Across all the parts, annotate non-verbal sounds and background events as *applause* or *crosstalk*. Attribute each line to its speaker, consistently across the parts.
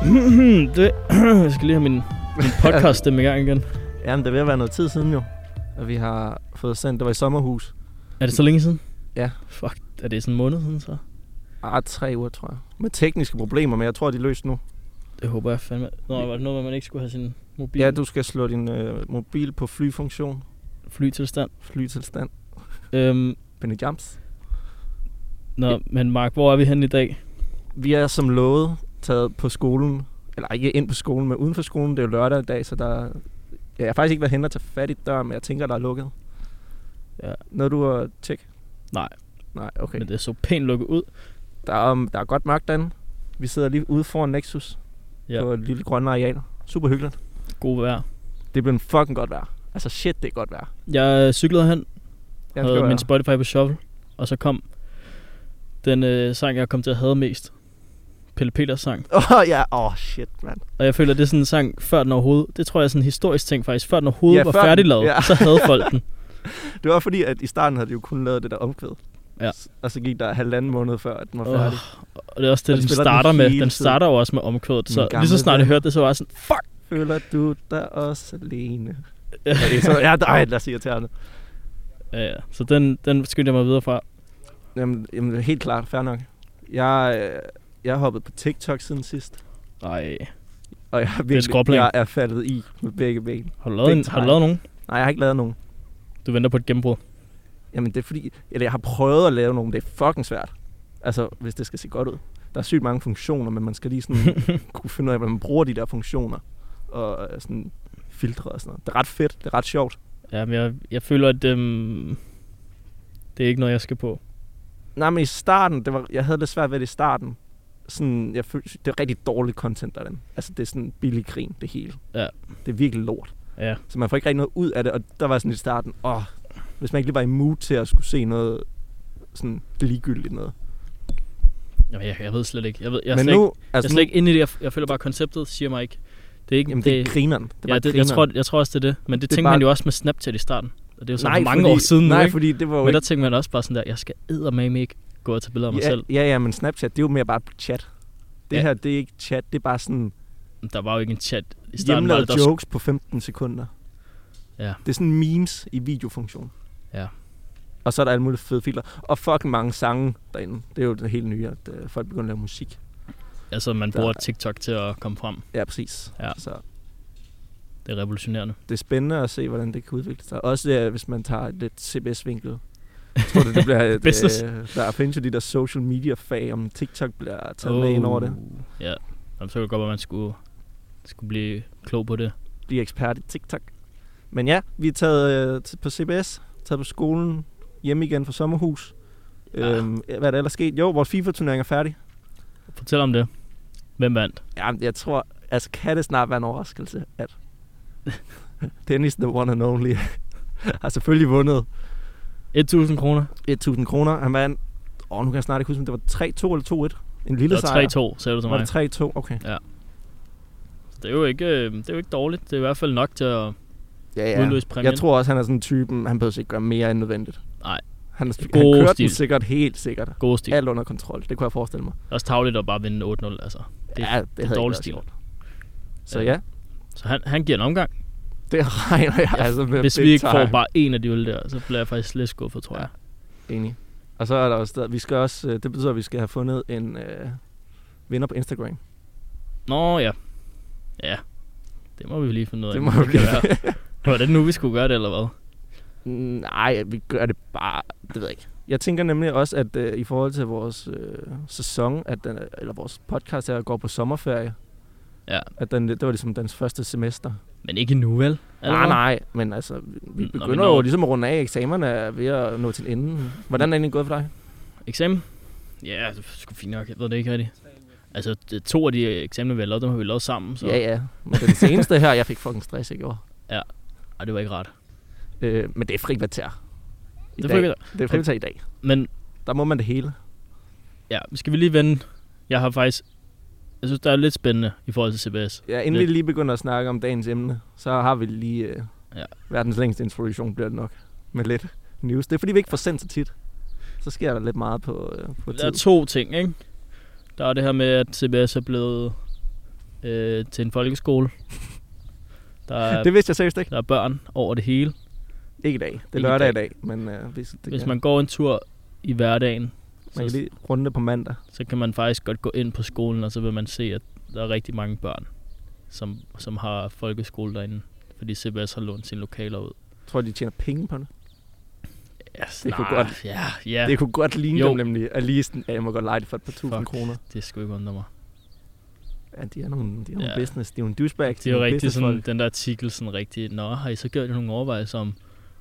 Speaker 1: *clears throat* det, jeg skal lige have min, min podcast stemme i gang igen.
Speaker 2: Jamen, det er ved at være noget tid siden jo, at vi har fået sendt. Det var i sommerhus.
Speaker 1: Er det så længe siden?
Speaker 2: Ja.
Speaker 1: Fuck, er det sådan en måned siden så?
Speaker 2: Ah, tre uger, tror jeg. Med tekniske problemer, men jeg tror, de er løst nu.
Speaker 1: Det håber jeg fandme. Nå, var det noget, med, at man ikke skulle have sin mobil
Speaker 2: Ja, du skal slå din øh, mobil på flyfunktion.
Speaker 1: flytilstand?
Speaker 2: Flytilstand.
Speaker 1: Øhm,
Speaker 2: Benny Jams.
Speaker 1: nå, men Mark, hvor er vi henne i dag?
Speaker 2: Vi er som lovet taget på skolen. Eller ikke ind på skolen, men uden for skolen. Det er jo lørdag i dag, så der... Ja, jeg har faktisk ikke været hen og tage fat i døren, men jeg tænker, der er lukket.
Speaker 1: Ja.
Speaker 2: Noget du at tjekke?
Speaker 1: Nej.
Speaker 2: Nej, okay.
Speaker 1: Men det er så pænt lukket ud.
Speaker 2: Der er, um, der er godt mørkt derinde. Vi sidder lige ude foran Nexus
Speaker 1: Ja.
Speaker 2: ja. på et lille grønne areal. Super hyggeligt.
Speaker 1: God vejr.
Speaker 2: Det blev en fucking godt vejr. Altså shit, det er godt vejr.
Speaker 1: Jeg øh, cyklede hen,
Speaker 2: Jeg
Speaker 1: havde min
Speaker 2: min
Speaker 1: Spotify på shuffle, og så kom den øh, sang, jeg kom til at have mest. Pelle Peters sang.
Speaker 2: *laughs* Åh oh, ja, åh oh, shit, mand.
Speaker 1: Og jeg føler, det er sådan en sang, før den overhovedet... Det tror jeg er sådan en historisk ting faktisk. Før den overhovedet
Speaker 2: Ja,
Speaker 1: var
Speaker 2: før den-
Speaker 1: færdiglavet,
Speaker 2: ja.
Speaker 1: så havde folk
Speaker 2: *laughs*
Speaker 1: den.
Speaker 2: Det var fordi, at i starten havde de jo kun lavet det der omkvæd.
Speaker 1: Ja.
Speaker 2: S- Og så gik der halvanden måned før, at den var
Speaker 1: Åh,
Speaker 2: færdig.
Speaker 1: Og det er også
Speaker 2: Og
Speaker 1: det,
Speaker 2: de
Speaker 1: den
Speaker 2: spiller den
Speaker 1: starter med.
Speaker 2: hele
Speaker 1: Den
Speaker 2: tiden.
Speaker 1: starter jo også med omkvædet.
Speaker 2: Min
Speaker 1: Så lige
Speaker 2: gamle
Speaker 1: så snart jeg
Speaker 2: ven.
Speaker 1: hørte det, så var jeg sådan, *laughs* fuck!
Speaker 2: Føler du dig også alene? Ja, det er så, ja, ej, lad os sige irriterende.
Speaker 1: Ja, ja. Så den, den skyndte jeg mig videre fra.
Speaker 2: Jamen, jamen, helt klart, fair nok. Jeg, øh, jeg har hoppet på TikTok siden sidst.
Speaker 1: Nej.
Speaker 2: Og jeg, er
Speaker 1: et skråplan.
Speaker 2: jeg er faldet i med begge ben.
Speaker 1: Har du lavet, en,
Speaker 2: Big
Speaker 1: har du
Speaker 2: time.
Speaker 1: lavet nogen?
Speaker 2: Nej, jeg har ikke lavet nogen.
Speaker 1: Du venter på et gennembrud.
Speaker 2: Jamen det er fordi, eller jeg har prøvet at lave nogle, det er fucking svært. Altså, hvis det skal se godt ud. Der er sygt mange funktioner, men man skal lige sådan
Speaker 1: *laughs*
Speaker 2: kunne finde ud af, hvordan man bruger de der funktioner. Og øh, sådan filtre og sådan noget. Det er ret fedt, det er ret sjovt.
Speaker 1: Ja, men jeg, jeg føler, at øhm, det er ikke noget, jeg skal på.
Speaker 2: Nej, men i starten, det var, jeg havde lidt svært ved det i starten. Sådan, jeg følte, det er rigtig dårligt content derinde. Altså, det er sådan billig grin, det hele.
Speaker 1: Ja.
Speaker 2: Det er virkelig lort.
Speaker 1: Ja.
Speaker 2: Så man får ikke rigtig noget ud af det, og der var sådan i starten, åh, hvis man ikke lige var i mood til at skulle se noget sådan ligegyldigt noget.
Speaker 1: Jamen, jeg, jeg ved slet ikke. Jeg, ved, jeg, er
Speaker 2: men
Speaker 1: slet,
Speaker 2: nu,
Speaker 1: ikke, jeg
Speaker 2: altså,
Speaker 1: er
Speaker 2: nu-
Speaker 1: slet ikke inde i det. Jeg, jeg føler bare, at konceptet siger mig ikke. Det er ikke...
Speaker 2: Jamen, det, det er grineren. Det er
Speaker 1: ja,
Speaker 2: bare
Speaker 1: det, jeg,
Speaker 2: grineren.
Speaker 1: tror, jeg tror også, det er det. Men det,
Speaker 2: Det er
Speaker 1: tænkte bare... man
Speaker 2: bare-
Speaker 1: jo også med Snapchat i starten. Og det er jo så
Speaker 2: nej,
Speaker 1: mange
Speaker 2: fordi,
Speaker 1: år siden
Speaker 2: Nej,
Speaker 1: nu, ikke?
Speaker 2: fordi det var jo
Speaker 1: Men der
Speaker 2: ikke...
Speaker 1: tænkte man også bare sådan der, jeg skal eddermame ikke gå og tage billeder af mig
Speaker 2: ja,
Speaker 1: selv.
Speaker 2: ja, ja, men Snapchat, det er jo mere bare chat. Det
Speaker 1: Ja.
Speaker 2: ja. her, det er ikke chat, det er bare sådan
Speaker 1: Der var jo ikke en chat i starten. Var det,
Speaker 2: hjemmelavede
Speaker 1: der
Speaker 2: jokes på 15 sekunder.
Speaker 1: Ja.
Speaker 2: Det er sådan memes i videofunktion.
Speaker 1: Ja.
Speaker 2: Og så er der alle mulige fede filer. Og fucking mange sange derinde. Det er jo det helt nye, at øh, folk begynder at lave musik.
Speaker 1: altså, man
Speaker 2: der-
Speaker 1: bruger TikTok til at komme frem.
Speaker 2: Ja, præcis.
Speaker 1: Ja.
Speaker 2: Så
Speaker 1: Det er revolutionerende.
Speaker 2: det er spændende at se, hvordan det kan udvikle sig. Også øh, hvis man tager et lidt CBS-vinkel. Jeg tror, det, det bliver... et,
Speaker 1: Business.
Speaker 2: øh, der findes jo de der social media-fag, om TikTok bliver taget oh. med ind over det.
Speaker 1: Ja, Jamen, så kunne det godt være, man skulle, skulle blive klog på det.
Speaker 2: blive ekspert i TikTok. Men ja, vi er taget øh, til- på CBS, taget på skolen, hjem igen fra sommerhus.
Speaker 1: Ja.
Speaker 2: Ja. Øhm, hvad er der ellers sket? Jo, vores FIFA-turnering er færdig.
Speaker 1: Fortæl om det. Hvem vandt?
Speaker 2: Ja, jeg tror, altså kan det snart være en overraskelse, at Dennis, the one and only, *laughs* har selvfølgelig vundet
Speaker 1: 1.000 kroner.
Speaker 2: 1.000 kroner. Han vandt, åh, nu kan jeg snart ikke huske, om det var 3-2 eller 2-1. En lille
Speaker 1: Det
Speaker 2: sejr.
Speaker 1: var 3-2, sagde du til
Speaker 2: Var
Speaker 1: mig.
Speaker 2: det 3-2? Okay.
Speaker 1: Det er, jo ikke, øh, det er jo ikke dårligt. Det er i hvert fald nok til at
Speaker 2: Ja,
Speaker 1: ja.
Speaker 2: ja.
Speaker 1: udløse præmien.
Speaker 2: Jeg tror også, han er sådan en typen, han behøver ikke gøre mere end nødvendigt.
Speaker 1: Nej.
Speaker 2: Han, han
Speaker 1: God
Speaker 2: kørte den
Speaker 1: stil.
Speaker 2: sikkert helt sikkert.
Speaker 1: God stil.
Speaker 2: Alt under kontrol, det kunne jeg forestille mig.
Speaker 1: Også tavligt at bare vinde 8-0. Altså. Det-
Speaker 2: ja, det,
Speaker 1: er
Speaker 2: det havde
Speaker 1: dårlig
Speaker 2: ikke
Speaker 1: stil.
Speaker 2: været sjovt. Så
Speaker 1: Ja.
Speaker 2: ja,
Speaker 1: Så han, han giver en omgang.
Speaker 2: det *laughs* regner jeg
Speaker 1: Ja,
Speaker 2: altså med
Speaker 1: Hvis
Speaker 2: big
Speaker 1: vi ikke
Speaker 2: time.
Speaker 1: får bare en af de øl der, så bliver jeg faktisk lidt skuffet, tror
Speaker 2: Ja.
Speaker 1: jeg.
Speaker 2: Enig. Og så er der også, der, vi skal også, øh, det betyder, at vi skal have fundet en øh, vinder på Instagram.
Speaker 1: Nå ja. Ja. Det må vi lige finde ud af.
Speaker 2: Det må
Speaker 1: om
Speaker 2: vi
Speaker 1: kan
Speaker 2: lige-
Speaker 1: være. Var det nu, vi skulle gøre det, eller hvad?
Speaker 2: Nej, vi gør det bare, det ved jeg ikke. Jeg tænker nemlig også, at øh, i forhold til vores øh, sæson, at den, eller vores podcast her går på sommerferie,
Speaker 1: Ja.
Speaker 2: at den, det var ligesom dens første semester.
Speaker 1: Men ikke nu, vel?
Speaker 2: Nej, nej, men altså, vi-
Speaker 1: Når
Speaker 2: vi
Speaker 1: vi
Speaker 2: begynder
Speaker 1: når-
Speaker 2: jo ligesom at runde af, eksamerne er ved at nå til enden. Hvordan er det egentlig gået for dig?
Speaker 1: Eksamen? Ja, altså, det er sgu fint nok. Jeg ved det ikke rigtigt. Altså, det- to af de eksamener, vi har lavet, dem har vi lavet sammen, så
Speaker 2: Ja, ja. Men den seneste her, jeg fik fucking stress i går.
Speaker 1: Ej, det var ikke rart.
Speaker 2: Øh, men det er frikvarter. I
Speaker 1: Det er
Speaker 2: dag.
Speaker 1: frikvarter.
Speaker 2: Det er frikvarter i dag.
Speaker 1: Men
Speaker 2: Der må man det hele.
Speaker 1: ja, skal vi lige vende? Jeg har faktisk... Jeg synes, der er lidt spændende i forhold til CBS.
Speaker 2: Ja, inden vi lige begynder at snakke om dagens emne, så har vi lige øh,
Speaker 1: Ja.
Speaker 2: ja. verdens længste introduktion, bliver det nok. Med lidt news. Det er fordi, vi ikke får sendt så tit. Så sker der lidt meget på, øh, på
Speaker 1: Der er
Speaker 2: tid.
Speaker 1: to ting, ikke? Der er det her med, at CBS er blevet øh, til en folkeskole. Der er,
Speaker 2: *laughs* Det vidste jeg seriøst ikke.
Speaker 1: der er børn over det hele.
Speaker 2: Ikke i dag. Det er
Speaker 1: Ikke i
Speaker 2: lørdag i dag, men øh, hvis, det
Speaker 1: Hvis
Speaker 2: kan-
Speaker 1: man går en tur i hverdagen,
Speaker 2: man kan
Speaker 1: så,
Speaker 2: lige runde det på mandag.
Speaker 1: så kan man faktisk godt gå ind på skolen, og så vil man se, at der er rigtig mange børn, som, som har folkeskole derinde. Fordi CBS har lånt sine lokaler ud.
Speaker 2: Jeg tror, de tjener penge på det.
Speaker 1: Ja,
Speaker 2: Det kunne
Speaker 1: nej,
Speaker 2: godt-
Speaker 1: Ja, ja.
Speaker 2: Ja. Det kunne godt ligne
Speaker 1: Jo.
Speaker 2: jo. dem nemlig, at lige sådan, ja, jeg må godt lege det for et par tusind
Speaker 1: Fuck.
Speaker 2: kroner.
Speaker 1: Det skulle ikke undre mig.
Speaker 2: Ja, de er nogle, de er nogle
Speaker 1: Ja.
Speaker 2: ja. business, de er nogle douchebag.
Speaker 1: Det er jo rigtig sådan, den der artikel, sådan rigtig, nå, har I så gjort jer nogle overvejelser om,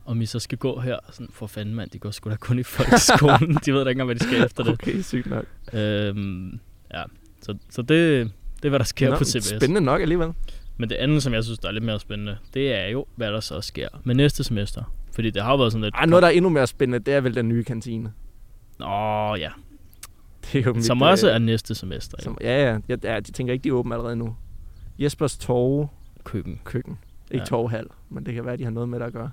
Speaker 1: om I så skal gå her? Sådan, for fanden mand, det går sgu da *laughs* kun i folkeskolen. de ved da ikke engang, hvad de skal *laughs* efter det.
Speaker 2: Okay, sygt nok.
Speaker 1: Øhm, ja, så, så det, det er, hvad der sker Nå, på
Speaker 2: men
Speaker 1: CBS.
Speaker 2: Spændende nok alligevel.
Speaker 1: Men det andet, som jeg synes, der er lidt mere spændende, det er jo, hvad der så sker med næste semester. Fordi det har jo været sådan lidt...
Speaker 2: Ej, noget, der er endnu mere spændende, det er vel den nye kantine.
Speaker 1: Nå, ja.
Speaker 2: Det er jo mit,
Speaker 1: Som
Speaker 2: øh,
Speaker 1: også er næste semester i
Speaker 2: Som, ja, ja, ja, ja, de tænker ikke, de er åbne allerede nu. Jespers Torve
Speaker 1: køkken.
Speaker 2: køkken. Ikke
Speaker 1: Ja.
Speaker 2: ja. Torvehal, men det kan være, de har noget med det at gøre.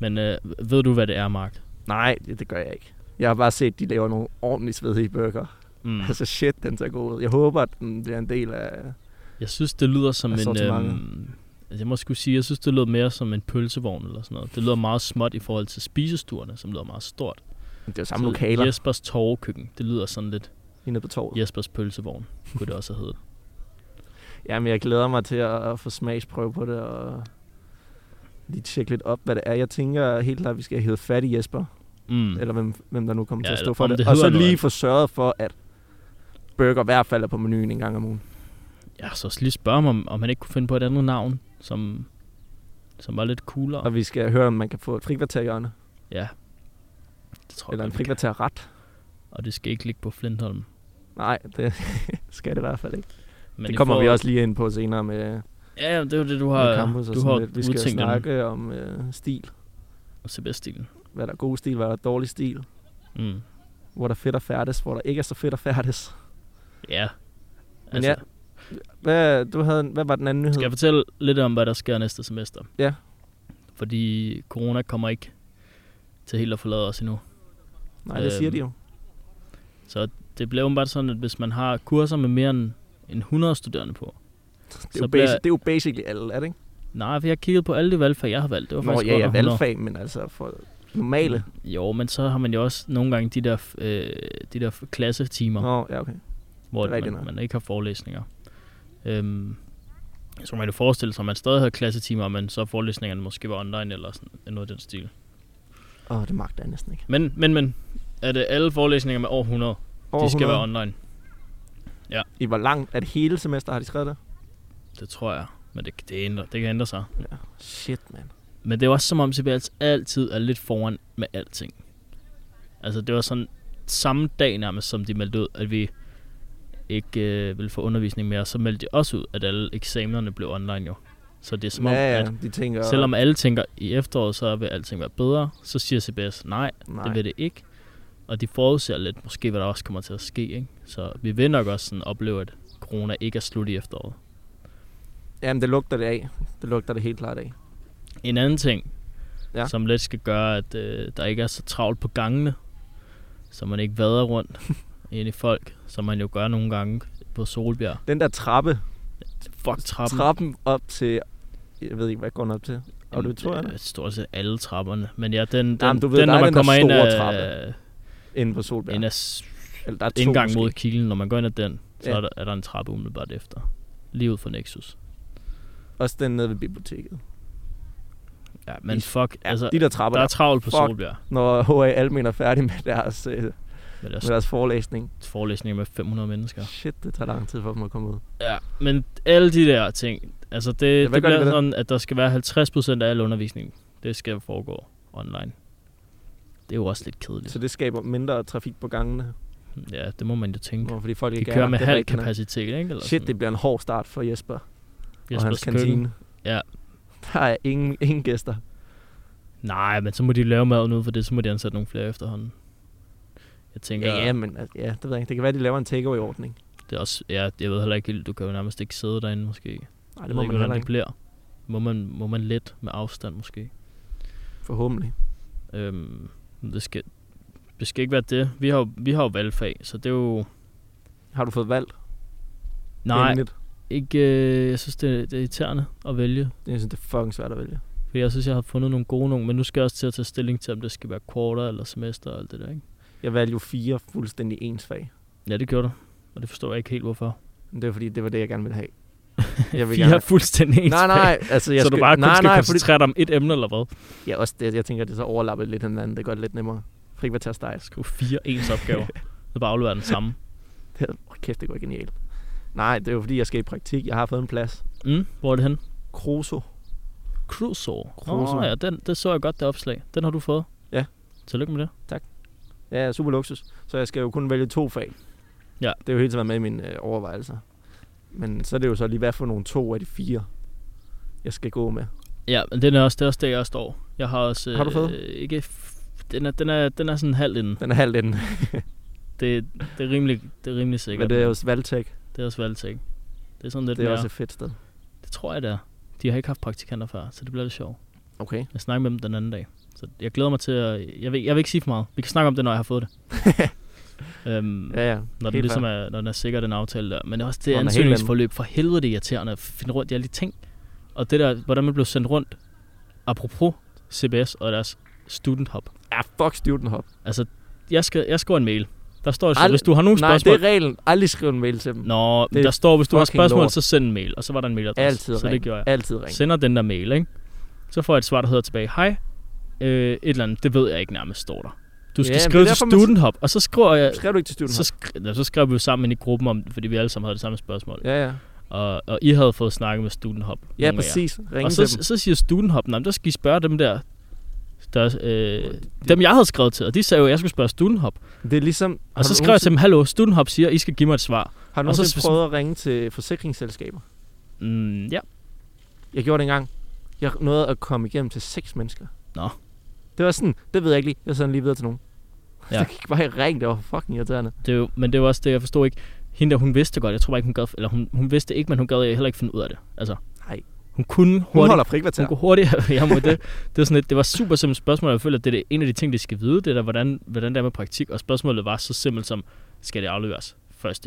Speaker 1: Men øh, ved du, hvad det er, Mark?
Speaker 2: Nej, det, det gør jeg ikke. Jeg har bare set, de laver nogle ordentligt svedige burger.
Speaker 1: Mm.
Speaker 2: Mm. Altså shit, den ser god ud. Jeg håber, at den bliver en del af...
Speaker 1: Jeg synes, det lyder som
Speaker 2: Af
Speaker 1: en...
Speaker 2: sortimentet.
Speaker 1: Øhm, altså, jeg må skulle sige, jeg synes, det lyder mere som en pølsevogn eller sådan noget. Det lyder meget småt i forhold til spisestuerne, som lyder meget stort.
Speaker 2: Det er jo samme
Speaker 1: Så
Speaker 2: lokaler, yes.
Speaker 1: Jespers Torvekøkken, det lyder sådan lidt
Speaker 2: lige nede på torvet.
Speaker 1: Jespers Pølsevogn, kunne det også have
Speaker 2: *laughs*
Speaker 1: heddet.
Speaker 2: Jamen, jeg glæder mig til at at få smagsprøve på det, og lige tjekke lidt op, hvad det er. Jeg tænker helt klart, at vi skal have fat i Jesper, mm.
Speaker 1: Mm.
Speaker 2: eller hvem, hvem der nu kommer
Speaker 1: Ja,
Speaker 2: ja, til at
Speaker 1: eller
Speaker 2: stå for
Speaker 1: om
Speaker 2: det.
Speaker 1: det
Speaker 2: det og
Speaker 1: hedder
Speaker 2: så lige
Speaker 1: noget.
Speaker 2: få sørget for, at burger i hvert fald er på menuen en gang om ugen.
Speaker 1: Jeg så også lige spørge ham, om, om han ikke kunne finde på et andet navn, som, som var lidt coolere.
Speaker 2: Og vi skal høre, om man kan få et frikvarterhjørne,
Speaker 1: det tror
Speaker 2: eller en
Speaker 1: jeg, godt, vi kan.
Speaker 2: frikvarterret.
Speaker 1: Og det skal ikke ligge på Flintholm.
Speaker 2: Nej, det *laughs* skal det i hvert fald ikke.
Speaker 1: Men
Speaker 2: det
Speaker 1: I
Speaker 2: kommer
Speaker 1: får-
Speaker 2: vi også lige ind på senere med,
Speaker 1: Ja, ja, det er jo det, du
Speaker 2: med
Speaker 1: har,
Speaker 2: campus og
Speaker 1: du
Speaker 2: sådan
Speaker 1: har
Speaker 2: lidt. Vi skal
Speaker 1: udtænkt snakke.
Speaker 2: snakke om øh, stil.
Speaker 1: Sebastian.
Speaker 2: Hvad der er god stil, hvad der er dårlig stil.
Speaker 1: Mm.
Speaker 2: Hvor der er fedt at færdes, hvor der ikke er så fedt at færdes.
Speaker 1: Ja. Altså,
Speaker 2: Men ja, Hvad, du havde, en- hvad var den anden nyhed?
Speaker 1: Skal jeg fortælle lidt om, hvad der sker næste semester?
Speaker 2: Ja.
Speaker 1: Fordi corona kommer ikke til helt at forlade os endnu.
Speaker 2: Nej, det siger
Speaker 1: Øhm,
Speaker 2: de jo.
Speaker 1: Så det bliver åbenbart sådan, at hvis man har kurser med mere end end 100 studerende på.
Speaker 2: Det er, jo
Speaker 1: så bliver-
Speaker 2: basic, det er jo basically alle, er det ikke?
Speaker 1: Nej, for jeg har kigget på alle de valgfag, jeg har valgt. Det var
Speaker 2: Nå,
Speaker 1: faktisk
Speaker 2: ja,
Speaker 1: godt
Speaker 2: ja,
Speaker 1: nok 100.
Speaker 2: valgfag, men altså for normale.
Speaker 1: Jo, men så har man jo også nogle gange de der, øh, de der klassetimer.
Speaker 2: Nå, ja, okay.
Speaker 1: hvor
Speaker 2: Det er rigtigt
Speaker 1: man,
Speaker 2: nok.
Speaker 1: man ikke har forelæsninger. Øhm, så man kan forestille sig, at man stadig havde klassetimer, men så forelæsningerne måske var online eller sådan noget af den stil.
Speaker 2: Åh, det magter jeg næsten ikke.
Speaker 1: Men, men, men, er det alle forelæsninger med over 100, over de skal
Speaker 2: 100.
Speaker 1: være online?
Speaker 2: I hvor langt? Er det hele semester, har de skrevet det?
Speaker 1: Det tror jeg, men det, det, ændrer, det kan ændre sig.
Speaker 2: Shit, mand.
Speaker 1: Men det er også som om CBS altid er lidt foran med alting. Altså det var sådan samme dag nærmest, som de meldte ud, at vi ikke øh, ville få undervisning mere, så meldte de også ud, at alle eksamenerne blev online jo. Så det er som om,
Speaker 2: ja,
Speaker 1: at
Speaker 2: ja, de tænker...
Speaker 1: Selvom alle tænker, i efteråret, så vil alting være bedre, så siger CBS, nej, nej.
Speaker 2: Nej,
Speaker 1: det vil det ikke. Og de forudser lidt, måske hvad der også kommer til at ske. Ikke? Så vi vil nok også sådan opleve, at corona ikke er slut i efteråret.
Speaker 2: Jamen, det lugter det af. Det lugter det helt klart af.
Speaker 1: En anden ting, ja.
Speaker 2: Ja.
Speaker 1: som lidt skal gøre, at øh, der ikke er så travlt på gangene, så man ikke vader rundt
Speaker 2: *laughs*
Speaker 1: ind i folk, som man jo gør nogle gange på Solbjerg.
Speaker 2: Den der trappe,
Speaker 1: Fuck trappen.
Speaker 2: trappen op til... Jeg ved ikke, hvad går den op til?
Speaker 1: Jamen,
Speaker 2: Auditorierne?
Speaker 1: øh, Stort set alle trapperne. Men ja, den, den,
Speaker 2: Jamen, du ved,
Speaker 1: den
Speaker 2: der
Speaker 1: når
Speaker 2: er
Speaker 1: man
Speaker 2: den der
Speaker 1: kommer ind
Speaker 2: store
Speaker 1: af,
Speaker 2: Inde på
Speaker 1: ind
Speaker 2: Solbjerg.
Speaker 1: af s-
Speaker 2: Eller der er to
Speaker 1: indgang
Speaker 2: måske.
Speaker 1: mod kilen, når man går ind ad den, så ja.
Speaker 2: Ja.
Speaker 1: er, der, er der en trappe umiddelbart efter. Lige ud for Nexus.
Speaker 2: Også den nede ved biblioteket.
Speaker 1: Ja, men
Speaker 2: I-
Speaker 1: fuck,
Speaker 2: Ja,
Speaker 1: altså,
Speaker 2: de der trapper
Speaker 1: der er
Speaker 2: der.
Speaker 1: travlt på
Speaker 2: Fuck.
Speaker 1: Solbjerg
Speaker 2: Når HA Almen er færdig med deres, øh,
Speaker 1: Altså- med deres
Speaker 2: med deres forelæsning.
Speaker 1: forelæsninger med 500 mennesker.
Speaker 2: Shit, det tager lang tid for dem at komme ud.
Speaker 1: Ja, men alle de der ting, altså det, ja, det
Speaker 2: hvad gør de
Speaker 1: bliver
Speaker 2: ved det?
Speaker 1: sådan, at der skal være 50% af al undervisning, det skal foregå online. Det er jo også lidt kedeligt.
Speaker 2: Så det skaber mindre trafik på gangene.
Speaker 1: Ja, det må man jo tænke.
Speaker 2: Nå, fordi folk
Speaker 1: Mm. De
Speaker 2: ikke
Speaker 1: kører
Speaker 2: er,
Speaker 1: med
Speaker 2: det er
Speaker 1: halv
Speaker 2: rigtigt nok.
Speaker 1: kapacitet, ikke? Eller
Speaker 2: Shit, det bliver en hård start for Jesper, Jesper og hans kantine.
Speaker 1: Ja.
Speaker 2: Der er ingen, ingen gæster.
Speaker 1: Nej, men så må de lave maden ud for det, så må de ansætte nogle flere efterhånden. Jeg tænker,
Speaker 2: Ja, ja, men altså, ja, det ved jeg ikke. Det kan være, de laver en takeaway-ordning.
Speaker 1: Det er også, ja, jeg ved heller ikke helt, du kan jo nærmest ikke sidde derinde måske. Nej,
Speaker 2: Nej, det må man
Speaker 1: hvordan
Speaker 2: heller
Speaker 1: det
Speaker 2: ikke.
Speaker 1: bliver. Må man, må man let med afstand måske.
Speaker 2: Forhåbentlig.
Speaker 1: Øhm, men det, skal, det skal ikke være det. Vi har, jo- vi har jo valgfag, så det er jo...
Speaker 2: Har du fået valgt?
Speaker 1: Nej,
Speaker 2: Endeligt?
Speaker 1: ikke, øh, jeg synes, det, det er irriterende at vælge.
Speaker 2: Jeg synes, det er fucking svært at vælge.
Speaker 1: Fordi jeg synes, jeg har fundet nogle gode nogle, men nu skal jeg også til at tage stilling til, om det skal være quarter eller semester og alt det der, ikke?
Speaker 2: Jeg valgte jo fire fuldstændig ens fag.
Speaker 1: Ja, det gjorde du. Og det forstår jeg ikke helt, hvorfor.
Speaker 2: Men det var fordi, det var det, jeg gerne ville
Speaker 1: *laughs*
Speaker 2: have. Jeg
Speaker 1: Fire er fuldstændig ens
Speaker 2: Nej,
Speaker 1: fag.
Speaker 2: nej, altså jeg
Speaker 1: så
Speaker 2: skal,
Speaker 1: du bare kun
Speaker 2: nej,
Speaker 1: skal
Speaker 2: nej, fordi,
Speaker 1: koncentrere dig om et emne, eller hvad?
Speaker 2: ja, også det, jeg tænker, at det så overlapper lidt hinanden, det gør det lidt nemmere. Frikvarters dig.
Speaker 1: Jeg skriver fire ens
Speaker 2: *laughs*
Speaker 1: opgaver. Så bare afleverer den samme.
Speaker 2: Det, oh, kæft, det går genialt. Nej, det er jo fordi, jeg skal i praktik, jeg har fået en plads.
Speaker 1: Mm, hvor er det hen?
Speaker 2: Kroso.
Speaker 1: Crusoe. Crusoe.
Speaker 2: Crusoe.
Speaker 1: Nå, ja, den, det så jeg godt, det opslag. Den har du fået.
Speaker 2: Ja.
Speaker 1: Tillykke med det.
Speaker 2: Ja, super luksus. Så jeg skal jo kun vælge to fag.
Speaker 1: Ja.
Speaker 2: Det er jo hele tiden med i mine øh, overvejelser. Men så er det jo så lige, hvad for nogle to af de fire, jeg skal gå med.
Speaker 1: Ja, men den er også, det er også der, jeg står. Jeg har også...
Speaker 2: Har du fået?
Speaker 1: Øh, ikke f- den er, den, er, den er sådan halvt inden.
Speaker 2: Den er halvt inden.
Speaker 1: Det, det, er rimelig, det er rimelig sikkert.
Speaker 2: Men det er jo Valtech.
Speaker 1: det er også valgtæk. Det er sådan lidt
Speaker 2: Det er
Speaker 1: mere...
Speaker 2: også et fedt sted.
Speaker 1: Det tror jeg, det er. De har ikke haft praktikanter før, så det bliver lidt sjovt.
Speaker 2: Okay.
Speaker 1: Jeg snakker med dem den anden dag. Så jeg glæder mig til at... Jeg vil, jeg vil ikke sige for meget. Vi kan snakke om det, når jeg har fået
Speaker 2: *laughs*
Speaker 1: det. øhm,
Speaker 2: Ja, ja.
Speaker 1: når, den
Speaker 2: helt
Speaker 1: ligesom er, når den er sikker, den aftale der. Men også det
Speaker 2: Når den er helt
Speaker 1: ansøgningsforløb. For helvede, det er irriterende at finde rundt i alle de ting. Og det der, hvordan man blev sendt rundt. Apropos CBS og deres student hub.
Speaker 2: Ja, fuck student hop.
Speaker 1: Altså, jeg, skal, jeg skriver en mail. Der står, så,
Speaker 2: Ald-
Speaker 1: hvis du har nogle
Speaker 2: Nej,
Speaker 1: spørgsmål...
Speaker 2: det er reglen. Aldrig skrive en mail til dem.
Speaker 1: Nå,
Speaker 2: det er
Speaker 1: der står, hvis du har
Speaker 2: fucking
Speaker 1: spørgsmål,
Speaker 2: lort.
Speaker 1: så send en mail. Og så var der en mailadresse.
Speaker 2: Altid
Speaker 1: så det
Speaker 2: ring.
Speaker 1: gjorde jeg.
Speaker 2: Altid ring.
Speaker 1: sender den der mail, ikke? Så får jeg et svar, der hedder tilbage, hej, øh, et eller andet, det ved jeg ikke nærmest, står der. Du skal
Speaker 2: Ja,
Speaker 1: ja,
Speaker 2: men
Speaker 1: skrive
Speaker 2: det er
Speaker 1: til
Speaker 2: derfor, man-
Speaker 1: Student Hub, og så skriver jeg,
Speaker 2: Skrev du ikke til student
Speaker 1: så,
Speaker 2: hop?
Speaker 1: skri- ja, så skrev vi jo sammen ind i gruppen, om, fordi vi alle sammen havde det samme spørgsmål. Ja.
Speaker 2: Ja, ja.
Speaker 1: Og, og I havde fået snakket med Student Hub. nogle af
Speaker 2: Ja,
Speaker 1: jer.
Speaker 2: præcis. Ringe
Speaker 1: Og så,
Speaker 2: til dem.
Speaker 1: så siger Student Hub, nej, men der skal I spørge dem der, der øh,
Speaker 2: Det-
Speaker 1: dem jeg havde skrevet til, og de sagde jo, at jeg skulle spørge Student Hub.
Speaker 2: Det er ligesom...
Speaker 1: Og så skrev jeg til dem, hallo, Student Hub siger, I skal give mig et svar.
Speaker 2: Har du
Speaker 1: og så-
Speaker 2: nogensinde prøvet at ringe til forsikringsselskaber?
Speaker 1: Mm, ja,
Speaker 2: Jeg gjorde det engang. Jeg nåede at komme igennem til seks mennesker.
Speaker 1: Nå.
Speaker 2: Det var sådan, det ved jeg ikke lige. Jeg sendte lige videre til nogen.
Speaker 1: Ja.
Speaker 2: Ja. Så gik bare i ring, *laughs* det var fucking irriterende.
Speaker 1: Det er jo, men det var også det, jeg forstod ikke. Hende der, hun vidste godt, jeg tror bare ikke, hun gad, eller hun, hun vidste ikke, men hun gad heller ikke finde ud af det. Altså,
Speaker 2: Nej.
Speaker 1: hun kunne
Speaker 2: Hun
Speaker 1: hurtigt. Hun
Speaker 2: holder frikvarter.
Speaker 1: kunne hurtigt, *laughs* ja, må det, det, var sådan et, det var super simpelt spørgsmål, og jeg føler, at det er det, en af de ting, de skal vide, det er der, hvordan, hvordan det er med praktik, og spørgsmålet var så simpelt som, skal det afleveres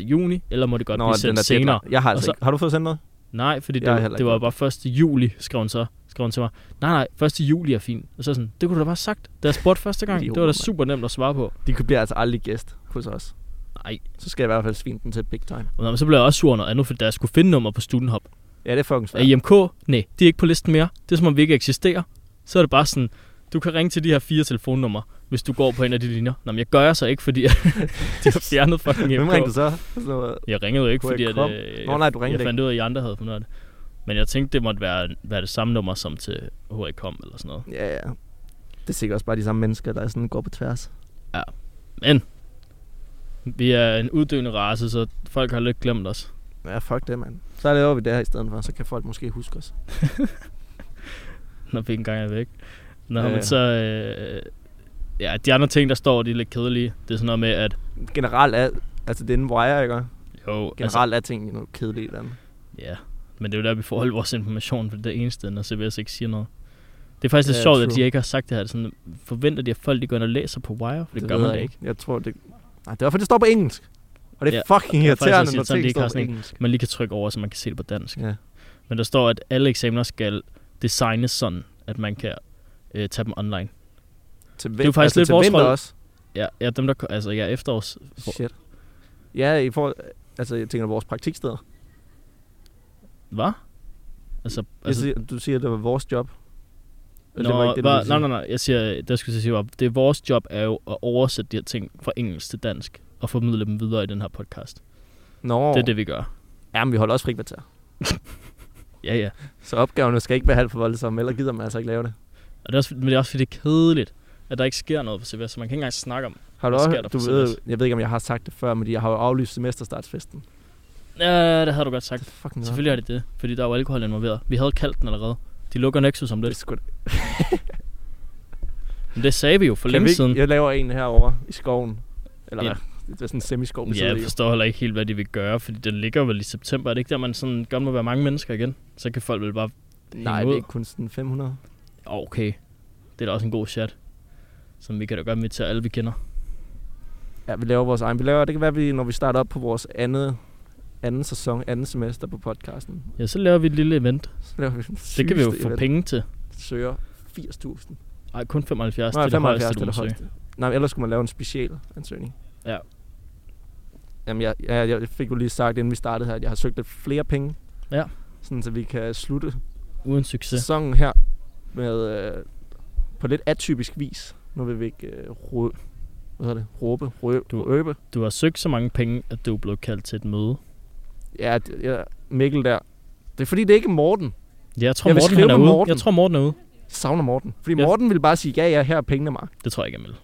Speaker 1: 1. juni, eller må det godt Nå, blive sendt senere?
Speaker 2: deadline. Jeg har altså
Speaker 1: Og så-
Speaker 2: ikke. Har du fået sendt noget?
Speaker 1: Nej, fordi
Speaker 2: Jeg har
Speaker 1: det,
Speaker 2: heller
Speaker 1: det
Speaker 2: ikke
Speaker 1: var bare 1. juli, skrev hun så skrev hun til mig. Nej, nej, 1. juli er fint. Og så er jeg sådan, det kunne du da bare have sagt, da jeg spurgte første gang.
Speaker 2: Idiot,
Speaker 1: det var da
Speaker 2: mand.
Speaker 1: super nemt at svare på.
Speaker 2: De kunne- bliver altså aldrig gæst hos os.
Speaker 1: Nej,
Speaker 2: Så skal jeg i hvert fald svine den til big time.
Speaker 1: Nå, men så blev jeg også sur over noget andet, fordi da jeg skulle finde nummer på Studenhop,
Speaker 2: Ja, det er fucking
Speaker 1: Er
Speaker 2: svært.
Speaker 1: IMK? Nej, de er ikke på listen mere. Det er som om vi ikke eksisterer. Så er det bare sådan, du kan ringe til de her fire telefonnumre, hvis du går på en af de linjer. Nå, men jeg gør jeg så ikke, fordi *laughs* de har fjernet
Speaker 2: *laughs*
Speaker 1: fucking
Speaker 2: Hvem ringte
Speaker 1: IMK.
Speaker 2: du så? Sådan noget.
Speaker 1: Jeg ringede jo ikke,
Speaker 2: Kunne
Speaker 1: fordi
Speaker 2: jeg
Speaker 1: at,
Speaker 2: komme?
Speaker 1: øh,
Speaker 2: Nå nej, du
Speaker 1: jeg
Speaker 2: ringte ikke.
Speaker 1: fandt ud af, at I andre havde fundet af det. Men jeg tænkte, det måtte være, være det samme nummer som til HRCOM eller sådan noget.
Speaker 2: Ja, ja. Det er sikkert også bare de samme mennesker, der sådan går på tværs.
Speaker 1: Men vi er en uddøende race, så folk har lidt glemt os.
Speaker 2: Ja, fuck det, mand. Så laver vi det her i stedet for, så kan folk måske huske os.
Speaker 1: når vi ikke engang er væk. Nå,
Speaker 2: Ja,
Speaker 1: ja,
Speaker 2: ja.
Speaker 1: men så... Øh, ja, de andre ting, der står, de er lidt kedelige. Det er sådan noget med, at
Speaker 2: Generelt er, altså det er en wire, ikke?
Speaker 1: jo, altså,
Speaker 2: Generelt er tingene noget kedeligt eller andet.
Speaker 1: Ja, men det er jo der, vi får holdt vores information, for det er det eneste, når CBS ikke siger noget. Det er faktisk lidt
Speaker 2: Ja,
Speaker 1: sjovt, at
Speaker 2: true.
Speaker 1: de ikke har sagt det her. Det er Sådan, forventer de, at folk de går ind og læser på Wire? For det, det gør
Speaker 2: ved
Speaker 1: man
Speaker 2: jeg
Speaker 1: da ikke.
Speaker 2: Jeg tror, det... Nej, det er derfor, det står på engelsk. Og det er
Speaker 1: Ja,
Speaker 2: ja, fucking
Speaker 1: jeg kan faktisk også
Speaker 2: irriterende,
Speaker 1: sige,
Speaker 2: når
Speaker 1: sådan, de
Speaker 2: ting
Speaker 1: ikke
Speaker 2: står
Speaker 1: har
Speaker 2: på
Speaker 1: sådan en-
Speaker 2: engelsk.
Speaker 1: Man lige kan trykke over, så man kan se det på dansk.
Speaker 2: Ja.
Speaker 1: Men der står, at alle eksamener skal designes sådan, at man kan øh, tage dem online.
Speaker 2: Til vin-
Speaker 1: er jo faktisk
Speaker 2: altså,
Speaker 1: lidt
Speaker 2: til
Speaker 1: vores
Speaker 2: vinter
Speaker 1: rolle.
Speaker 2: også.
Speaker 1: Ja, ja dem der, altså ja, efterårs...
Speaker 2: Shit. Ja, i forhold... Altså, jeg tænker, vores praktiksteder.
Speaker 1: Hvad? Altså,
Speaker 2: Jeg
Speaker 1: altså
Speaker 2: siger, du siger, det var vores job.
Speaker 1: Nå,
Speaker 2: Eller det var ikke det, du
Speaker 1: hva-
Speaker 2: ville sige.
Speaker 1: nej, nej, nej, jeg siger, der skulle jeg sige, var, det er vores job er jo at oversætte de her ting fra engelsk til dansk og formidle dem videre i den her podcast. Oh.
Speaker 2: Nå,
Speaker 1: Det er det, vi gør.
Speaker 2: Ja, men vi holder også frikvarter.
Speaker 1: Ja, ja.
Speaker 2: Så opgaverne skal ikke være halvt for voldsomme, eller gider man altså ikke lave det.
Speaker 1: Og det er også, men det er også fordi, det er kedeligt, at der ikke sker noget på CBS, så man kan ikke engang snakke om.
Speaker 2: Har du
Speaker 1: Hvad
Speaker 2: også,
Speaker 1: sker der
Speaker 2: du
Speaker 1: for
Speaker 2: ved,
Speaker 1: semester?
Speaker 2: jeg ved ikke, om jeg har sagt det før, men jeg har jo aflyst semesterstartsfesten. Det
Speaker 1: Ja, det havde du godt
Speaker 2: er
Speaker 1: sagt.
Speaker 2: fucking
Speaker 1: Selvfølgelig er det det, fordi der er jo alkohol involveret. Vi havde kaldt den allerede. De lukker Nexus om
Speaker 2: det er
Speaker 1: lidt.
Speaker 2: sgu da-
Speaker 1: Men det sagde vi jo for
Speaker 2: Kan vi
Speaker 1: længe
Speaker 2: ikke-
Speaker 1: siden.
Speaker 2: Jeg laver en herover i skoven. Eller
Speaker 1: Ja.
Speaker 2: hvad? Det er sådan en semiskov, vi
Speaker 1: Ja,
Speaker 2: sidder
Speaker 1: jeg
Speaker 2: i.
Speaker 1: forstår heller ikke helt, hvad de vil gøre, fordi den ligger vel i september. Er det ikke der, man sådan godt må være mange mennesker igen? Så kan folk vel bare...
Speaker 2: Nej,
Speaker 1: hænge
Speaker 2: det
Speaker 1: ud.
Speaker 2: er ikke kun sådan 500.
Speaker 1: Åh, Okay, det er da også en god chat. Som vi kan da godt invitere alle, vi kender.
Speaker 2: Ja, vi laver vores egen. Vi laver, det kan være, vi, når vi starter op på vores andet anden sæson, anden semester på podcasten.
Speaker 1: Ja, så laver vi et lille event.
Speaker 2: Så laver vi den
Speaker 1: Det kan vi jo
Speaker 2: sygeste
Speaker 1: få
Speaker 2: event.
Speaker 1: penge til.
Speaker 2: Søger 80.000.
Speaker 1: Ej, kun 75,
Speaker 2: Nej,
Speaker 1: det er det
Speaker 2: 75
Speaker 1: højeste,
Speaker 2: til
Speaker 1: du må
Speaker 2: det
Speaker 1: søge.
Speaker 2: højeste. Nej, men ellers skulle man lave en special ansøgning.
Speaker 1: Ja.
Speaker 2: Jamen, jeg, jeg, jeg fik jo lige sagt, inden vi startede her, at jeg har søgt lidt flere penge.
Speaker 1: Ja.
Speaker 2: Sådan, så vi kan slutte
Speaker 1: Uden succes.
Speaker 2: sæsonen her med øh, på lidt atypisk vis. Nu vil vi ikke øh, rø, hvad hedder det? råbe, rø,
Speaker 1: Du-
Speaker 2: røbe.
Speaker 1: Du har søgt så mange penge, at du er blevet kaldt til et møde.
Speaker 2: Ja, det, ja, Mikkel der. Det er fordi, det er ikke Morten.
Speaker 1: Ja, jeg tror,
Speaker 2: Jeg vil
Speaker 1: Morten,
Speaker 2: skrive
Speaker 1: han er
Speaker 2: med
Speaker 1: ude.
Speaker 2: Morten.
Speaker 1: Jeg tror, Morten er ude.
Speaker 2: Jeg savner Morten. Fordi
Speaker 1: Ja.
Speaker 2: Morten ville bare sige, ja, ja, her er pengene, Mark.
Speaker 1: Det tror jeg ikke, Emil.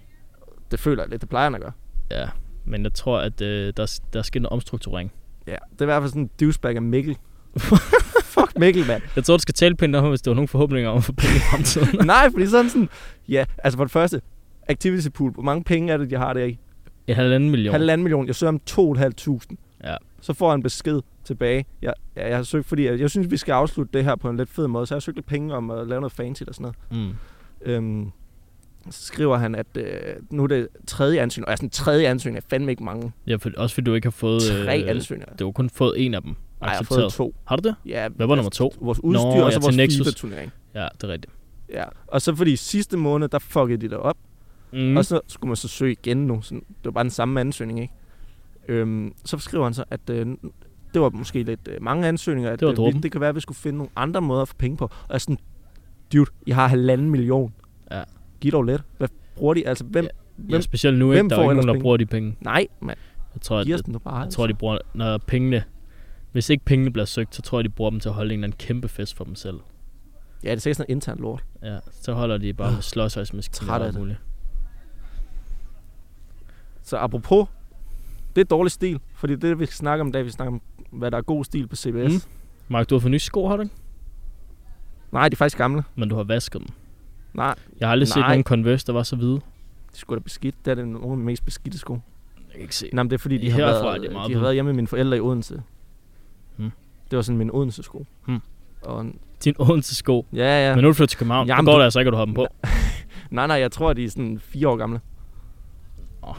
Speaker 2: Det føler jeg lidt, det plejer han at gøre.
Speaker 1: Ja, men jeg tror, at øh, der, der sker en omstrukturering.
Speaker 2: Ja, det er i hvert fald sådan en douchebag af Mikkel. *laughs* Fuck Mikkel, *laughs* mand.
Speaker 1: Jeg tror, du skal tale pænt om, ham, hvis du har nogle forhåbninger om at få penge i
Speaker 2: *laughs*
Speaker 1: fremtiden.
Speaker 2: Nej, fordi sådan sådan... Ja, altså for det første, activity pool. Hvor mange penge er det, de har der i?
Speaker 1: en halvanden million.
Speaker 2: Halvanden million. Jeg søger om 2.500.
Speaker 1: Ja.
Speaker 2: Så får jeg en besked tilbage. Jeg, jeg, jeg har søgt, fordi jeg, jeg synes, vi skal afslutte det her på en lidt fed måde. Så jeg har søgt lidt penge om at lave noget fancy og sådan noget.
Speaker 1: Mm.
Speaker 2: Øhm, så skriver han, at øh, nu er det tredje ansøgning. Og altså, en tredje ansøgning er fandme ikke mange.
Speaker 1: Ja, for, også fordi du ikke har fået...
Speaker 2: Tre ansøgninger.
Speaker 1: du har kun fået en af dem.
Speaker 2: Nej, jeg har
Speaker 1: Øh, accepteret.
Speaker 2: fået to.
Speaker 1: Har du det?
Speaker 2: Ja, altså,
Speaker 1: Hvad var nummer to?
Speaker 2: Vores udstyr
Speaker 1: Nå,
Speaker 2: Nå, og
Speaker 1: ja,
Speaker 2: så
Speaker 1: til
Speaker 2: vores
Speaker 1: Nexus.
Speaker 2: FIBA-turnering.
Speaker 1: Ja, det er rigtigt.
Speaker 2: Ja. Og så fordi sidste måned, der fuckede de det op.
Speaker 1: Mm.
Speaker 2: Mm. Og så skulle man så søge igen nu. Sådan, det var bare den samme ansøgning, ikke? Øhm, så skriver han så, at øh, det var måske lidt øh, mange ansøgninger. At,
Speaker 1: Det var
Speaker 2: øh, vi,
Speaker 1: dråben.
Speaker 2: det kan være, at vi skulle finde nogle andre måder at få penge på. Og jeg er sådan, dude, I har halvanden million.
Speaker 1: Ja.
Speaker 2: Giv dog lidt. Hvad bruger de? Altså, hvem?
Speaker 1: Ja. ja,
Speaker 2: hvem-
Speaker 1: specielt nu,
Speaker 2: hvem
Speaker 1: ikke? Der er jo
Speaker 2: får
Speaker 1: ikke nogen, der
Speaker 2: ellers
Speaker 1: bruger de penge.
Speaker 2: Nej, mand.
Speaker 1: Jeg tror, at,
Speaker 2: Giv os
Speaker 1: jeg,
Speaker 2: den nu bare. altså.
Speaker 1: jeg tror, de bruger... Når pengene... Hvis ikke pengene bliver søgt, så tror jeg, de bruger dem til at holde en eller anden kæmpe fest for dem selv.
Speaker 2: Ja, det er sikkert sådan noget internt lort.
Speaker 1: Ja, så holder de bare med slåsøjsmaskiner
Speaker 2: Træt
Speaker 1: og
Speaker 2: af
Speaker 1: alt
Speaker 2: det.
Speaker 1: muligt.
Speaker 2: Så apropos, det er dårlig stil. Fordi det, vi snakker om i dag, vi snakker om, hvad der er god stil på CBS. Mm.
Speaker 1: Mark, du har fået nye sko, har du ikke?
Speaker 2: Nej, de er faktisk gamle.
Speaker 1: Men du har vasket dem.
Speaker 2: Nej,
Speaker 1: Jeg har aldrig set
Speaker 2: Nej.
Speaker 1: nogen Converse, der var så hvide.
Speaker 2: de skulle da beskidt. Det er det nogle af de mest beskidte sko.
Speaker 1: Jeg kan ikke se.
Speaker 2: Nej, men det er fordi, de har,
Speaker 1: Herfra
Speaker 2: været,
Speaker 1: er det meget
Speaker 2: de har
Speaker 1: bedre.
Speaker 2: været hjemme med mine forældre i Odense.
Speaker 1: Hmm.
Speaker 2: Det var sådan min Odense-sko.
Speaker 1: Hmm.
Speaker 2: Og, en-
Speaker 1: Din Odense sko.
Speaker 2: ja, ja.
Speaker 1: Men nu er du flyttet til København. Jamen,
Speaker 2: Jamen,
Speaker 1: går
Speaker 2: du-
Speaker 1: det altså ikke, at du har dem på.
Speaker 2: Nej, nej, jeg tror, de er sådan fire år gamle.
Speaker 1: Nå.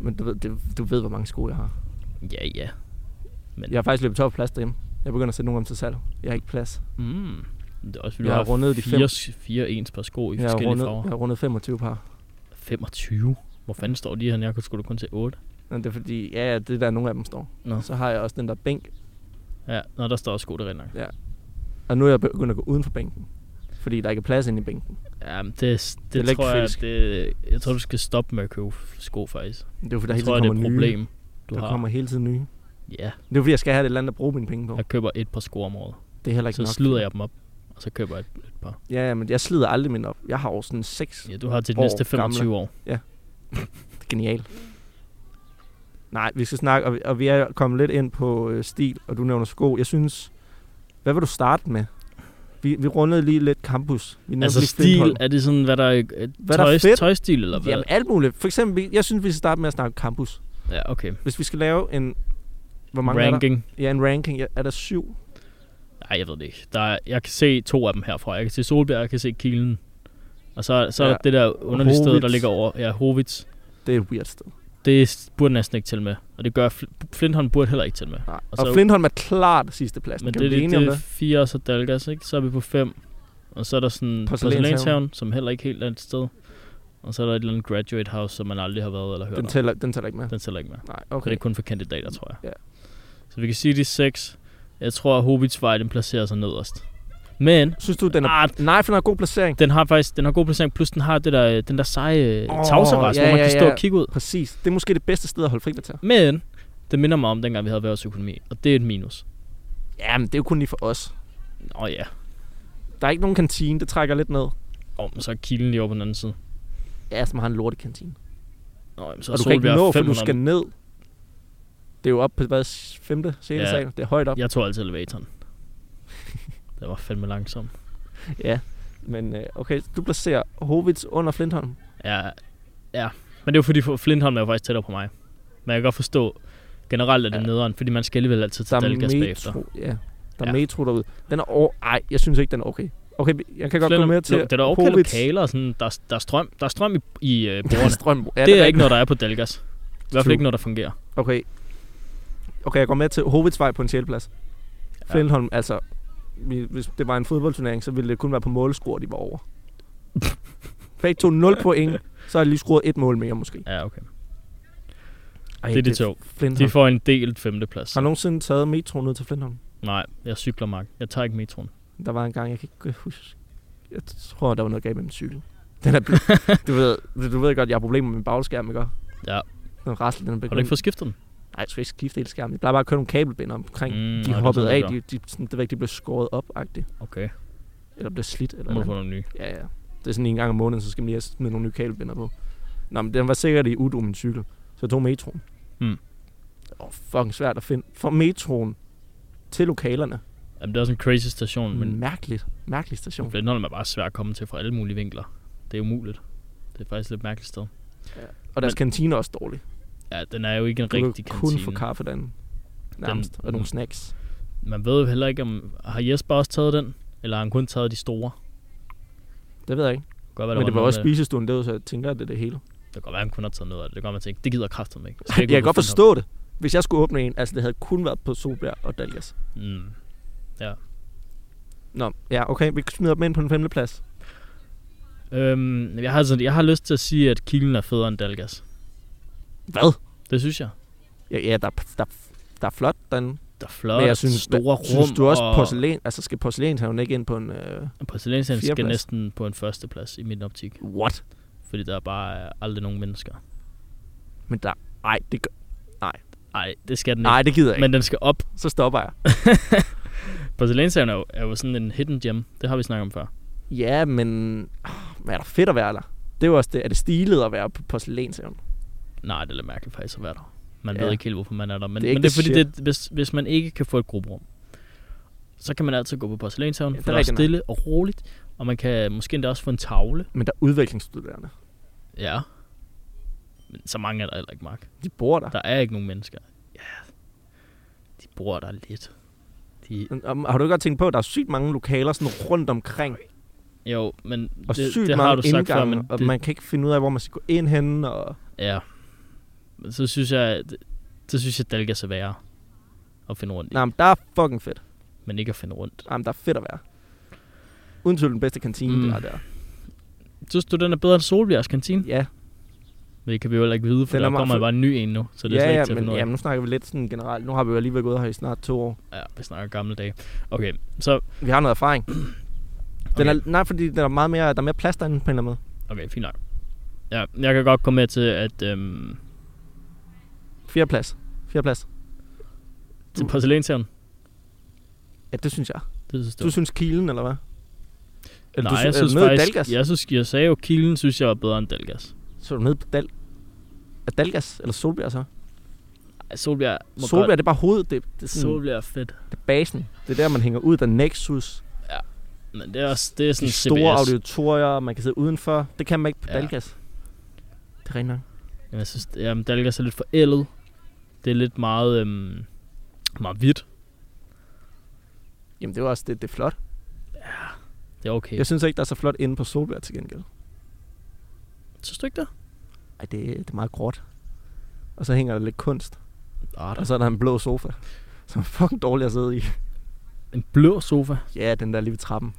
Speaker 2: Men du ved, det, du ved, hvor mange sko jeg har.
Speaker 1: Ja, ja.
Speaker 2: Jeg har faktisk løbet tør for plads derhjemme. Jeg begynder at sætte nogle om til salg. Jeg har ikke plads.
Speaker 1: Mm. Det er også, fordi
Speaker 2: Jeg
Speaker 1: du
Speaker 2: har rundet de
Speaker 1: fire, fire ens par sko i
Speaker 2: jeg, har
Speaker 1: forskellige
Speaker 2: rundet,
Speaker 1: farver.
Speaker 2: jeg har rundet 25 par.
Speaker 1: 25? Hvor fanden står de her? Jeg kunne sgu da kun se 8.
Speaker 2: Men det er fordi, ja, ja, det er der nogle af dem står.
Speaker 1: Nå.
Speaker 2: Så har jeg også den der bænk.
Speaker 1: Ja, nå, der står også sko, det render.
Speaker 2: Og nu er jeg begyndt at gå uden for bænken. Fordi der ikke er plads inde i bænken.
Speaker 1: Ja, men det, det,
Speaker 2: er lidt
Speaker 1: det tror jeg,
Speaker 2: kritisk.
Speaker 1: det, jeg tror, du skal stoppe med at købe sko, faktisk.
Speaker 2: Det er jo fordi, der
Speaker 1: Jeg
Speaker 2: hele
Speaker 1: tror,
Speaker 2: tiden
Speaker 1: det er
Speaker 2: kommer
Speaker 1: et
Speaker 2: nye.
Speaker 1: problem, du
Speaker 2: der
Speaker 1: har.
Speaker 2: kommer hele tiden nye.
Speaker 1: Ja,
Speaker 2: Det er fordi, jeg skal have et eller andet at bruge mine penge på.
Speaker 1: jeg køber et par sko om året.
Speaker 2: Det er heller ikke
Speaker 1: Så
Speaker 2: nok.
Speaker 1: slider jeg dem op, og så køber jeg et, et par.
Speaker 2: Ja, ja, men jeg slider aldrig mine op. Jeg har jo sådan seks.
Speaker 1: Ja, du har til de
Speaker 2: År
Speaker 1: næste 25 år.
Speaker 2: Genial. Nej, vi skal snakke, og vi, og vi er kommet lidt ind på øh, stil, og du nævner sko. Jeg synes, hvad vil du starte med? Vi, vi rundede lige lidt campus. Vi nævnte
Speaker 1: Altså
Speaker 2: lige
Speaker 1: stil,
Speaker 2: Flintholm.
Speaker 1: er det sådan, hvad der er
Speaker 2: Hvad der er
Speaker 1: tøj,
Speaker 2: fedt?
Speaker 1: tøjstil, eller hvad?
Speaker 2: Jamen alt muligt. For eksempel, vi- jeg synes, vi skal starte med at snakke campus.
Speaker 1: ja, okay.
Speaker 2: Hvis vi skal lave en... Hvor mange er
Speaker 1: Ranking.
Speaker 2: der? Ja, en ranking. Ja, Er der syv?
Speaker 1: Nej, jeg ved det ikke. Der er, jeg kan se to af dem herfra. Jeg kan se Solbjerg, jeg kan se Kielen. Og så, så ja. er
Speaker 2: Ja.
Speaker 1: der det der underlige sted, der
Speaker 2: Hovits.
Speaker 1: ligger over. Ja, Hovits.
Speaker 2: Det er et weird sted.
Speaker 1: Det s- burde næsten ikke til med. Og det gør Fl- Flintholm burde heller ikke til med.
Speaker 2: Nej. Og,
Speaker 1: Og så-
Speaker 2: og Flintholm er klart sidste plads.
Speaker 1: Men
Speaker 2: Altså,
Speaker 1: det,
Speaker 2: Kan vi blive
Speaker 1: det,
Speaker 2: enige
Speaker 1: det,
Speaker 2: om
Speaker 1: det er
Speaker 2: det?
Speaker 1: fire, og så Dalgas, ikke? Så er vi på fem. Og så er der sådan
Speaker 2: Porcelænshaven.
Speaker 1: Porcelænshaven, som heller ikke helt er et sted. Og så er der et eller andet graduate house, som man aldrig har været eller hørt
Speaker 2: Den
Speaker 1: om.
Speaker 2: tæller, den tæller ikke med.
Speaker 1: Den tæller ikke med.
Speaker 2: Nej,
Speaker 1: Okay.
Speaker 2: okay.
Speaker 1: Det er kun for kandidater, tror jeg.
Speaker 2: Ja.
Speaker 1: Så vi kan sige, de er seks. Jeg tror, at Hobbitsvej, den placerer sig nederst. Men,
Speaker 2: Synes du, den er...
Speaker 1: ah,
Speaker 2: Nej, for den er en god placering.
Speaker 1: den har faktisk den har god placering, plus den har det der, øh, den der seje oh,
Speaker 2: Åh,
Speaker 1: tavserest, ja,
Speaker 2: ja,
Speaker 1: hvor man
Speaker 2: ja,
Speaker 1: kan stå
Speaker 2: ja.
Speaker 1: og kigge ud.
Speaker 2: Præcis. Det er måske det bedste sted at holde frikvarter.
Speaker 1: Men det minder mig om, dengang vi havde erhvervsøkonomi, og det er et minus.
Speaker 2: Ja, men det er jo kun lige for os.
Speaker 1: Nå ja,
Speaker 2: Der er ikke nogen kantine, det trækker lidt ned.
Speaker 1: oh, men så er kilden lige over på den anden side.
Speaker 2: Ja, som har en lortekantine.
Speaker 1: Nå, jamen, så
Speaker 2: Og,
Speaker 1: er
Speaker 2: og du kan ikke
Speaker 1: Solbjerg
Speaker 2: nå, for du
Speaker 1: 500.
Speaker 2: skal ned. Det er jo op på, hvad, 5. 6.
Speaker 1: Ja.
Speaker 2: Ja. sal. Det er højt op. Ja.
Speaker 1: Jeg tog altid elevatoren. den var fandme langsom.
Speaker 2: ja. Men øh, okay, du placerer Hovits under Flintholm.
Speaker 1: Ja, ja. Men det er jo fordi, for- Flintholm er jo faktisk tættere på mig. Men jeg kan godt forstå, generelt er det ja.
Speaker 2: Ja.
Speaker 1: nederen, fordi man skal alligevel altid
Speaker 2: Der
Speaker 1: til
Speaker 2: er
Speaker 1: Dalgas bagefter.
Speaker 2: metro, ja. Der er
Speaker 1: Ja.
Speaker 2: metro derude. Den er over... Ej, jeg synes ikke, den er okay. Okay, jeg kan godt gå med til
Speaker 1: Det er der okay
Speaker 2: Hovits.
Speaker 1: lokaler og sådan. Der, er- der er strøm, der er strøm i, i øh,
Speaker 2: *laughs* Der er
Speaker 1: bordene.
Speaker 2: *laughs* strøm. Ja,
Speaker 1: det er
Speaker 2: rigtigt.
Speaker 1: ikke noget, der er på Dalgas. I hvert fald
Speaker 2: True.
Speaker 1: ikke noget, der fungerer.
Speaker 2: Okay. Okay, jeg går med til Hovedsvej på en sjælplads. Ja. Flintholm, altså... Vi, hvis det var en fodboldturnering, så ville det kun være på målscore, de var
Speaker 1: *laughs*
Speaker 2: over. Begge to 0 point, så har de lige scoret et mål mere måske.
Speaker 1: Ja, okay.
Speaker 2: Ej,
Speaker 1: Det er de to.
Speaker 2: Flintholm.
Speaker 1: De får en delt femteplads.
Speaker 2: Har du nogensinde taget metroen ned til Flintholm?
Speaker 1: Nej, jeg cykler, Mark. Jeg tager ikke metroen.
Speaker 2: Der var en gang, jeg kan ikke øh, huske. Jeg tror, der var noget galt med min cykel. Den er
Speaker 1: *laughs*
Speaker 2: blevet, du, ved, du ved godt, jeg har problemer med min bagskærm, ikke?
Speaker 1: Ja.
Speaker 2: Den rasler, den er
Speaker 1: Har du ikke fået skiftet den?
Speaker 2: Nej, jeg skulle ikke skifte hele skærmen. Jeg plejer bare at køre nogle kabelbinder omkring. Mm, de
Speaker 1: nå,
Speaker 2: hoppede
Speaker 1: det er
Speaker 2: af,
Speaker 1: sådan,
Speaker 2: de, de, sådan, det var ikke, de blev skåret op -agtigt.
Speaker 1: Okay,
Speaker 2: Eller blev slidt. Eller
Speaker 1: nu må du
Speaker 2: noget.
Speaker 1: få nogle nye.
Speaker 2: Ja, ja. Det er sådan en gang om måneden, så skal man lige have smide nogle nye kabelbinder på. Nå, men den var sikkert i Udo, min cykel. Så jeg tog metroen.
Speaker 1: Mm.
Speaker 2: Det var fucking svært at finde. Fra metroen til lokalerne.
Speaker 1: Jamen, det er også en crazy station, Hmm, men
Speaker 2: Men mærkeligt. Mærkelig station.
Speaker 1: Flintholm er bare svært at komme til fra alle mulige vinkler. Det er umuligt. Det er faktisk et lidt mærkeligt sted.
Speaker 2: Og deres
Speaker 1: Men-
Speaker 2: kantine er også dårlig.
Speaker 1: Ja, den er jo ikke en
Speaker 2: Du kan
Speaker 1: rigtig
Speaker 2: kun
Speaker 1: kantine.
Speaker 2: få kaffe derinde. Nærmest. og nogle snacks.
Speaker 1: Man ved jo heller ikke, om har Jesper også taget den? Eller har han kun taget de store?
Speaker 2: Det ved jeg ikke.
Speaker 1: Godt,
Speaker 2: Men
Speaker 1: være,
Speaker 2: det var,
Speaker 1: nogen,
Speaker 2: også
Speaker 1: der-
Speaker 2: spisestuen derude, så jeg tænker, at det er det hele.
Speaker 1: Det kan godt være, han kun har taget noget af det. Det kan godt, man tænker, det gider kraften
Speaker 2: *laughs*
Speaker 1: ikke.
Speaker 2: Jeg kan godt forstå det. Hvis jeg skulle åbne en, altså det havde kun været på Solbjerg og Dalgas.
Speaker 1: Mm.
Speaker 2: Nå, ja, okay. Vi smider dem ind på den femte plads.
Speaker 1: Øhm, jeg, har, altså, jeg har lyst til at sige, at Kilen er federe end Dalgas.
Speaker 2: Hvad?
Speaker 1: Det synes jeg.
Speaker 2: Ja, ja der, er- der, er- der er flot derinde.
Speaker 1: Der er flot,
Speaker 2: Men
Speaker 1: jeg
Speaker 2: jeg synes,
Speaker 1: store rum.
Speaker 2: Synes du også,
Speaker 1: og
Speaker 2: porcelæn, altså skal porcelænshaven ikke ind på en... Øh,
Speaker 1: Porcelænsand skal
Speaker 2: fjerdeplads?
Speaker 1: næsten på en førsteplads i min optik.
Speaker 2: what?
Speaker 1: Fordi der er bare øh, aldrig nogen mennesker.
Speaker 2: Men der... Ej, det gør,
Speaker 1: Nej, det skal den ikke.
Speaker 2: nej, det gider jeg ikke.
Speaker 1: Men den skal op.
Speaker 2: Men, så stopper jeg.
Speaker 1: Porcelænsand er, jo- er jo sådan en hidden gem. Det har vi snakket om før.
Speaker 2: Ja, men... ah, Hvad er der fedt at være der? Det er jo også det. Er det stilet at være på porcelænshaven?
Speaker 1: Nej, det er lidt mærkeligt faktisk at være der. Man
Speaker 2: Ja.
Speaker 1: ved ikke helt, hvorfor man er der. Men
Speaker 2: Det
Speaker 1: det er,
Speaker 2: er ikke
Speaker 1: men det er
Speaker 2: det
Speaker 1: fordi, det, hvis, hvis man ikke kan få et grupperum, så kan man altid gå på porcelænshaven,
Speaker 2: Ja,
Speaker 1: ja,
Speaker 2: det
Speaker 1: for
Speaker 2: er
Speaker 1: der er
Speaker 2: rigtigt nok.
Speaker 1: stille og roligt. Og man kan måske endda også få en tavle.
Speaker 2: Men der er udviklingsstuderende.
Speaker 1: Ja. Men så mange er der heller ikke, Mark.
Speaker 2: De bor der.
Speaker 1: Der er ikke nogen mennesker. Ja. De bor der lidt. De,
Speaker 2: Men, om- Har du ikke godt tænkt på, at der er sygt mange lokaler sådan rundt omkring,
Speaker 1: jo, men
Speaker 2: og
Speaker 1: det,
Speaker 2: sygt
Speaker 1: det
Speaker 2: mange
Speaker 1: har du sagt
Speaker 2: indgange,
Speaker 1: før, men
Speaker 2: og
Speaker 1: det,
Speaker 2: man kan ikke finde ud af, hvor man skal gå ind henne, og
Speaker 1: ja. Men så synes jeg, det, så synes jeg, Dalgas er værre at finde rundt i.
Speaker 2: nej, men der er fucking fedt.
Speaker 1: Men ikke at finde rundt.
Speaker 2: Nej, men der er fedt at være. Uden tvivl den bedste kantine, mm.
Speaker 1: Mm.
Speaker 2: der er der.
Speaker 1: Synes du, den er bedre end Solbjergs kantine?
Speaker 2: Ja,
Speaker 1: Men det kan vi jo heller ikke vide, for
Speaker 2: Den er
Speaker 1: der
Speaker 2: meget
Speaker 1: kommer
Speaker 2: fed.
Speaker 1: bare en ny en nu, så det er
Speaker 2: ja,
Speaker 1: slet ikke
Speaker 2: ja
Speaker 1: til at
Speaker 2: men
Speaker 1: finde ud af.
Speaker 2: jamen, nu snakker vi lidt sådan generelt. Nu har vi jo alligevel gået her i snart to år.
Speaker 1: Ja, vi snakker gamle dage. Okay, så
Speaker 2: Vi har noget erfaring. Den
Speaker 1: Okay.
Speaker 2: er, nej, fordi der er meget mere, der er mere plads derinde på en eller anden måde.
Speaker 1: okay, fint nok. Ja, jeg kan godt komme med til, at øhm,
Speaker 2: Fjerde plads. Fjerde plads.
Speaker 1: til
Speaker 2: Du-
Speaker 1: porcelænshaven,
Speaker 2: Ja, det synes jeg.
Speaker 1: det synes jeg.
Speaker 2: Du synes kilen, eller hvad? Eller
Speaker 1: Nej, jeg
Speaker 2: er du
Speaker 1: synes
Speaker 2: nede i
Speaker 1: faktisk,
Speaker 2: Dalgas?
Speaker 1: jeg, synes, jeg sagde jo, Kilen synes jeg var bedre end Dalgas.
Speaker 2: Så er du nede på Dal... Er Dalgas eller Solbjerg så?
Speaker 1: Ej, Solbjerg må
Speaker 2: Solbjerg, Hmm. det er bare hovedet. Det, det, er
Speaker 1: godt.
Speaker 2: sådan,
Speaker 1: Solbjerg er fedt.
Speaker 2: det er basen. Det er der, man hænger ud. Der er Nexus.
Speaker 1: Men det er også det er sådan
Speaker 2: De store
Speaker 1: CBS.
Speaker 2: auditorier, man kan sidde udenfor. Det kan man ikke på ja.
Speaker 1: Ja.
Speaker 2: Dalgas. Det er rent nok.
Speaker 1: Jamen, jeg synes, jamen, Dalgas er lidt forældet. Det er lidt meget, øhm, meget hvidt.
Speaker 2: Jamen, det er jo også det, det er flot.
Speaker 1: Det er okay.
Speaker 2: Jeg synes ikke, der er så flot inde på Solbjerg til gengæld.
Speaker 1: Synes du ikke det?
Speaker 2: Ej, det, det er meget gråt. Og så hænger der lidt kunst.
Speaker 1: Ah, der
Speaker 2: Og så er der en blå sofa, *laughs* som er fucking dårlig at sidde i.
Speaker 1: er en blå sofa.
Speaker 2: Ja, den der lige ved trappen.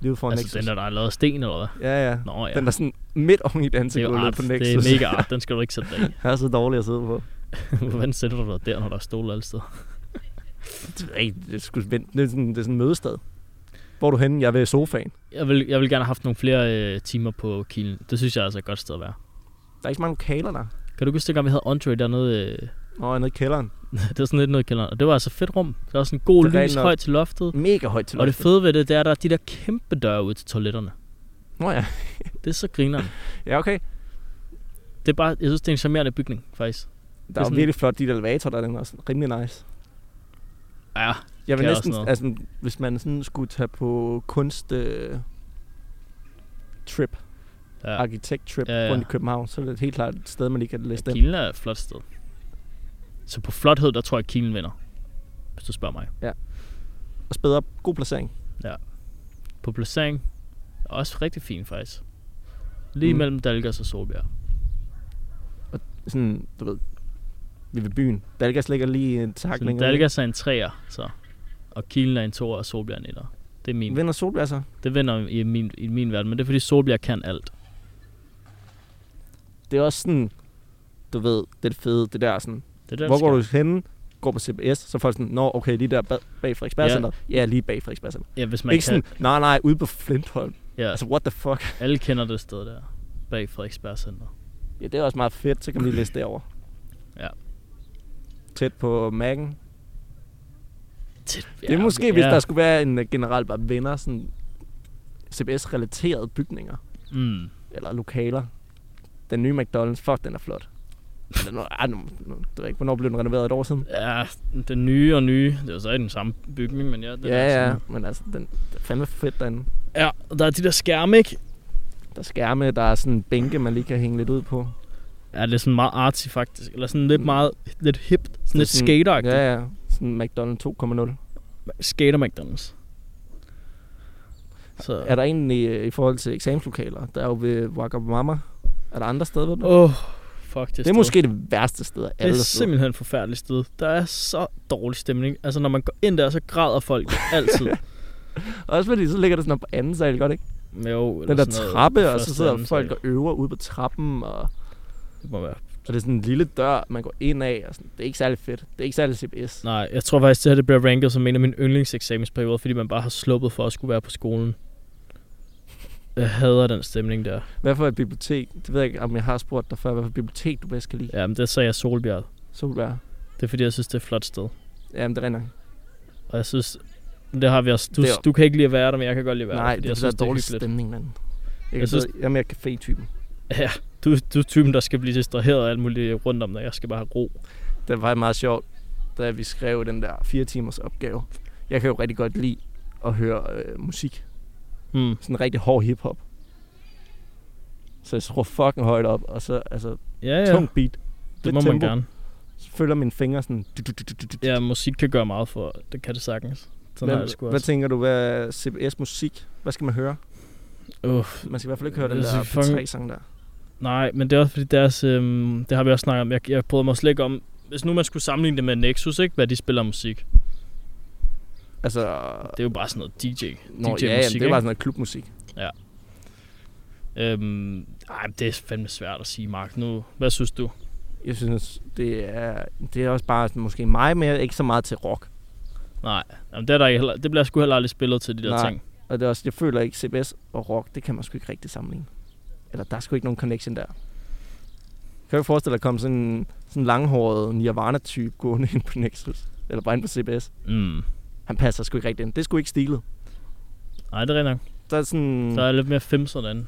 Speaker 2: Lige ud foran
Speaker 1: Altså
Speaker 2: Nexus.
Speaker 1: den der, der er lavet af sten, eller hvad?
Speaker 2: Ja, ja.
Speaker 1: Nå ja.
Speaker 2: Den der sådan midt oven i
Speaker 1: det er jo
Speaker 2: dansegulvet
Speaker 1: art.
Speaker 2: på
Speaker 1: Det
Speaker 2: Nexus.
Speaker 1: er
Speaker 2: *laughs*
Speaker 1: mega art. Den skal du ikke sætte dig i.
Speaker 2: Den er så dårlig at sidde på.
Speaker 1: Hvordan sætter du dig der, når der er stole alle steder?
Speaker 2: Det er, ikke- det er, sgu- det er sådan, det er sådan en mødested. Hvor er du henne? Jeg er ved sofaen.
Speaker 1: Jeg vil, jeg vil gerne have haft nogle flere øh, timer på kilen. Det synes jeg altså er et godt sted at være.
Speaker 2: Der er ikke så mange lokaler der.
Speaker 1: Kan du huske, dengang vi havde entree dernede? Øh, *laughs*
Speaker 2: Nå, jeg er nede i kælderen.
Speaker 1: det var sådan lidt nede i kælderen. Og det var altså et fedt rum. Der var sådan en god
Speaker 2: Det er
Speaker 1: lys
Speaker 2: rent nok.
Speaker 1: højt til loftet.
Speaker 2: Mega højt til
Speaker 1: Og det
Speaker 2: loftet.
Speaker 1: fede ved det, det er, at der er de der kæmpe døre ud til toiletterne.
Speaker 2: Nå ja.
Speaker 1: Det er så grineren.
Speaker 2: Ja, okay.
Speaker 1: Det er bare, jeg synes, det er en charmerende bygning, faktisk.
Speaker 2: Der er,
Speaker 1: sådan-
Speaker 2: virkelig flot dit elevator, der er den også rimelig nice.
Speaker 1: Ja,
Speaker 2: Jeg
Speaker 1: Kan
Speaker 2: vil
Speaker 1: også
Speaker 2: næsten,
Speaker 1: noget.
Speaker 2: altså, hvis man sådan skulle tage på kunst øh, trip, ja.
Speaker 1: ja.
Speaker 2: arkitekt trip ja,
Speaker 1: Ja,
Speaker 2: ja.
Speaker 1: ja.
Speaker 2: rundt i København, så er det helt klart et sted, man lige kan læse den.
Speaker 1: Kilen er et flot sted. Så på flothed, der tror jeg, Kilen vinder. Hvis du spørger mig.
Speaker 2: Og spæder op. God placering.
Speaker 1: På placering, er også rigtig fin, faktisk. Lige
Speaker 2: Mm.
Speaker 1: mm. mellem Dalgas og Solbjerg.
Speaker 2: Sådan, du ved, Vi er ved byen. Dalgas ligger lige en tak
Speaker 1: Så
Speaker 2: længere.
Speaker 1: Dalgas er en træer, så. Og Kielen er en toer, og Solbjerg er en etter. Det er min.
Speaker 2: Vinder Solbjerg så?
Speaker 1: Det vender i min, i min verden, men det er fordi Solbjerg kan alt.
Speaker 2: Det er også sådan, du ved, det er det fede, det der sådan,
Speaker 1: Det er der,
Speaker 2: hvor
Speaker 1: der
Speaker 2: går du
Speaker 1: sker.
Speaker 2: henne? Går på CBS, så er folk sådan, nå, okay, lige der ba- bag Frederiksberg
Speaker 1: Ja.
Speaker 2: Center. Ja. ja, lige bag Frederiksberg Center.
Speaker 1: Ja, hvis man
Speaker 2: Man Ikke
Speaker 1: kan.
Speaker 2: sådan, nej, nej, ude på Flintholm.
Speaker 1: Ja,
Speaker 2: Altså, what the fuck?
Speaker 1: alle kender det sted der. Bag Frederiksberg Center.
Speaker 2: Ja, det er også meget fedt, så kan man lige læse derover.
Speaker 1: Ja.
Speaker 2: Tæt på Mac'en.
Speaker 1: Tæt-
Speaker 2: Ja, det er måske,
Speaker 1: okay,
Speaker 2: hvis
Speaker 1: ja.
Speaker 2: der skulle være en øh, generelt bare venner, sådan CBS-relaterede bygninger
Speaker 1: Mm.
Speaker 2: eller lokaler. Den nye McDonald's, fuck, den er flot. Eller nu, ej, nu, nu, det ved jeg ikke, hvornår blev den renoveret et år siden?
Speaker 1: Ja, den nye og nye. Det er jo så i den samme bygning, men ja. Den
Speaker 2: Ja,
Speaker 1: er
Speaker 2: ja,
Speaker 1: sådan-
Speaker 2: men altså, den, det er fandme fedt derinde.
Speaker 1: Ja, og der er de der skærme, ikke?
Speaker 2: Der er skærme, der er sådan bænke, man lige kan hænge lidt ud på.
Speaker 1: Ja, det er sådan meget artsy faktisk. Eller sådan lidt
Speaker 2: Mm.
Speaker 1: meget, lidt hipt. Sådan lidt
Speaker 2: Sådan-
Speaker 1: skater ja.
Speaker 2: Ja, ja, sådan McDonald's 2.0.
Speaker 1: Skater McDonald's. Så.
Speaker 2: Er der egentlig øh, i forhold til eksamenslokaler, der er jo ved Wagamama, er der andre steder ved det?
Speaker 1: Åh, oh, fuck det
Speaker 2: Det er
Speaker 1: sted.
Speaker 2: måske det værste sted af
Speaker 1: Det
Speaker 2: alle
Speaker 1: er
Speaker 2: steder.
Speaker 1: simpelthen et forfærdeligt sted. Der er så dårlig stemning. Altså, når man går ind der, så græder
Speaker 2: *laughs*
Speaker 1: folk altid.
Speaker 2: Også fordi så ligger det sådan op på anden sal, godt ikke?
Speaker 1: Jo, eller
Speaker 2: Den der
Speaker 1: sådan noget
Speaker 2: trappe, og
Speaker 1: første,
Speaker 2: så sidder
Speaker 1: anden
Speaker 2: folk
Speaker 1: sal.
Speaker 2: og øver ude på trappen, og,
Speaker 1: Det må være.
Speaker 2: og det er sådan en lille dør, man går ind af, og sådan. det er ikke særlig fedt. Det er ikke særlig CBS.
Speaker 1: Nej, jeg tror faktisk, det her det bliver ranket som en af mine yndlingseksamensperioder, fordi man bare har sluppet for at skulle være på skolen. Jeg hader den stemning der.
Speaker 2: Hvad for et bibliotek? Det ved jeg ikke, om jeg har spurgt dig før, hvad for et bibliotek du bedst kan lide.
Speaker 1: Jamen, det sagde jeg Solbjerg.
Speaker 2: Solbjerg.
Speaker 1: Det er fordi, jeg synes, det er et flot sted.
Speaker 2: Jamen, det rinder.
Speaker 1: Og jeg synes, det har vi også. Du,
Speaker 2: Det er-
Speaker 1: du kan ikke lide at være der, men jeg kan godt lide at være
Speaker 2: Nej,
Speaker 1: der. fordi
Speaker 2: det,
Speaker 1: jeg
Speaker 2: det,
Speaker 1: synes,
Speaker 2: der er dårlig
Speaker 1: hyggeligt.
Speaker 2: stemning, mand. Jeg,
Speaker 1: Jeg
Speaker 2: jeg,
Speaker 1: synes-
Speaker 2: synes... jeg er mere café-typen.
Speaker 1: Du, du er typen, der skal blive distraheret af alt muligt rundt om dig. Jeg skal bare have ro.
Speaker 2: Det var meget sjovt, da vi skrev den der fire timers opgave. Jeg kan jo rigtig godt lide at høre øh, musik.
Speaker 1: Mm.
Speaker 2: Sådan rigtig hård hiphop. Så jeg skruer fucking højt op, og så altså,
Speaker 1: Ja,
Speaker 2: ja.
Speaker 1: ja.
Speaker 2: tung beat.
Speaker 1: det
Speaker 2: lidt
Speaker 1: må man
Speaker 2: tempo.
Speaker 1: gerne.
Speaker 2: Så følger mine fingre sådan... Du, du, du, du, du, du.
Speaker 1: Ja, musik kan gøre meget for. Det kan det sagtens. Sådan har jeg det sgu
Speaker 2: hvad, hvad
Speaker 1: også.
Speaker 2: tænker du, hvad er CBS musik? Hvad skal man høre?
Speaker 1: Uh,
Speaker 2: Man skal i hvert fald ikke høre den
Speaker 1: Jeg
Speaker 2: der
Speaker 1: skal fucking-
Speaker 2: P3-sang der.
Speaker 1: nej, men det er også fordi deres... Øhm, det har vi også snakket om. Jeg, jeg prøvede mig slet ikke om... Hvis nu man skulle sammenligne det med Nexus, ikke? Hvad de spiller af musik.
Speaker 2: Altså,
Speaker 1: Det er jo bare sådan noget DJ.
Speaker 2: nå,
Speaker 1: DJ
Speaker 2: ja, jamen,
Speaker 1: musik,
Speaker 2: det er
Speaker 1: ikke?
Speaker 2: bare sådan noget klubmusik.
Speaker 1: Øhm, ej, det er fandme svært at sige, Mark. Nu, hvad synes du?
Speaker 2: Jeg synes, det er, det er også bare sådan, måske mig, men jeg er ikke så meget til rock.
Speaker 1: Nej, jamen, det, er der ikke heller, det bliver sgu heller aldrig spillet til de der
Speaker 2: Nej.
Speaker 1: ting.
Speaker 2: Og det er også, jeg føler ikke, CBS og rock, det kan man sgu ikke rigtig sammenligne. Eller der er sgu ikke nogen connection der. Kan du ikke forestille dig, at komme sådan en sådan langhåret Nirvana-type gående ind på Nexus? Eller bare ind på CBS?
Speaker 1: Mm.
Speaker 2: Han passer sgu ikke rigtig ind. Det er sgu ikke stilet.
Speaker 1: Nej, det er rigtigt.
Speaker 2: Der er sådan...
Speaker 1: Mm. Der er lidt mere fem sådan.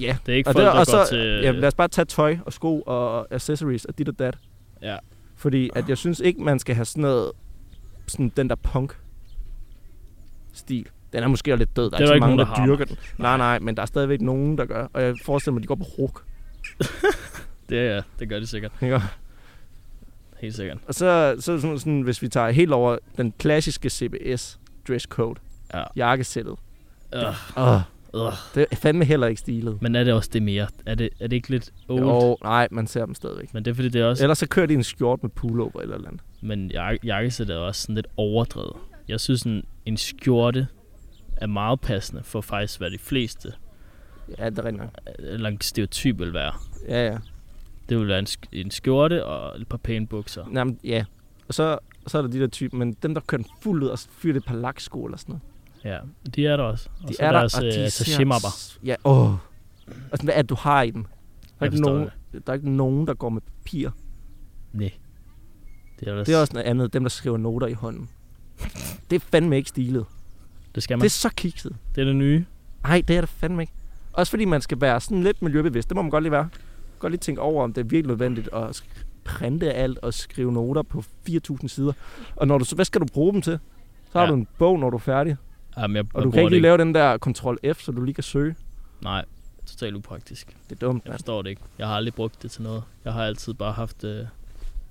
Speaker 2: Ja,
Speaker 1: Det er ikke
Speaker 2: og,
Speaker 1: folk,
Speaker 2: det,
Speaker 1: der går
Speaker 2: og så,
Speaker 1: til... øh,
Speaker 2: ja, lad os bare tage tøj og sko og accessories og dit og dat.
Speaker 1: Ja.
Speaker 2: Fordi at jeg synes ikke, man skal have sådan noget, sådan den der punk-stil. Den er måske lidt død. Der
Speaker 1: Det
Speaker 2: er,
Speaker 1: er
Speaker 2: ikke
Speaker 1: der ikke
Speaker 2: så mange,
Speaker 1: nogen,
Speaker 2: der,
Speaker 1: der har,
Speaker 2: dyrker den. Nej, nej, men der er stadigvæk nogen, der gør. Og jeg forestiller mig, at de går på ruk.
Speaker 1: det, ja, det gør de sikkert.
Speaker 2: ikke?
Speaker 1: Helt sikkert.
Speaker 2: Og så, så er det sådan, sådan, hvis vi tager helt over den klassiske CBS dresscode.
Speaker 1: Ja.
Speaker 2: Jakkesættet.
Speaker 1: Øh,
Speaker 2: Uh,
Speaker 1: øh.
Speaker 2: det er fandme heller ikke stilet.
Speaker 1: Men er det også det mere? Er det, er det ikke lidt old? Altså- Jo.
Speaker 2: Jo, nej, man ser dem stadigvæk.
Speaker 1: Men det er fordi, det er også...
Speaker 2: Ellers så kører de en skjort med pullover eller et eller andet.
Speaker 1: Men jak- jakkesæt er også sådan lidt overdrevet. Jeg synes, en, en skjorte er meget passende for faktisk, hvad de fleste øh,
Speaker 2: Ja, det er rigtig nok.
Speaker 1: eller en stereotyp vil være.
Speaker 2: Ja, ja.
Speaker 1: Det vil være en, sk- en skjorte og et par pæne bukser.
Speaker 2: Jamen, ja. Og så, så er der de der typer, men dem, der kører den fuld ud og fyrer det et par laksko eller sådan noget.
Speaker 1: Ja, de er der også. Og
Speaker 2: De
Speaker 1: så deres øh, sashimapper.
Speaker 2: Ja, åh. Og sådan, hvad er det, du har i dem? Der er,
Speaker 1: Jeg
Speaker 2: ikke
Speaker 1: forstår
Speaker 2: nogen, der er ikke nogen, der går med papir.
Speaker 1: Nej. Det er,
Speaker 2: Det er også noget andet, dem, der skriver noter i hånden. Det er fandme ikke stilet.
Speaker 1: det skal man.
Speaker 2: Det er
Speaker 1: Det,
Speaker 2: så kikset.
Speaker 1: det er det nye.
Speaker 2: Nej, det er det fandme ikke. Også fordi man skal være sådan lidt miljøbevidst. Det må man godt lige være. Godt lige tænke over, om det er virkelig nødvendigt at sk- printe alt og skrive noter på 4.000 sider. Og når du, så- hvad skal du bruge dem til? Så har
Speaker 1: Ja.
Speaker 2: du en bog, når du er færdig.
Speaker 1: Jamen, jeg,
Speaker 2: Og
Speaker 1: jeg
Speaker 2: du
Speaker 1: bruger
Speaker 2: kan ikke lige
Speaker 1: det
Speaker 2: lave den der Ctrl F, så du lige kan søge.
Speaker 1: Nej, totalt upraktisk.
Speaker 2: Det er dumt,
Speaker 1: Jeg
Speaker 2: mand.
Speaker 1: forstår det ikke. Jeg har aldrig brugt det til noget. Jeg har altid bare haft øh,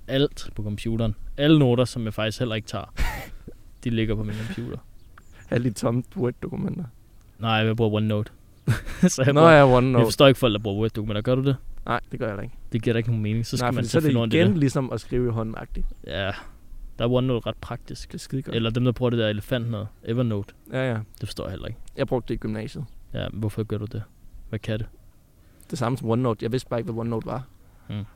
Speaker 1: alt på computeren. Alle noter, som jeg faktisk heller ikke tager, de ligger på min computer.
Speaker 2: Alle de tomme Word-dokumenter.
Speaker 1: Nej,
Speaker 2: *laughs*
Speaker 1: jeg bruger OneNote. så jeg,
Speaker 2: Nå
Speaker 1: bruger,
Speaker 2: ja,
Speaker 1: jeg
Speaker 2: OneNote.
Speaker 1: forstår ikke folk, der bruger Word-dokumenter. Gør du det?
Speaker 2: Nej, det gør jeg da ikke.
Speaker 1: Det giver da ikke nogen mening. Så skal
Speaker 2: Nej,
Speaker 1: man
Speaker 2: fordi
Speaker 1: så, finde
Speaker 2: så er
Speaker 1: rundt
Speaker 2: det igen
Speaker 1: i det.
Speaker 2: ligesom at skrive i hånden agtigt.
Speaker 1: Ja, der er OneNote ret praktisk.
Speaker 2: Det er skide godt.
Speaker 1: Eller dem, der bruger det der elefant noget. Evernote.
Speaker 2: Ja, ja.
Speaker 1: Det forstår jeg heller ikke.
Speaker 2: Jeg brugte det i gymnasiet.
Speaker 1: Ja, men hvorfor gør du det? Hvad kan det?
Speaker 2: Det samme som OneNote. Jeg vidste bare ikke, hvad OneNote var.
Speaker 1: Ej,
Speaker 2: Altså,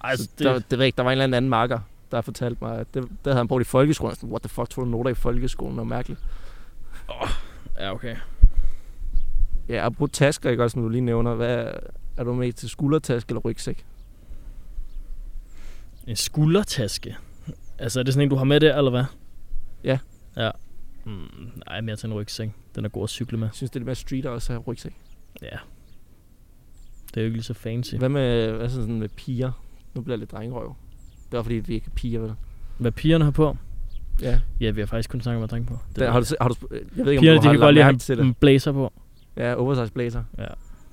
Speaker 1: altså,
Speaker 2: det...
Speaker 1: det,
Speaker 2: Der, det ved jeg ikke, der var en eller anden marker, der fortalte mig, at det, det havde han brugt i folkeskolen. Jeg Sådan, what the fuck, tog du noter i folkeskolen? Noget mærkeligt.
Speaker 1: ja, okay.
Speaker 2: Ja, og brug tasker, ikke også, som du lige nævner. Hvad, er du med til skuldertaske eller rygsæk?
Speaker 1: En skuldertaske. Altså, er det sådan en, du har med der, eller hvad?
Speaker 2: Ja.
Speaker 1: Ja. Mm, nej, men jeg tager en rygsæk. Den er god at cykle med.
Speaker 2: Jeg synes, det er lidt mere street også at have rygsæk.
Speaker 1: Ja. Det er jo ikke lige så fancy.
Speaker 2: Hvad med, hvad så sådan med piger? Nu bliver jeg lidt drengerøv. Det var fordi, vi ikke er piger, vel?
Speaker 1: Hvad pigerne har på?
Speaker 2: Ja.
Speaker 1: Ja, vi har faktisk kun snakket med drenge på.
Speaker 2: Det, har du, se- har du, sp- jeg ved ikke,
Speaker 1: pigerne,
Speaker 2: om
Speaker 1: de
Speaker 2: du har
Speaker 1: kan
Speaker 2: lagt
Speaker 1: godt lide
Speaker 2: mærke til
Speaker 1: at have
Speaker 2: det.
Speaker 1: en blazer på.
Speaker 2: Ja, oversize blazer.
Speaker 1: Ja.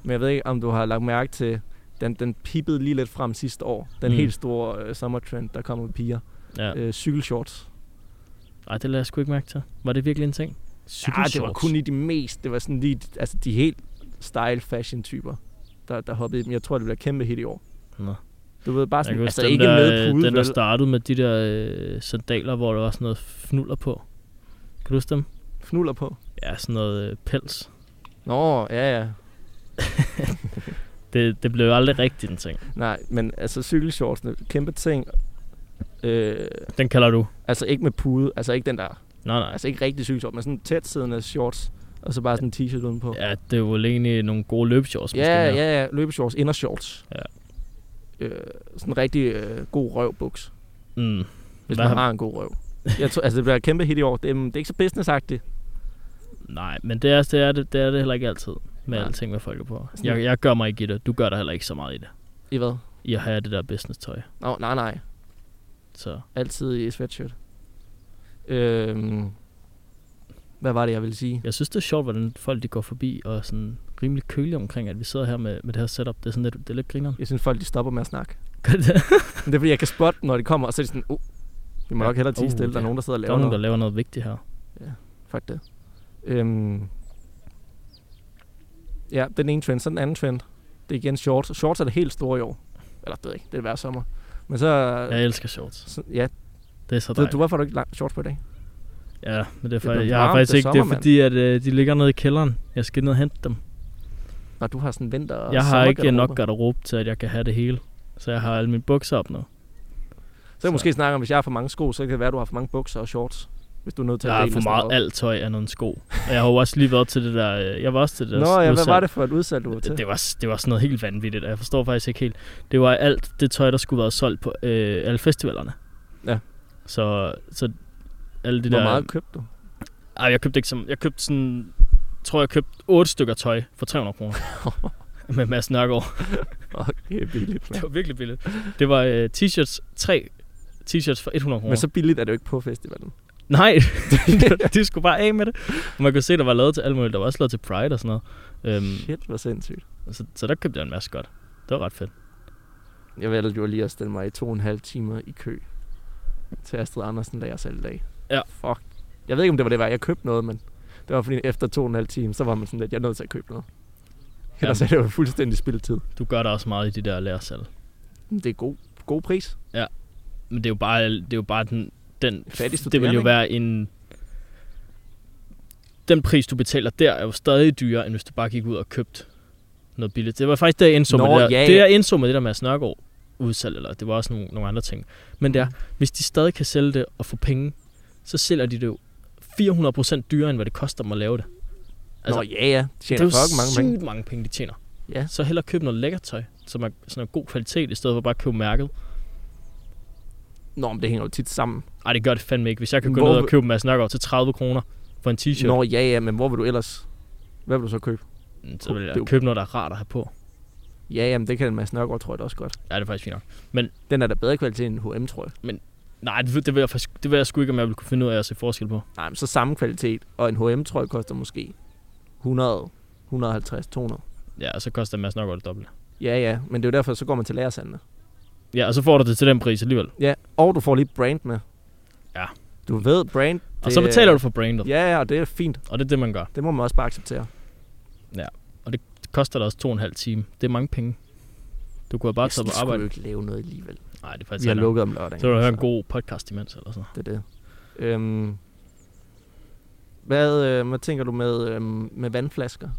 Speaker 2: Men jeg ved ikke, om du har lagt mærke til, den, den pippede lige lidt frem sidste år. Den
Speaker 1: Mm.
Speaker 2: mm. helt store øh, sommertrend, der kommer med piger.
Speaker 1: Ja.
Speaker 2: Øh, cykelshorts.
Speaker 1: Ej, det lader jeg sgu ikke mærke til. Var det virkelig en ting?
Speaker 2: Ja, Ah, det var
Speaker 1: Cykelshorts.
Speaker 2: kun i de mest, det var sådan lige, altså de helt style fashion typer, der, der hoppede i dem. Jeg tror, det bliver et kæmpe hit i år.
Speaker 1: Nå.
Speaker 2: Du ved, bare
Speaker 1: Jeg
Speaker 2: sådan,
Speaker 1: kan huske,
Speaker 2: altså
Speaker 1: den
Speaker 2: ikke
Speaker 1: der, øh,
Speaker 2: med pude,
Speaker 1: den der
Speaker 2: vel?
Speaker 1: startede med de der øh, sandaler, hvor der var sådan noget fnuller på. Kan du huske dem?
Speaker 2: Fnuller på.
Speaker 1: Ja, sådan noget øh, pels.
Speaker 2: Nå, ja, ja.
Speaker 1: Det, det blev jo aldrig rigtigt en ting.
Speaker 2: Nej, men altså cykelshortsene, kæmpe ting. Øh,
Speaker 1: Den kalder du.
Speaker 2: altså ikke med pude, altså ikke den der,
Speaker 1: Nej, nej.
Speaker 2: altså ikke rigtig cykelshorts, men sådan tæt siddende shorts, og så bare sådan en t-shirt udenpå.
Speaker 1: Ja, det var egentlig nogle gode løbeshorts, måske.
Speaker 2: Ja,
Speaker 1: mere.
Speaker 2: ja, ja. Løbeshorts, indershorts.
Speaker 1: Ja.
Speaker 2: Øh, sådan en rigtig øh, god røvbuks,
Speaker 1: Mm.
Speaker 2: hvis
Speaker 1: Hvad
Speaker 2: man
Speaker 1: har-
Speaker 2: har en god røv. Jeg tror, altså, det bliver et kæmpe hit i år. Det, er- det er ikke så businessagtigt.
Speaker 1: Nej, men det er, det, er det, det er det heller ikke altid med
Speaker 2: Nej.
Speaker 1: alting, hvad folk er på.
Speaker 2: Sådan-
Speaker 1: Jeg, jeg gør mig ikke i det. Du gør der heller ikke så meget i det.
Speaker 2: I hvad?
Speaker 1: I at have det der business-tøj.
Speaker 2: Nå, nej, nej.
Speaker 1: Så
Speaker 2: Altid i sweatshirt. Øhm, hvad var det, jeg ville sige?
Speaker 1: jeg synes, det er sjovt, hvordan folk de går forbi og er sådan rimelig kølige omkring, at vi sidder her med, med det her setup. Det er sådan lidt, det er lidt grineren.
Speaker 2: Jeg synes, folk de stopper med at snakke.
Speaker 1: Gør det?
Speaker 2: Men det er, fordi jeg kan spotte, når de kommer, og så er de sådan, oh, vi må
Speaker 1: Ja.
Speaker 2: nok hellere tige
Speaker 1: Uh,
Speaker 2: stille.
Speaker 1: ja.
Speaker 2: Der er nogen, der sidder og
Speaker 1: Der
Speaker 2: laver
Speaker 1: er nogen, der
Speaker 2: noget.
Speaker 1: laver noget vigtigt her.
Speaker 2: Fuck det. Øhm, ja, den ene trend. Så den anden trend. Det er igen shorts. Shorts er det helt store i år. Eller det ved jeg ikke, det er hver sommer. Men så...
Speaker 1: Jeg elsker shorts.
Speaker 2: så ja,
Speaker 1: Det er så
Speaker 2: du,
Speaker 1: dejligt.
Speaker 2: du, hvorfor har du ikke lagt shorts på i dag?
Speaker 1: Ja, men det er, faktisk,
Speaker 2: Det er blevet
Speaker 1: jeg har
Speaker 2: varmt,
Speaker 1: faktisk
Speaker 2: det er
Speaker 1: ikke... Det er
Speaker 2: sommer,
Speaker 1: fordi, at øh, de ligger nede i kælderen. Jeg skal ned og hente dem.
Speaker 2: Når du har sådan vinter og
Speaker 1: Jeg har ikke nok
Speaker 2: sommergarderobe.
Speaker 1: garderobe til, at jeg kan have det hele. Så jeg har alle mine bukser op nu.
Speaker 2: Så kan vi måske snakke om, hvis jeg har for mange sko, så kan det være, at du har for mange bukser og shorts. Hvis du er nødt til
Speaker 1: Jeg
Speaker 2: at
Speaker 1: har
Speaker 2: dele
Speaker 1: for
Speaker 2: sådan
Speaker 1: meget
Speaker 2: noget.
Speaker 1: alt tøj af nogle sko. Og jeg har jo også lige været til det der... øh, Jeg var også til det der
Speaker 2: Nå ja, hvad
Speaker 1: udsalg.
Speaker 2: var det for et udsalg, du var til?
Speaker 1: Det, det, var, s- det var sådan noget helt vanvittigt, og jeg forstår faktisk ikke helt. Det var alt det tøj, der skulle være solgt på øh, alle festivalerne.
Speaker 2: Ja.
Speaker 1: Så, så alle de
Speaker 2: Hvor
Speaker 1: der...
Speaker 2: meget købte du?
Speaker 1: Ej, jeg købte ikke som... Jeg købte sådan... tror, jeg købte otte stykker tøj for 300 kroner.
Speaker 2: *laughs*
Speaker 1: med Mads Nørgaard.
Speaker 2: Okay, billigt.
Speaker 1: *laughs* Det
Speaker 2: mand.
Speaker 1: var virkelig billigt. Det var øh, t-shirts, tre t-shirts for 100 kroner.
Speaker 2: Men så billigt er det jo ikke på festivalen.
Speaker 1: Nej,
Speaker 2: *laughs*
Speaker 1: *laughs* de skulle bare af med det. Og man kunne se, der var lavet til alt muligt. Der var også lavet til Pride og sådan noget. Øhm,
Speaker 2: Shit, hvor sindssygt.
Speaker 1: så, så der købte jeg en masse godt. Det var ret fedt.
Speaker 2: Jeg valgte jo lige at stille mig i to og en halv timer i kø til Astrid Andersen lager selv i dag.
Speaker 1: Ja.
Speaker 2: Fuck. Jeg ved ikke, om det var det værd. Jeg købte noget, men det var fordi efter to og en halv time, så var man sådan lidt, jeg er nødt til at købe noget. Ellers
Speaker 1: Jamen.
Speaker 2: er det jo fuldstændig spildtid.
Speaker 1: Du gør der også meget i de der lærersalg.
Speaker 2: Men Det er god, god pris.
Speaker 1: Men det er jo bare, det er jo bare den... den
Speaker 2: Fattig
Speaker 1: det vil jo
Speaker 2: studerende,
Speaker 1: være en... Den pris, du betaler der, er jo stadig dyrere, end hvis du bare gik ud og købte noget billigt. Det var faktisk det, jeg indså med
Speaker 2: Nå,
Speaker 1: det der.
Speaker 2: ja,
Speaker 1: Det,
Speaker 2: ja.
Speaker 1: jeg indså med det der med Nørgaard udsalg, eller det var også nogle, nogle andre ting. Men det er, hvis de stadig kan sælge det og få penge, så sælger de det jo 400% dyrere, end hvad det koster dem at lave det.
Speaker 2: Altså,
Speaker 1: Altså,
Speaker 2: Nå ja, ja. De
Speaker 1: det er
Speaker 2: tjener
Speaker 1: jo
Speaker 2: fucking mange
Speaker 1: sygt
Speaker 2: penge.
Speaker 1: mange penge, de tjener.
Speaker 2: Ja.
Speaker 1: Så hellere købe noget lækkert tøj, som er sådan en god kvalitet, i stedet for bare at købe mærket.
Speaker 2: Nå, men det hænger jo tit sammen.
Speaker 1: Ej, det gør det fandme ikke. Hvis jeg kan gå
Speaker 2: Hvor
Speaker 1: ned og
Speaker 2: vil-
Speaker 1: købe en masse nakker til 30 kroner for en t-shirt,
Speaker 2: Nå ja, ja, men hvor vil du ellers... Hvad vil du så købe?
Speaker 1: mm, så vil
Speaker 2: det er jo-
Speaker 1: jeg købe noget, der er rart at have på.
Speaker 2: Ja, jamen det kan Mads Nørgaard, tror jeg da også godt.
Speaker 1: Ja, det er faktisk fint nok.
Speaker 2: Den er da bedre kvalitet end H&M, tror jeg.
Speaker 1: Nej, det, det, vil jeg faktisk, det vil jeg sgu ikke, om jeg ville kunne finde ud af at se forskel på.
Speaker 2: Nej, men så samme kvalitet. Og en H&M, tror jeg, koster måske 100, 150, 200.
Speaker 1: Ja, og så koster en masse nok det dobbelt.
Speaker 2: Ja, ja, men det er jo derfor, så går man til lærersandene.
Speaker 1: Ja, og så får du det til den pris alligevel.
Speaker 2: Ja, og du får lige brand med.
Speaker 1: Ja.
Speaker 2: Du ved, brand...
Speaker 1: Og så betaler du for brandet, ja.
Speaker 2: Ja, ja, og det er fint.
Speaker 1: og det er det, man gør.
Speaker 2: Det må man også bare acceptere.
Speaker 1: Det koster dig også to og en halv time. Det er mange penge. Du kunne have bare tage på
Speaker 2: skulle jo
Speaker 1: arbejde.
Speaker 2: ikke lave noget alligevel.
Speaker 1: Nej, det er faktisk
Speaker 2: Vi har
Speaker 1: ikke nok.
Speaker 2: lukket om lørdagen. altså.
Speaker 1: Så vil du høre en god podcast imens, eller sådan noget.
Speaker 2: Det er det. Øhm, hvad, øh, hvad tænker du med, øhm, med vandflasker?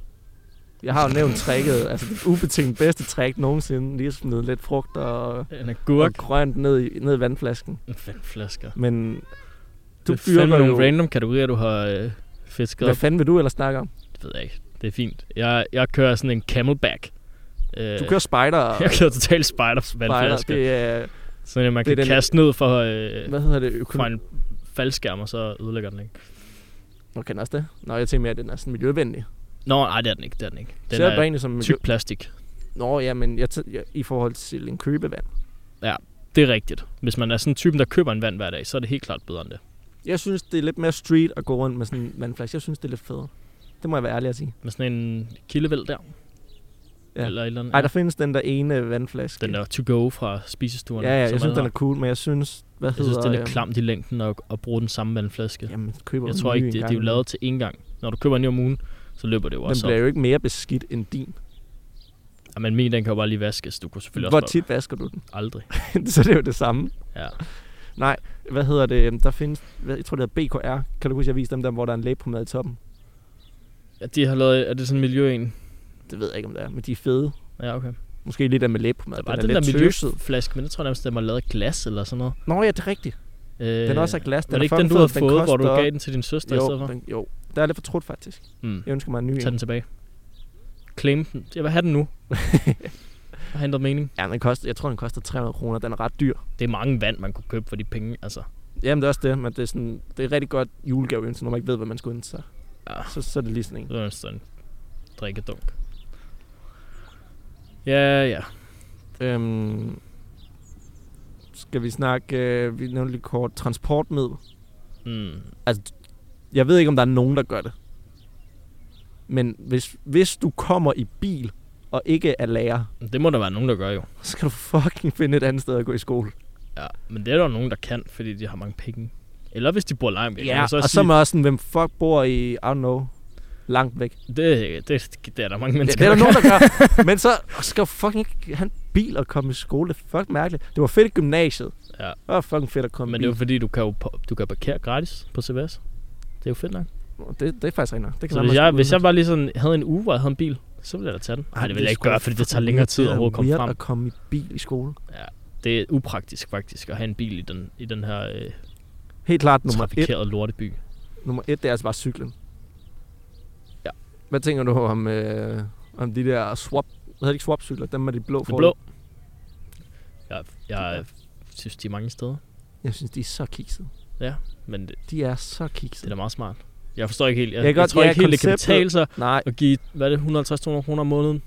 Speaker 2: Jeg har jo nævnt tricket, altså det ubetinget bedste trick nogensinde. Lige smide lidt frugt og,
Speaker 1: En
Speaker 2: og
Speaker 1: agurk.
Speaker 2: grønt ned i, ned i vandflasken.
Speaker 1: En vandflasker.
Speaker 2: Men
Speaker 1: Du det
Speaker 2: du
Speaker 1: er fandme
Speaker 2: dyrker
Speaker 1: nogle
Speaker 2: jo...
Speaker 1: random kategorier, du har øh, fisket
Speaker 2: Hvad
Speaker 1: op.
Speaker 2: fanden vil du ellers snakke om?
Speaker 1: Det ved jeg ikke. Det er fint. Jeg, jeg kører sådan en camelback. Øh,
Speaker 2: Du kører spider.
Speaker 1: *laughs* Jeg kører totalt spider
Speaker 2: spider.
Speaker 1: vandflasker.
Speaker 2: Det er,
Speaker 1: Sådan at man
Speaker 2: det er
Speaker 1: kan
Speaker 2: den-
Speaker 1: kaste ned for, øh,
Speaker 2: hvad hedder det?
Speaker 1: fra
Speaker 2: Økonom...
Speaker 1: en faldskærm, og så ødelægger den ikke.
Speaker 2: Du kender også det? Nå, jeg tænker mere, at den er sådan miljøvenlig.
Speaker 1: Nå, nej, det er den ikke. Det er den ikke.
Speaker 2: Den
Speaker 1: Den
Speaker 2: Ser du
Speaker 1: er
Speaker 2: egentlig som miljø...
Speaker 1: tyk plastik.
Speaker 2: Nå, ja, men jeg, tæ- jeg, i forhold til en købevand.
Speaker 1: Det er rigtigt. Hvis man er sådan en typen, der køber en vand hver dag, så er det helt klart bedre end det.
Speaker 2: Jeg synes, det er lidt mere street at gå rundt med sådan en vandflaske. Jeg synes, det er lidt federe. Det må jeg være ærlig at sige.
Speaker 1: Med sådan en kildevæld der.
Speaker 2: Ja.
Speaker 1: Eller et eller andet.
Speaker 2: Ej, der findes den der ene vandflaske.
Speaker 1: Den der to go fra spisestuen.
Speaker 2: Ja, ja,
Speaker 1: som
Speaker 2: jeg synes,
Speaker 1: alle
Speaker 2: den er
Speaker 1: har.
Speaker 2: cool, men jeg synes... Hvad
Speaker 1: jeg synes, det er
Speaker 2: hedder,
Speaker 1: lidt
Speaker 2: øhm,
Speaker 1: klamt i længden at, at bruge den samme vandflaske.
Speaker 2: Jamen, køber
Speaker 1: Jeg
Speaker 2: en
Speaker 1: tror
Speaker 2: ny
Speaker 1: ikke,
Speaker 2: en
Speaker 1: det, det er
Speaker 2: gang
Speaker 1: jo
Speaker 2: imellem.
Speaker 1: lavet til engang. Når du køber en ny om ugen, så løber det jo
Speaker 2: Den
Speaker 1: også
Speaker 2: bliver
Speaker 1: op.
Speaker 2: jo ikke mere beskidt end din.
Speaker 1: Ja, men min, den kan jo bare lige vaskes. Du kunne selvfølgelig
Speaker 2: Hvor
Speaker 1: også
Speaker 2: tit vasker du den?
Speaker 1: bare... Aldrig.
Speaker 2: *laughs* Så det er jo det samme.
Speaker 1: Ja.
Speaker 2: Nej, hvad hedder det? Øhm, Der findes, hvad, jeg tror det hedder BKR. Kan du huske, jeg viste dem der, hvor der er en lægepromade i toppen?
Speaker 1: ja. de har lavet... Er det sådan en miljø en?
Speaker 2: Det ved jeg ikke, om det er, men de er fede.
Speaker 1: Ja, okay.
Speaker 2: Måske lidt der med læbepromade.
Speaker 1: Der var
Speaker 2: Den er
Speaker 1: den der
Speaker 2: lidt tøset.
Speaker 1: miljøflaske, men jeg tror nærmest, den var lavet af glas eller sådan noget.
Speaker 2: Nå ja, det er rigtigt.
Speaker 1: Øh,
Speaker 2: Den er også af glas.
Speaker 1: Var
Speaker 2: er
Speaker 1: det ikke den,
Speaker 2: fucking
Speaker 1: du havde
Speaker 2: fed.
Speaker 1: fået, hvor du
Speaker 2: koster-
Speaker 1: gav den til din søster i stedet
Speaker 2: jo,
Speaker 1: for?
Speaker 2: den, jo, der er lidt for trudt faktisk.
Speaker 1: Mm.
Speaker 2: Jeg ønsker mig en ny.
Speaker 1: Tag
Speaker 2: en.
Speaker 1: den tilbage. Claim den. Jeg vil have
Speaker 2: *laughs*
Speaker 1: den nu. Jeg har ændret mening.
Speaker 2: Ja, den koster, jeg tror, den koster 300 kroner. Den er ret dyr.
Speaker 1: Det er mange vand, man kunne købe for de penge. Altså,
Speaker 2: Jamen, det er også det, men det er, sådan, det er rigtig godt julegave, så når man ikke ved, hvad man skal ønske sig.
Speaker 1: Ja.
Speaker 2: Så, så er det lige sådan en.
Speaker 1: det var sådan en drikkedunk. Ja, ja.
Speaker 2: Øhm, skal vi snakke, øh, vi nævnte lige kort, transportmiddel.
Speaker 1: Mm.
Speaker 2: Jeg ved ikke, om der er nogen, der gør det. Men hvis, hvis du kommer i bil og ikke er lærer, *laughs*
Speaker 1: Det må der være nogen, der gør jo.
Speaker 2: så skal du fucking finde et andet sted at gå i skole.
Speaker 1: Ja, men det er der jo nogen, der kan, fordi de har mange penge. Eller hvis de bor langt væk. kan
Speaker 2: Ja,
Speaker 1: man
Speaker 2: så og
Speaker 1: også
Speaker 2: så er
Speaker 1: sige,
Speaker 2: man også sådan, hvem fuck bor i, I don't know, langt væk.
Speaker 1: det, det, det, er der mange
Speaker 2: Ja,
Speaker 1: mennesker,
Speaker 2: det er der nogen, der
Speaker 1: *laughs*
Speaker 2: gør. Men så skal du fucking ikke have en bil og komme i skole. Det er fucking mærkeligt. Det var fedt i gymnasiet.
Speaker 1: Ja.
Speaker 2: Det var fucking fedt at komme
Speaker 1: Men
Speaker 2: men
Speaker 1: det er jo
Speaker 2: bil.
Speaker 1: fordi, du kan jo pa- du kan parkere gratis på CVS. Det er jo fedt nok.
Speaker 2: Det, det er faktisk rigtigt nok. Det
Speaker 1: Så
Speaker 2: kan være,
Speaker 1: hvis
Speaker 2: man
Speaker 1: jeg,
Speaker 2: skulle
Speaker 1: hvis jeg
Speaker 2: udnytte.
Speaker 1: bare lige sådan havde en uge, hvor jeg havde en bil, så ville jeg da tage den. Nej, det vil jeg ikke
Speaker 2: sgu
Speaker 1: gøre, fordi det tager
Speaker 2: fucking
Speaker 1: længere tid
Speaker 2: weird.
Speaker 1: at overhovedet komme
Speaker 2: Det er
Speaker 1: frem.
Speaker 2: weird at komme i bil i skole.
Speaker 1: Det er upraktisk faktisk at have en bil i den, i den her øh,
Speaker 2: Helt klart nummer et.
Speaker 1: trafikerede lorteby.
Speaker 2: Nummer et, det er altså bare cyklen.
Speaker 1: Ja.
Speaker 2: Hvad tænker du om, øh, om de der swap, hvad hedder de ikke swap-cykler? Dem med de blå
Speaker 1: Det
Speaker 2: forhjul?
Speaker 1: blå. Jeg, jeg synes, de er mange steder,
Speaker 2: Jeg synes, de er så kiksede.
Speaker 1: men det,
Speaker 2: De er så
Speaker 1: det er da
Speaker 2: kiksede.
Speaker 1: meget smart. Jeg forstår ikke helt. Jeg,
Speaker 2: Jeg
Speaker 1: jeg,
Speaker 2: kan
Speaker 1: jeg
Speaker 2: godt-
Speaker 1: tror
Speaker 2: ja,
Speaker 1: ikke helt, det kan
Speaker 2: konceptet-
Speaker 1: betale sig
Speaker 2: Nej,
Speaker 1: at give, hvad er det, 150-200 kroner om måneden?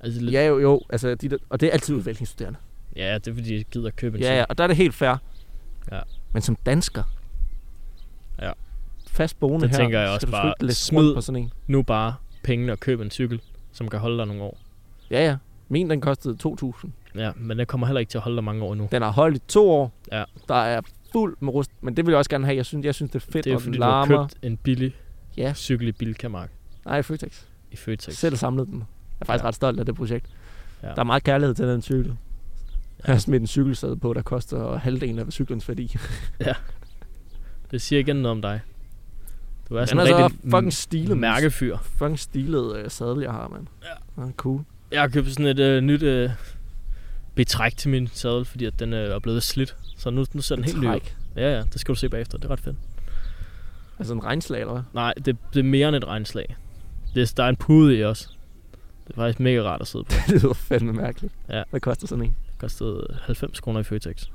Speaker 1: Altså, lidt, ja.
Speaker 2: ja jo jo, altså, de der, og det er altid udviklingsstuderende.
Speaker 1: ja, det er fordi, jeg gider at købe en
Speaker 2: Ja, ja, og der er det helt fair.
Speaker 1: Ja.
Speaker 2: Men som dansker,
Speaker 1: Ja.
Speaker 2: fast boende
Speaker 1: Der
Speaker 2: her,
Speaker 1: tænker jeg også
Speaker 2: skal du
Speaker 1: bare,
Speaker 2: flytte lidt
Speaker 1: smid-
Speaker 2: rundt på sådan en.
Speaker 1: nu bare pengene og købe en cykel, som kan holde dig nogle år.
Speaker 2: Ja, ja. Min, den kostede 2.000.
Speaker 1: Ja, men den kommer heller ikke til at holde dig mange år endnu.
Speaker 2: Den har holdt i to år.
Speaker 1: Ja.
Speaker 2: Der er fuld med rust, men det vil jeg også gerne have. Jeg synes, jeg synes det er fedt,
Speaker 1: Det er
Speaker 2: og den
Speaker 1: fordi, du har
Speaker 2: larmer.
Speaker 1: købt en billig
Speaker 2: Ja.
Speaker 1: cykel i Bilkamark
Speaker 2: Nej, Føtex.
Speaker 1: i Føtex.
Speaker 2: Selv samlet den. Jeg er faktisk
Speaker 1: Ja.
Speaker 2: ja. ret stolt af det projekt.
Speaker 1: Ja.
Speaker 2: Ja. Der er meget kærlighed til den cykel. Jeg har smidt en cykelsæde på, der koster halvdelen af cyklens værdi.
Speaker 1: Det siger igen noget om dig. Du er
Speaker 2: Den
Speaker 1: sådan
Speaker 2: er
Speaker 1: en
Speaker 2: så
Speaker 1: rigtig
Speaker 2: fucking stilet.
Speaker 1: m- mærkefyr.
Speaker 2: Fucking stilet øh, sadel, jeg har, mand. Ja. ja cool.
Speaker 1: Jeg har købt sådan et øh, nyt øh, betræk til min sadel, fordi at den øh, er blevet slidt. Så nu, nu ser den helt ny ud.
Speaker 2: Træk.
Speaker 1: Ja, ja, det skal du se bagefter. Det er ret fedt.
Speaker 2: Altså en
Speaker 1: *laughs*
Speaker 2: regnslag, eller hvad?
Speaker 1: Nej, det, det er mere end et regnslag. Det, er- der er en pude i også. Det er faktisk mega rart at sidde på.
Speaker 2: det lyder fandme mærkeligt.
Speaker 1: Ja.
Speaker 2: Hvad koster sådan en?
Speaker 1: Det kostede 90 kroner i Føtex.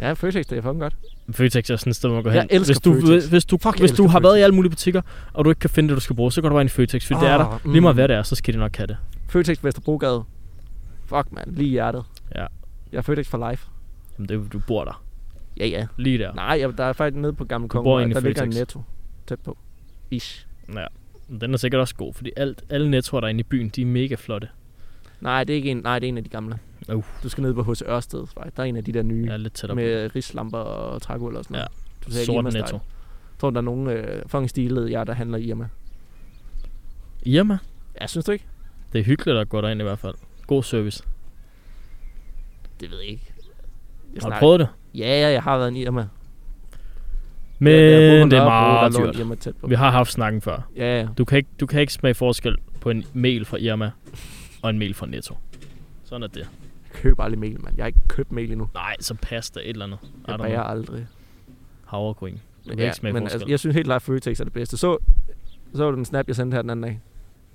Speaker 2: Ja, Føtex, det er fucking godt.
Speaker 1: Føtex er sådan et sted, hvor man går
Speaker 2: Jeg
Speaker 1: hen.
Speaker 2: elsker
Speaker 1: hvis du,
Speaker 2: Føtex.
Speaker 1: Hvis du,
Speaker 2: Fuck, jeg
Speaker 1: hvis du
Speaker 2: elsker
Speaker 1: har været i
Speaker 2: Føtex.
Speaker 1: alle mulige butikker, og du ikke kan finde det, du skal bruge, så går du bare ind i Føtex, fordi oh, det er der.
Speaker 2: Ah,
Speaker 1: Lige meget hvad det er, så skal de nok have det.
Speaker 2: Føtex Vesterbrogade. Fuck, mand. Lige i hjertet.
Speaker 1: Ja.
Speaker 2: Jeg er Føtex for life.
Speaker 1: Jamen, det, er- du bor der.
Speaker 2: Ja, ja.
Speaker 1: Lige der.
Speaker 2: Nej, jeg, der er faktisk nede på Gamle
Speaker 1: bor
Speaker 2: Kongen.
Speaker 1: inde i
Speaker 2: Der ligger en
Speaker 1: Føtex.
Speaker 2: netto. Tæt på. Ish.
Speaker 1: Ja, men den er sikkert også god, fordi alt, alle nettoer, der er inde i byen, de er mega flotte.
Speaker 2: Mm. Nej, det er ikke en, nej, det er en af de gamle.
Speaker 1: Uh.
Speaker 2: Du skal ned på H.C. Ørsted. faktisk. Der er en af de der nye.
Speaker 1: Jeg er lidt tættere på.
Speaker 2: med øh, rislamper og trægulv og sådan noget. Ja. Du ser ikke
Speaker 1: Sort
Speaker 2: Irma-style.
Speaker 1: netto.
Speaker 2: Jeg tror, der er nogen øh, fucking stilede jer, der handler i Irma.
Speaker 1: Irma.
Speaker 2: Ja, synes du ikke?
Speaker 1: Det er hyggeligt at gå derind i hvert fald. God service.
Speaker 2: Det ved jeg ikke. Jeg
Speaker 1: Har du
Speaker 2: snakker-
Speaker 1: prøvet det?
Speaker 2: Ja, ja, jeg har været en Irma.
Speaker 1: Men
Speaker 2: jeg
Speaker 1: det er meget dyrt.
Speaker 2: Irma tæt på.
Speaker 1: Vi har haft snakken før.
Speaker 2: Ja, ja.
Speaker 1: Du kan, ikke, du kan ikke smage forskel på en mel fra Irma og en mel fra Netto. Sådan er det.
Speaker 2: Jeg køber aldrig mel, mand. Jeg har ikke købt mel endnu.
Speaker 1: Nej, så pasta et eller andet. I
Speaker 2: Jeg
Speaker 1: don't
Speaker 2: bager
Speaker 1: know.
Speaker 2: aldrig.
Speaker 1: Havregryn. Du kan ikke smage
Speaker 2: men
Speaker 1: forskel.
Speaker 2: altså, jeg synes helt klart, at Føtex er det bedste. Så, så var det en snap, jeg sendte her den anden dag.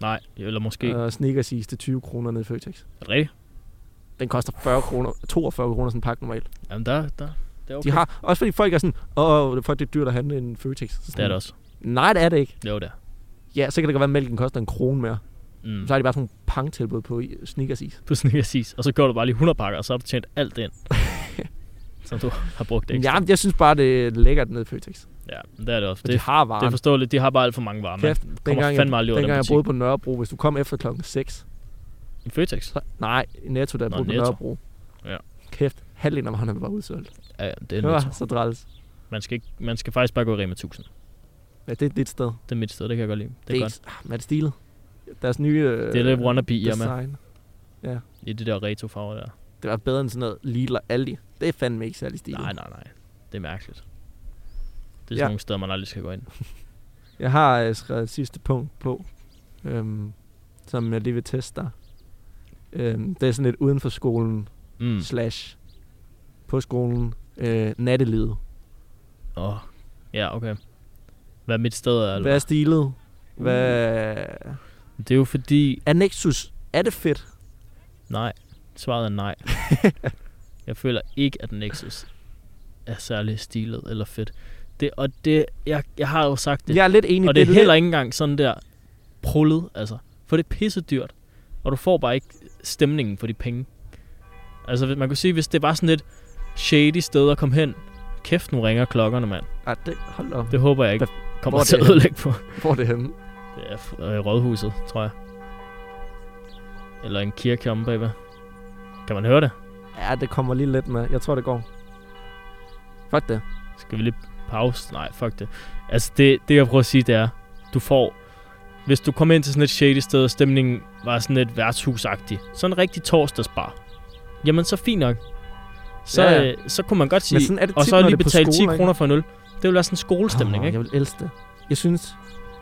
Speaker 1: Nej, eller måske. Uh, er
Speaker 2: Okay. sneakers is til 20 kroner nede i Føtex.
Speaker 1: det rigtigt?
Speaker 2: Den koster 40 kroner, 42 kroner sådan en pakke normalt. Okay.
Speaker 1: Jamen, der, der, det er okay.
Speaker 2: De har, også fordi folk er sådan, åh, for det er dyrt at handle en Føtex. Så
Speaker 1: Det er
Speaker 2: sådan,
Speaker 1: det også.
Speaker 2: Nej, det er det ikke.
Speaker 1: Jo, der.
Speaker 2: Ja, så kan det godt være, at mælken koster en krone mere.
Speaker 1: Mm.
Speaker 2: Så har de bare sådan nogle pangtilbud på i- sneakers is.
Speaker 1: På Snickers is. Og så gør du bare lige 100 pakker, og så har du tjent alt
Speaker 2: *laughs*
Speaker 1: ind. som du har brugt ekstra.
Speaker 2: Ja, jeg synes bare, det er lækkert nede i Føtex.
Speaker 1: ja men det er det også.
Speaker 2: Og de
Speaker 1: Det,
Speaker 2: har
Speaker 1: det er
Speaker 2: varen.
Speaker 1: forståeligt. De har bare alt for mange varer. Man
Speaker 2: Kæft,
Speaker 1: kommer fandme aldrig
Speaker 2: jeg,
Speaker 1: ud af
Speaker 2: dengang
Speaker 1: den
Speaker 2: jeg
Speaker 1: butik.
Speaker 2: boede på Nørrebro, hvis du kom efter klokken 6,
Speaker 1: I Føtex?
Speaker 2: så, nej, i Netto, der jeg
Speaker 1: Nå,
Speaker 2: boede på
Speaker 1: Netto.
Speaker 2: Nørrebro.
Speaker 1: Ja.
Speaker 2: Kæft, halvdelen af varerne var udsolgt.
Speaker 1: Ja, ja, det er
Speaker 2: Det var
Speaker 1: nødt
Speaker 2: så dræls.
Speaker 1: man skal, ikke, man skal faktisk bare gå i Rema 1000.
Speaker 2: Ja, det er dit sted.
Speaker 1: Det er mit sted, det kan jeg godt lide. Det er
Speaker 2: Det er,
Speaker 1: godt.
Speaker 2: ikke- ah, men er det stilet? Deres nye øh,
Speaker 1: Det er lidt wannabe Irma
Speaker 2: design.
Speaker 1: i de der retro farver der.
Speaker 2: Det var bedre end sådan noget Lidl og Aldi. Det er fandme ikke særlig stilet.
Speaker 1: Nej, nej, nej. Det er mærkeligt. Det er sådan
Speaker 2: Ja.
Speaker 1: ja. nogle steder, man aldrig skal gå ind.
Speaker 2: Jeg har øh, skrevet et sidste punkt på, øhm, som jeg lige vil teste dig. Øhm, det er sådan lidt uden for skolen,
Speaker 1: Mm.
Speaker 2: mm. slash på skolen, øh, nattelivet.
Speaker 1: Åh. Oh. Ja, okay. Hvad Mm. mit sted er, eller
Speaker 2: Hvad er stilet? Hvad...
Speaker 1: hvad? Det er jo fordi...
Speaker 2: Er Nexus, er det fedt?
Speaker 1: Nej. Svaret er
Speaker 2: *laughs*
Speaker 1: nej. jeg føler ikke, at Nexus er særlig stilet eller fedt. Det, og det... Jeg, jeg har jo sagt det.
Speaker 2: Jeg er lidt enig.
Speaker 1: og det er heller
Speaker 2: lidt,
Speaker 1: ikke engang sådan der prullet, altså. For det er pissedyrt, og du får bare ikke stemningen for de penge. Altså, hvis- man kunne sige, hvis det var sådan et shady sted at komme hen, kæft, nu ringer klokkerne, mand.
Speaker 2: Ah, det, hold op.
Speaker 1: Det håber jeg ikke kommer
Speaker 2: hvor er
Speaker 1: til
Speaker 2: det
Speaker 1: at
Speaker 2: henne?
Speaker 1: ødelægge på.
Speaker 2: Hvor er det henne?
Speaker 1: Det er f- øh, rådhuset, tror jeg. Eller en kirke om bagved. Kan man høre det?
Speaker 2: Ja, det kommer lige lidt med. Jeg tror, det går. Fuck det.
Speaker 1: Skal vi lige pause? Nej, fuck det. Altså, det, det jeg prøver at sige, det er, du får... Hvis du kommer ind til sådan et shady sted, og stemningen var sådan lidt værtshusagtig, sådan en rigtig torsdagsbar, jamen så fint nok. Så,
Speaker 2: Ja,
Speaker 1: ja,
Speaker 2: ja.
Speaker 1: ja. så kunne man godt
Speaker 2: Men
Speaker 1: sige,
Speaker 2: sådan er det
Speaker 1: og
Speaker 2: tit,
Speaker 1: så
Speaker 2: når
Speaker 1: lige
Speaker 2: det er på
Speaker 1: betale 10
Speaker 2: skoler, ikke?
Speaker 1: kroner for en øl. Det ville være sådan en skolestemning,
Speaker 2: Åh,
Speaker 1: ikke?
Speaker 2: Jeg vil elske det. Jeg synes,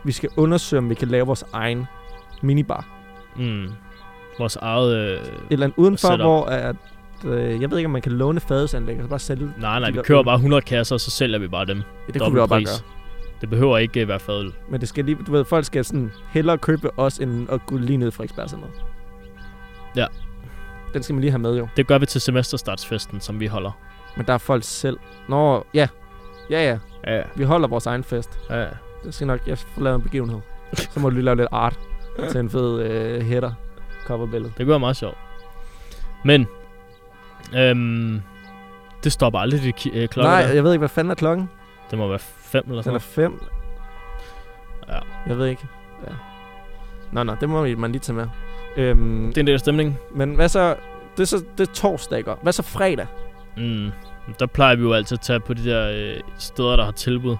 Speaker 2: vi skal undersøge, om vi kan lave vores egen minibar.
Speaker 1: Mm. Vores eget... Øh,
Speaker 2: Et eller andet udenfor,
Speaker 1: Setup.
Speaker 2: hvor at, øh, jeg ved ikke, om man kan låne fadelsanlæg og så bare sælge det.
Speaker 1: nej, nej,
Speaker 2: de
Speaker 1: vi
Speaker 2: der
Speaker 1: kører
Speaker 2: øl.
Speaker 1: bare 100 kasser, og så sælger vi bare dem.
Speaker 2: Det kunne vi også bare
Speaker 1: Dobbeltpris.
Speaker 2: gøre.
Speaker 1: Det behøver ikke øh, være fadøl.
Speaker 2: Men det skal lige, du ved, folk skal sådan hellere købe os, end at gå lige ned fra ekspertcenteret.
Speaker 1: Ja.
Speaker 2: Den skal man lige have med jo.
Speaker 1: Det gør vi til semesterstartsfesten, som vi holder.
Speaker 2: Men der er folk selv. Nå, ja. Ja, ja.
Speaker 1: Ja,
Speaker 2: Vi holder vores egen fest.
Speaker 1: ja.
Speaker 2: Det skal nok, jeg får lavet en begivenhed. Så må du lige lave lidt art til en fed øh, hætter coverbillede.
Speaker 1: Det kunne være meget sjovt. Men, øhm, det stopper aldrig de ki- øh, klokker
Speaker 2: Nej,
Speaker 1: der.
Speaker 2: jeg ved ikke, hvad fanden er klokken?
Speaker 1: Det må være fem eller
Speaker 2: Den
Speaker 1: sådan
Speaker 2: er
Speaker 1: noget.
Speaker 2: fem.
Speaker 1: Ja.
Speaker 2: Jeg ved ikke. Ja. Nå, nå, det må man lige tage med. Øhm,
Speaker 1: Det er en del af stemningen.
Speaker 2: Men hvad så? Det er, så, det er torsdag, ikke? Hvad så fredag?
Speaker 1: Mm. Der plejer vi jo altid at tage på de der øh, steder, der har tilbud.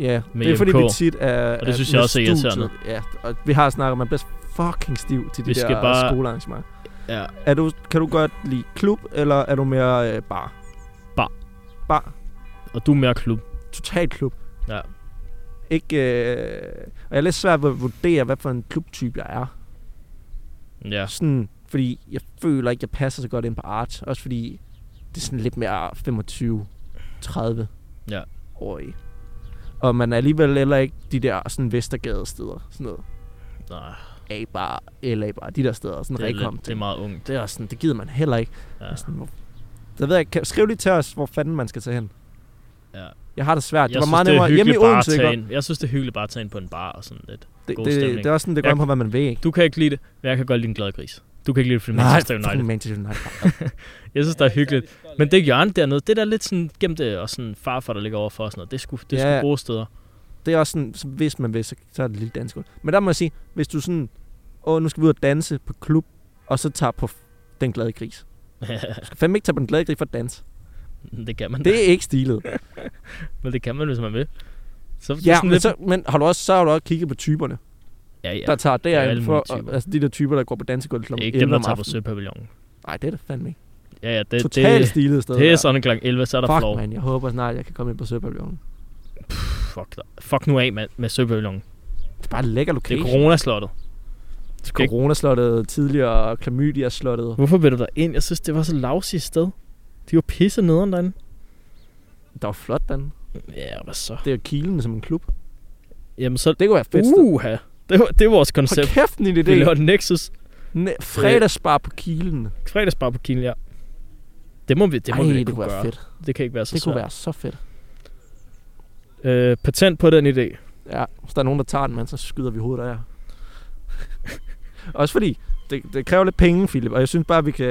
Speaker 2: Ja,
Speaker 1: Med
Speaker 2: det er fordi,
Speaker 1: IMK.
Speaker 2: vi tit er...
Speaker 1: Og det synes jeg
Speaker 2: med
Speaker 1: også er
Speaker 2: studiet.
Speaker 1: irriterende.
Speaker 2: Ja, og vi har snakket om, at man bliver fucking stiv til de
Speaker 1: Vi
Speaker 2: der
Speaker 1: skal bare-
Speaker 2: skolearrangementer.
Speaker 1: Ja.
Speaker 2: Er du, kan du godt lide klub, eller er du mere øh, bar?
Speaker 1: Bar.
Speaker 2: Bar.
Speaker 1: Og du er mere klub.
Speaker 2: Total klub.
Speaker 1: Ja.
Speaker 2: Ikke, øh, og jeg er lidt svært ved at vurdere, hvad for en klubtype jeg er.
Speaker 1: Ja.
Speaker 2: Sådan, fordi jeg føler ikke, jeg passer så godt ind på art. Også fordi det er sådan lidt mere 25-30
Speaker 1: Ja.
Speaker 2: årig. Og man er alligevel heller ikke de der sådan Vestergade steder. Sådan noget
Speaker 1: Nej,
Speaker 2: A-bar, LA-bar, de der steder. Sådan
Speaker 1: det, er
Speaker 2: rekom.
Speaker 1: lidt, det er meget ungt.
Speaker 2: det er også sådan, det gider man heller ikke.
Speaker 1: Ja.
Speaker 2: Ja. Sådan, hvor, så ved jeg, kan, skriv lige til os, hvor fanden man skal tage hen.
Speaker 1: Ja.
Speaker 2: Jeg har det svært. det
Speaker 1: Jeg
Speaker 2: var
Speaker 1: synes,
Speaker 2: meget
Speaker 1: det er
Speaker 2: nemmere hjemme i
Speaker 1: hyggeligt bare at
Speaker 2: Odense. ikke?
Speaker 1: tage
Speaker 2: Det,
Speaker 1: ind. Jeg synes, det er hyggeligt bare at tage ind på en bar og sådan lidt.
Speaker 2: det,
Speaker 1: God
Speaker 2: det,
Speaker 1: stemning.
Speaker 2: det, er også sådan, det går
Speaker 1: Jeg-
Speaker 2: an på, hvad man vil. Ikke?
Speaker 1: Du kan ikke lide det, men jeg kan godt lide en glad gris. Du kan ikke lide det, fordi Manchester United.
Speaker 2: fucking Manchester United.
Speaker 1: Jeg synes, det er hyggeligt. Men det hjørne dernede, det der lidt sådan gemte og sådan farfar, der ligger overfor og sådan noget, det er sgu, det er
Speaker 2: Ja.
Speaker 1: sgu gode steder. *laughs*
Speaker 2: det er også sådan, så hvis man vil, så, så er det lidt dansk. Men der må jeg sige, hvis du sådan, åh, nu skal vi ud og danse på klub, og så tager på f- den glade gris. Du skal fandme ikke tage på den glade gris for at
Speaker 1: *laughs*
Speaker 2: danse.
Speaker 1: det kan man det...
Speaker 2: Det er ikke stilet.
Speaker 1: men det kan man, hvis man vil. Så, det er
Speaker 2: ja,
Speaker 1: sådan
Speaker 2: men, så, men har du også, så har du også kigget på typerne,
Speaker 1: ja,
Speaker 2: ja,
Speaker 1: ja.
Speaker 2: der tager
Speaker 1: er
Speaker 2: derind
Speaker 1: alle
Speaker 2: for,
Speaker 1: mulige typer.
Speaker 2: og, altså de der typer, der går på dansegulvet kl.
Speaker 1: Det er
Speaker 2: 11
Speaker 1: ikke dem, der
Speaker 2: om
Speaker 1: tager på
Speaker 2: aftenen.
Speaker 1: Søpavillonen.
Speaker 2: Nej, det er det fandme ikke.
Speaker 1: Ja, ja, det,
Speaker 2: Totalt
Speaker 1: det,
Speaker 2: stilet sted.
Speaker 1: det, det er
Speaker 2: der.
Speaker 1: sådan klokken 11, så er der
Speaker 2: Fuck,
Speaker 1: flow.
Speaker 2: man. Jeg håber snart, jeg kan komme ind på Søpavillonen.
Speaker 1: Fuck, dig. fuck nu af med, med Søpavillonen.
Speaker 2: Det er bare en lækker
Speaker 1: Det er
Speaker 2: lokation.
Speaker 1: coronaslottet. ikke-
Speaker 2: Coronaslottet, tidligere Klamydia-slottet.
Speaker 1: Hvorfor vil du der ind? Jeg synes, det var så lavsigt et sted. De var pisse nederen derinde.
Speaker 2: Der var flot, den.
Speaker 1: Ja, hvad så?
Speaker 2: Det er jo kilen som en klub.
Speaker 1: Jamen så...
Speaker 2: Det kunne være fedt. Uh,
Speaker 1: Uha. Det var, det var vores koncept.
Speaker 2: Hold kæft, en
Speaker 1: Vi laver
Speaker 2: idé.
Speaker 1: et Nexus
Speaker 2: Ne- fredagsbar på kilen.
Speaker 1: fredagsbar på Kiel, ja. Det må vi, det må
Speaker 2: Ej,
Speaker 1: vi
Speaker 2: det
Speaker 1: ikke kunne
Speaker 2: kunne være
Speaker 1: gøre.
Speaker 2: fedt.
Speaker 1: Det kan ikke være så
Speaker 2: Det kunne
Speaker 1: svært.
Speaker 2: være så fedt.
Speaker 1: Øh, patent på den idé.
Speaker 2: Ja, hvis der er nogen, der tager den, mand, så skyder vi hovedet af jer. *laughs* Også fordi, det, det kræver lidt penge, Philip, og jeg synes bare, vi kan...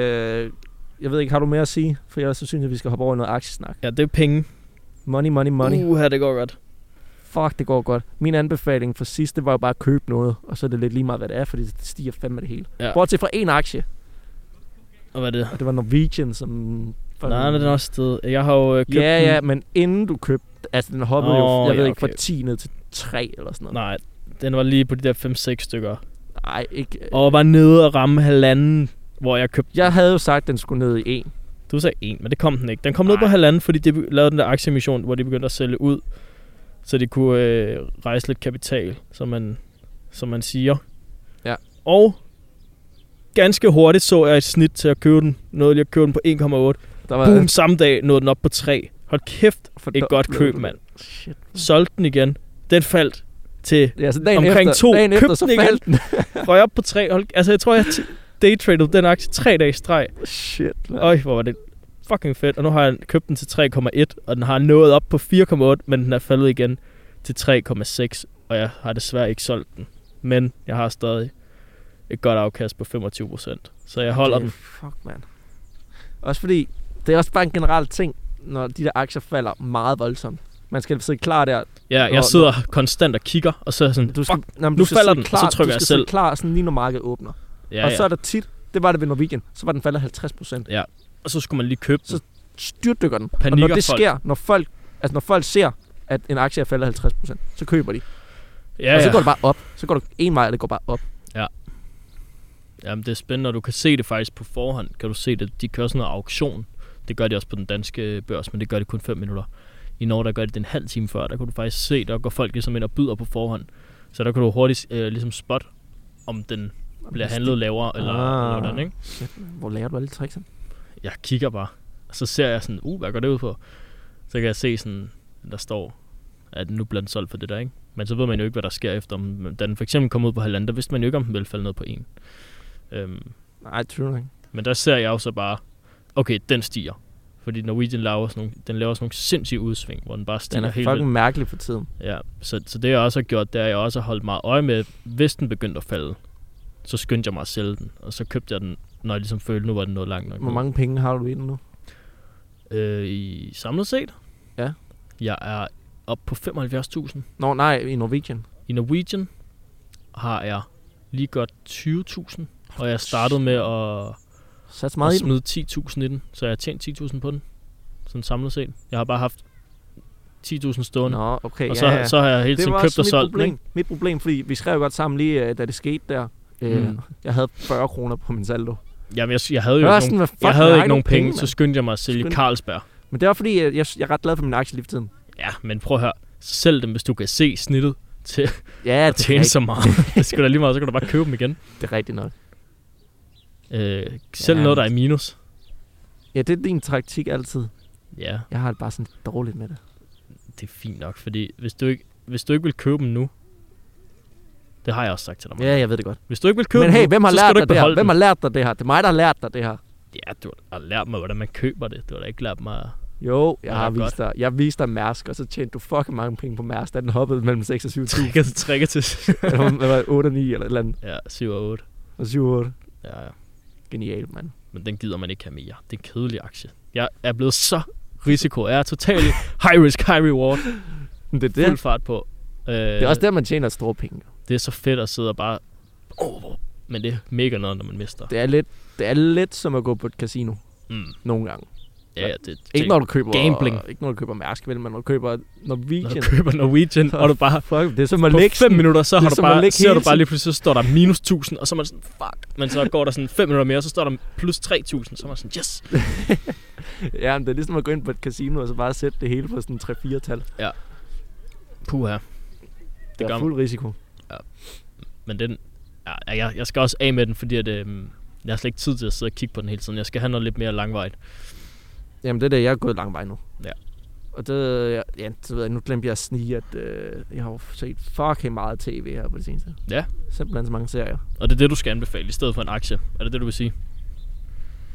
Speaker 2: Jeg ved ikke, har du mere at sige? For ellers så synes jeg, vi skal hoppe over i noget aktiesnak.
Speaker 1: Ja, det er penge.
Speaker 2: Money, money, money. Uh.
Speaker 1: Uha, det går godt.
Speaker 2: Fuck, det går godt. Min anbefaling for sidst, det var jo bare at købe noget, og så er det lidt lige meget, hvad det er, fordi det stiger fandme det hele.
Speaker 1: Ja.
Speaker 2: Ja. Bortset fra en aktie,
Speaker 1: Og hvad er det?
Speaker 2: og det var Norwegian, som...
Speaker 1: Nej, men den er også et sted. Jeg har jo øh, købt
Speaker 2: Ja,
Speaker 1: den-
Speaker 2: ja, men inden du købte... Altså, den hoppede
Speaker 1: Nå,
Speaker 2: jo, jeg ved
Speaker 1: ja,
Speaker 2: ikke, fra
Speaker 1: okay.
Speaker 2: 10 ned til 3 eller sådan noget.
Speaker 1: Nej, den var lige på de der 5-6 stykker.
Speaker 2: Nej, ikke... øh.
Speaker 1: Og var nede og ramme halvanden, hvor jeg købte
Speaker 2: Jeg havde jo sagt, at den skulle ned i 1.
Speaker 1: Du sagde en, men det kom den ikke. Den kom ned på
Speaker 2: Nej.
Speaker 1: halvanden, fordi de be- lavede den der aktiemission, hvor de begyndte at sælge ud, så de kunne øh, rejse lidt kapital, som man, som man siger.
Speaker 2: Ja.
Speaker 1: Og ganske hurtigt så jeg et snit til at købe den. Nåede lige at købe den på 1,8.
Speaker 2: Der var,
Speaker 1: Boom, samme dag nåede den op på 3. Hold kæft,
Speaker 2: For
Speaker 1: et
Speaker 2: der-
Speaker 1: godt
Speaker 2: blev
Speaker 1: køb,
Speaker 2: det-
Speaker 1: mand.
Speaker 2: Shit.
Speaker 1: Solgte den igen. Den faldt til
Speaker 2: Ja, så dagen
Speaker 1: Omkring
Speaker 2: efter,
Speaker 1: to,
Speaker 2: dagen
Speaker 1: køb
Speaker 2: efter, så
Speaker 1: den igen.
Speaker 2: faldt den.
Speaker 1: *laughs* røg op på 3. Hold, altså, jeg tror, jeg t- daytraded den aktie tre dage i streg.
Speaker 2: Shit, mand.
Speaker 1: Øj, hvor var det fucking fedt. Og nu har jeg købt den til 3,1, og den har nået op på 4,8, men den er faldet igen til 3,6, og jeg har desværre ikke solgt den. Men jeg har stadig et godt afkast på 25%, så jeg holder
Speaker 2: Det
Speaker 1: den.
Speaker 2: er- Fuck, mand. Også fordi, det er også bare en generel ting, når de der aktier falder meget voldsomt. Man skal sidde klar der.
Speaker 1: Ja,
Speaker 2: Nå,
Speaker 1: jeg sidder konstant og kigger, og så er jeg sådan,
Speaker 2: Du skal,
Speaker 1: fuck,
Speaker 2: nej, men
Speaker 1: nu
Speaker 2: skal
Speaker 1: falder
Speaker 2: sidde
Speaker 1: den, og så trykker
Speaker 2: du
Speaker 1: jeg
Speaker 2: skal
Speaker 1: selv.
Speaker 2: Sidde klar, sådan lige når markedet åbner.
Speaker 1: ja,
Speaker 2: og så
Speaker 1: ja.
Speaker 2: er der tit, det var det ved Norwegian, så var den faldet 50 procent.
Speaker 1: og så skulle man lige købe den.
Speaker 2: Så Styrtdykker den. og
Speaker 1: Panikker
Speaker 2: når det
Speaker 1: folk.
Speaker 2: sker, når folk, altså når folk ser, at en aktie er faldet 50 procent, så køber de.
Speaker 1: Ja,
Speaker 2: og så
Speaker 1: ja.
Speaker 2: går det bare op. Så går det en vej, og det går bare op.
Speaker 1: Jamen, det er spændende, og du kan se det faktisk på forhånd. Kan du se det? De kører sådan noget auktion. Det gør de også på den danske børs, men det gør de kun 5 minutter. I Norge, der gør de det en halv time før. Der kan du faktisk se, der går folk ligesom ind og byder på forhånd. Så der kan du hurtigt øh, ligesom spot, om den bliver handlet lavere eller,
Speaker 2: Ah.
Speaker 1: eller hvordan, ikke?
Speaker 2: Hvor lærer du alle tricks?
Speaker 1: Jeg kigger bare, og så ser jeg sådan, uh, hvad går det ud på? Så kan jeg se sådan, der står, at nu bliver den solgt for det der, ikke? Men så ved man jo ikke, hvad der sker efter. om- Da den for eksempel kom ud på halvanden, der vidste man jo ikke, om den ville falde ned på en. Øhm,
Speaker 2: Nej, det ikke.
Speaker 1: Men der ser jeg jo så bare, okay, den stiger. Fordi Norwegian laver sådan nogle, den laver sådan nogle sindssyge udsving, hvor den bare stiger
Speaker 2: Den er
Speaker 1: helt
Speaker 2: fucking mærkelig for tiden.
Speaker 1: vildt. Ja, så, så det jeg også har gjort, det er, at jeg også har holdt meget øje med, hvis den begyndte at falde, så skyndte jeg mig at sælge den. Og så købte jeg den, når jeg ligesom følte, nu var den nået langt nok.
Speaker 2: Hvor
Speaker 1: ned.
Speaker 2: mange penge har du i den nu?
Speaker 1: Øh, i samlet set?
Speaker 2: Ja.
Speaker 1: Jeg er op på 75.000.
Speaker 2: Nå, nej, i Norwegian.
Speaker 1: I Norwegian har jeg lige godt 20.000, og jeg startede med at
Speaker 2: Sats
Speaker 1: og
Speaker 2: meget i den.
Speaker 1: smide 10.000 i den, så jeg har tjent 10.000 på den, sådan samlet set. Jeg har bare haft 10.000 stående, Nå,
Speaker 2: Nå, okay,
Speaker 1: og
Speaker 2: ja,
Speaker 1: så,
Speaker 2: ja.
Speaker 1: så har jeg hele
Speaker 2: det
Speaker 1: tiden
Speaker 2: var
Speaker 1: købt
Speaker 2: også
Speaker 1: og
Speaker 2: mit
Speaker 1: solgt den.
Speaker 2: problem.
Speaker 1: ikke?
Speaker 2: Mit problem, fordi vi skrev godt sammen lige, øh, da det skete der. Øh,
Speaker 1: Mm.
Speaker 2: Jeg havde 40 kroner på min saldo.
Speaker 1: Jamen, jeg, jeg havde jo
Speaker 2: Jeg var
Speaker 1: ikke
Speaker 2: sådan,
Speaker 1: nogen,
Speaker 2: hvad fuck,
Speaker 1: jeg
Speaker 2: har
Speaker 1: havde ikke nogen penge, så
Speaker 2: mand.
Speaker 1: skyndte jeg mig at sælge
Speaker 2: Skynd-
Speaker 1: Carlsberg.
Speaker 2: Men det var fordi, jeg, jeg, jeg er ret glad for min aktie lige for tiden.
Speaker 1: Ja, men prøv at høre, så sælg dem, hvis du kan se snittet til
Speaker 2: Ja,
Speaker 1: at
Speaker 2: det er,
Speaker 1: tjene
Speaker 2: rigtigt,
Speaker 1: så
Speaker 2: *laughs*
Speaker 1: meget. det skulle da lige meget, så kan du bare købe dem igen.
Speaker 2: det er rigtigt nok.
Speaker 1: Øh, selv
Speaker 2: Ja,
Speaker 1: noget, der er
Speaker 2: men-
Speaker 1: i minus.
Speaker 2: Ja, det er din taktik altid.
Speaker 1: Ja,
Speaker 2: Jeg har det bare sådan lidt dårligt med det.
Speaker 1: det er fint nok, fordi hvis du ikke, hvis du ikke vil købe dem nu, det har jeg også sagt til dig. Mark.
Speaker 2: Ja, jeg ved det godt.
Speaker 1: Hvis du ikke vil købe
Speaker 2: Men hey,
Speaker 1: dem, nu,
Speaker 2: hvem har
Speaker 1: så skal
Speaker 2: lært
Speaker 1: du
Speaker 2: dig
Speaker 1: ikke
Speaker 2: det her?
Speaker 1: beholde dem.
Speaker 2: Hvem har lært dig det her? Det er mig, der har lært dig det her.
Speaker 1: Ja, du har lært mig, hvordan man køber det. Du har da ikke lært mig...
Speaker 2: Jo, jeg
Speaker 1: Ja,
Speaker 2: har
Speaker 1: godt.
Speaker 2: vist dig. Jeg viste dig Mærsk, og så tjente du fucking mange penge på Mærsk, da den hoppede mellem 6 og 7 tusind. *laughs*
Speaker 1: Trækker, trækker til... *laughs*
Speaker 2: eller hvad var det, 8 og 9 eller et eller andet.
Speaker 1: ja, 7 og 8.
Speaker 2: Og 7 og 8.
Speaker 1: Ja, ja.
Speaker 2: Genialt, mand.
Speaker 1: Men den gider man ikke have mere. Det er en kedelig aktie. Jeg er blevet så risiko. Jeg er
Speaker 2: *laughs*
Speaker 1: totalt high risk, high reward.
Speaker 2: Men det er
Speaker 1: Fuld
Speaker 2: det.
Speaker 1: fart på. Øh,
Speaker 2: Det er også der, man tjener store penge.
Speaker 1: det er så fedt at sidde og bare... Oh, hvor- men det er mega noget, når man mister.
Speaker 2: Det er lidt, det er lidt som at gå på et casino
Speaker 1: Mm.
Speaker 2: nogle gange.
Speaker 1: Ja, ja, det,
Speaker 2: Ikke når du køber...
Speaker 1: Gambling.
Speaker 2: Ikke når du køber Mærsk, vel, men når du køber
Speaker 1: når
Speaker 2: Norwegian.
Speaker 1: du køber Norwegian,
Speaker 2: Så-
Speaker 1: og du bare
Speaker 2: Fuck, det er som at
Speaker 1: på 5
Speaker 2: lægge sådan-
Speaker 1: minutter, så
Speaker 2: det
Speaker 1: har
Speaker 2: er
Speaker 1: du
Speaker 2: som at
Speaker 1: bare,
Speaker 2: lægge
Speaker 1: ser du
Speaker 2: hele
Speaker 1: bare
Speaker 2: tiden.
Speaker 1: lige pludselig, så står der minus 1000, og så er man sådan, fuck. Men så går der sådan 5 minutter mere, og så står der plus 3000, så er man sådan, yes.
Speaker 2: Ja, men det er ligesom at gå ind på et casino og så bare sætte det hele på sådan 3-4 tal. Det,
Speaker 1: Puh her. gør
Speaker 2: det er
Speaker 1: man.
Speaker 2: fuld risiko.
Speaker 1: Men den, ja, jeg, jeg skal også af med den, fordi at, øhm, jeg har slet ikke tid til at sidde og kigge på den hele tiden. Jeg skal have noget lidt mere langvejt.
Speaker 2: Jamen det er det, jeg er gået lang vej nu.
Speaker 1: Ja.
Speaker 2: Og det, ja, ja, så ved jeg, nu glemte jeg at snige, at øh, jeg har jo set fucking meget tv her på det seneste.
Speaker 1: Ja.
Speaker 2: Simpelthen så mange serier.
Speaker 1: Og det er det, du skal anbefale, i stedet for en aktie. Er det det, du vil sige?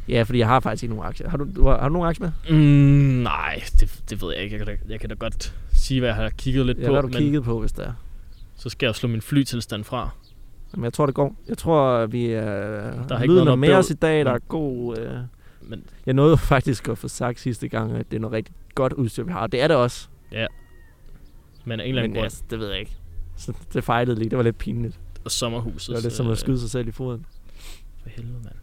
Speaker 2: Ja, fordi jeg har faktisk ikke nogen aktier. Har du, du har, har du nogen aktier med?
Speaker 1: Mm, nej, det, det ved jeg ikke. Jeg kan, da, jeg kan da godt sige, hvad jeg har kigget lidt
Speaker 2: Ja,
Speaker 1: på,
Speaker 2: hvad har du
Speaker 1: men
Speaker 2: kigget på, hvis der er?
Speaker 1: så skal jeg jo slå min flytilstand fra.
Speaker 2: Jamen, jeg tror, det går. Jeg tror, vi er... Der
Speaker 1: ikke
Speaker 2: er
Speaker 1: været
Speaker 2: lyden er
Speaker 1: noget
Speaker 2: med
Speaker 1: bøvl.
Speaker 2: os i dag. Der er god... Øh,
Speaker 1: Men
Speaker 2: jeg nåede jo faktisk at få sagt sidste gang, at det er noget rigtig godt udstyr, vi har. Det er det også.
Speaker 1: Men af en eller anden
Speaker 2: Men
Speaker 1: grund,
Speaker 2: altså, det ved jeg ikke. Så det fejlede lige. Det var lidt pinligt.
Speaker 1: og sommerhuset. øh,
Speaker 2: Det var lidt som at skyde sig selv i foden.
Speaker 1: For helvede, mand.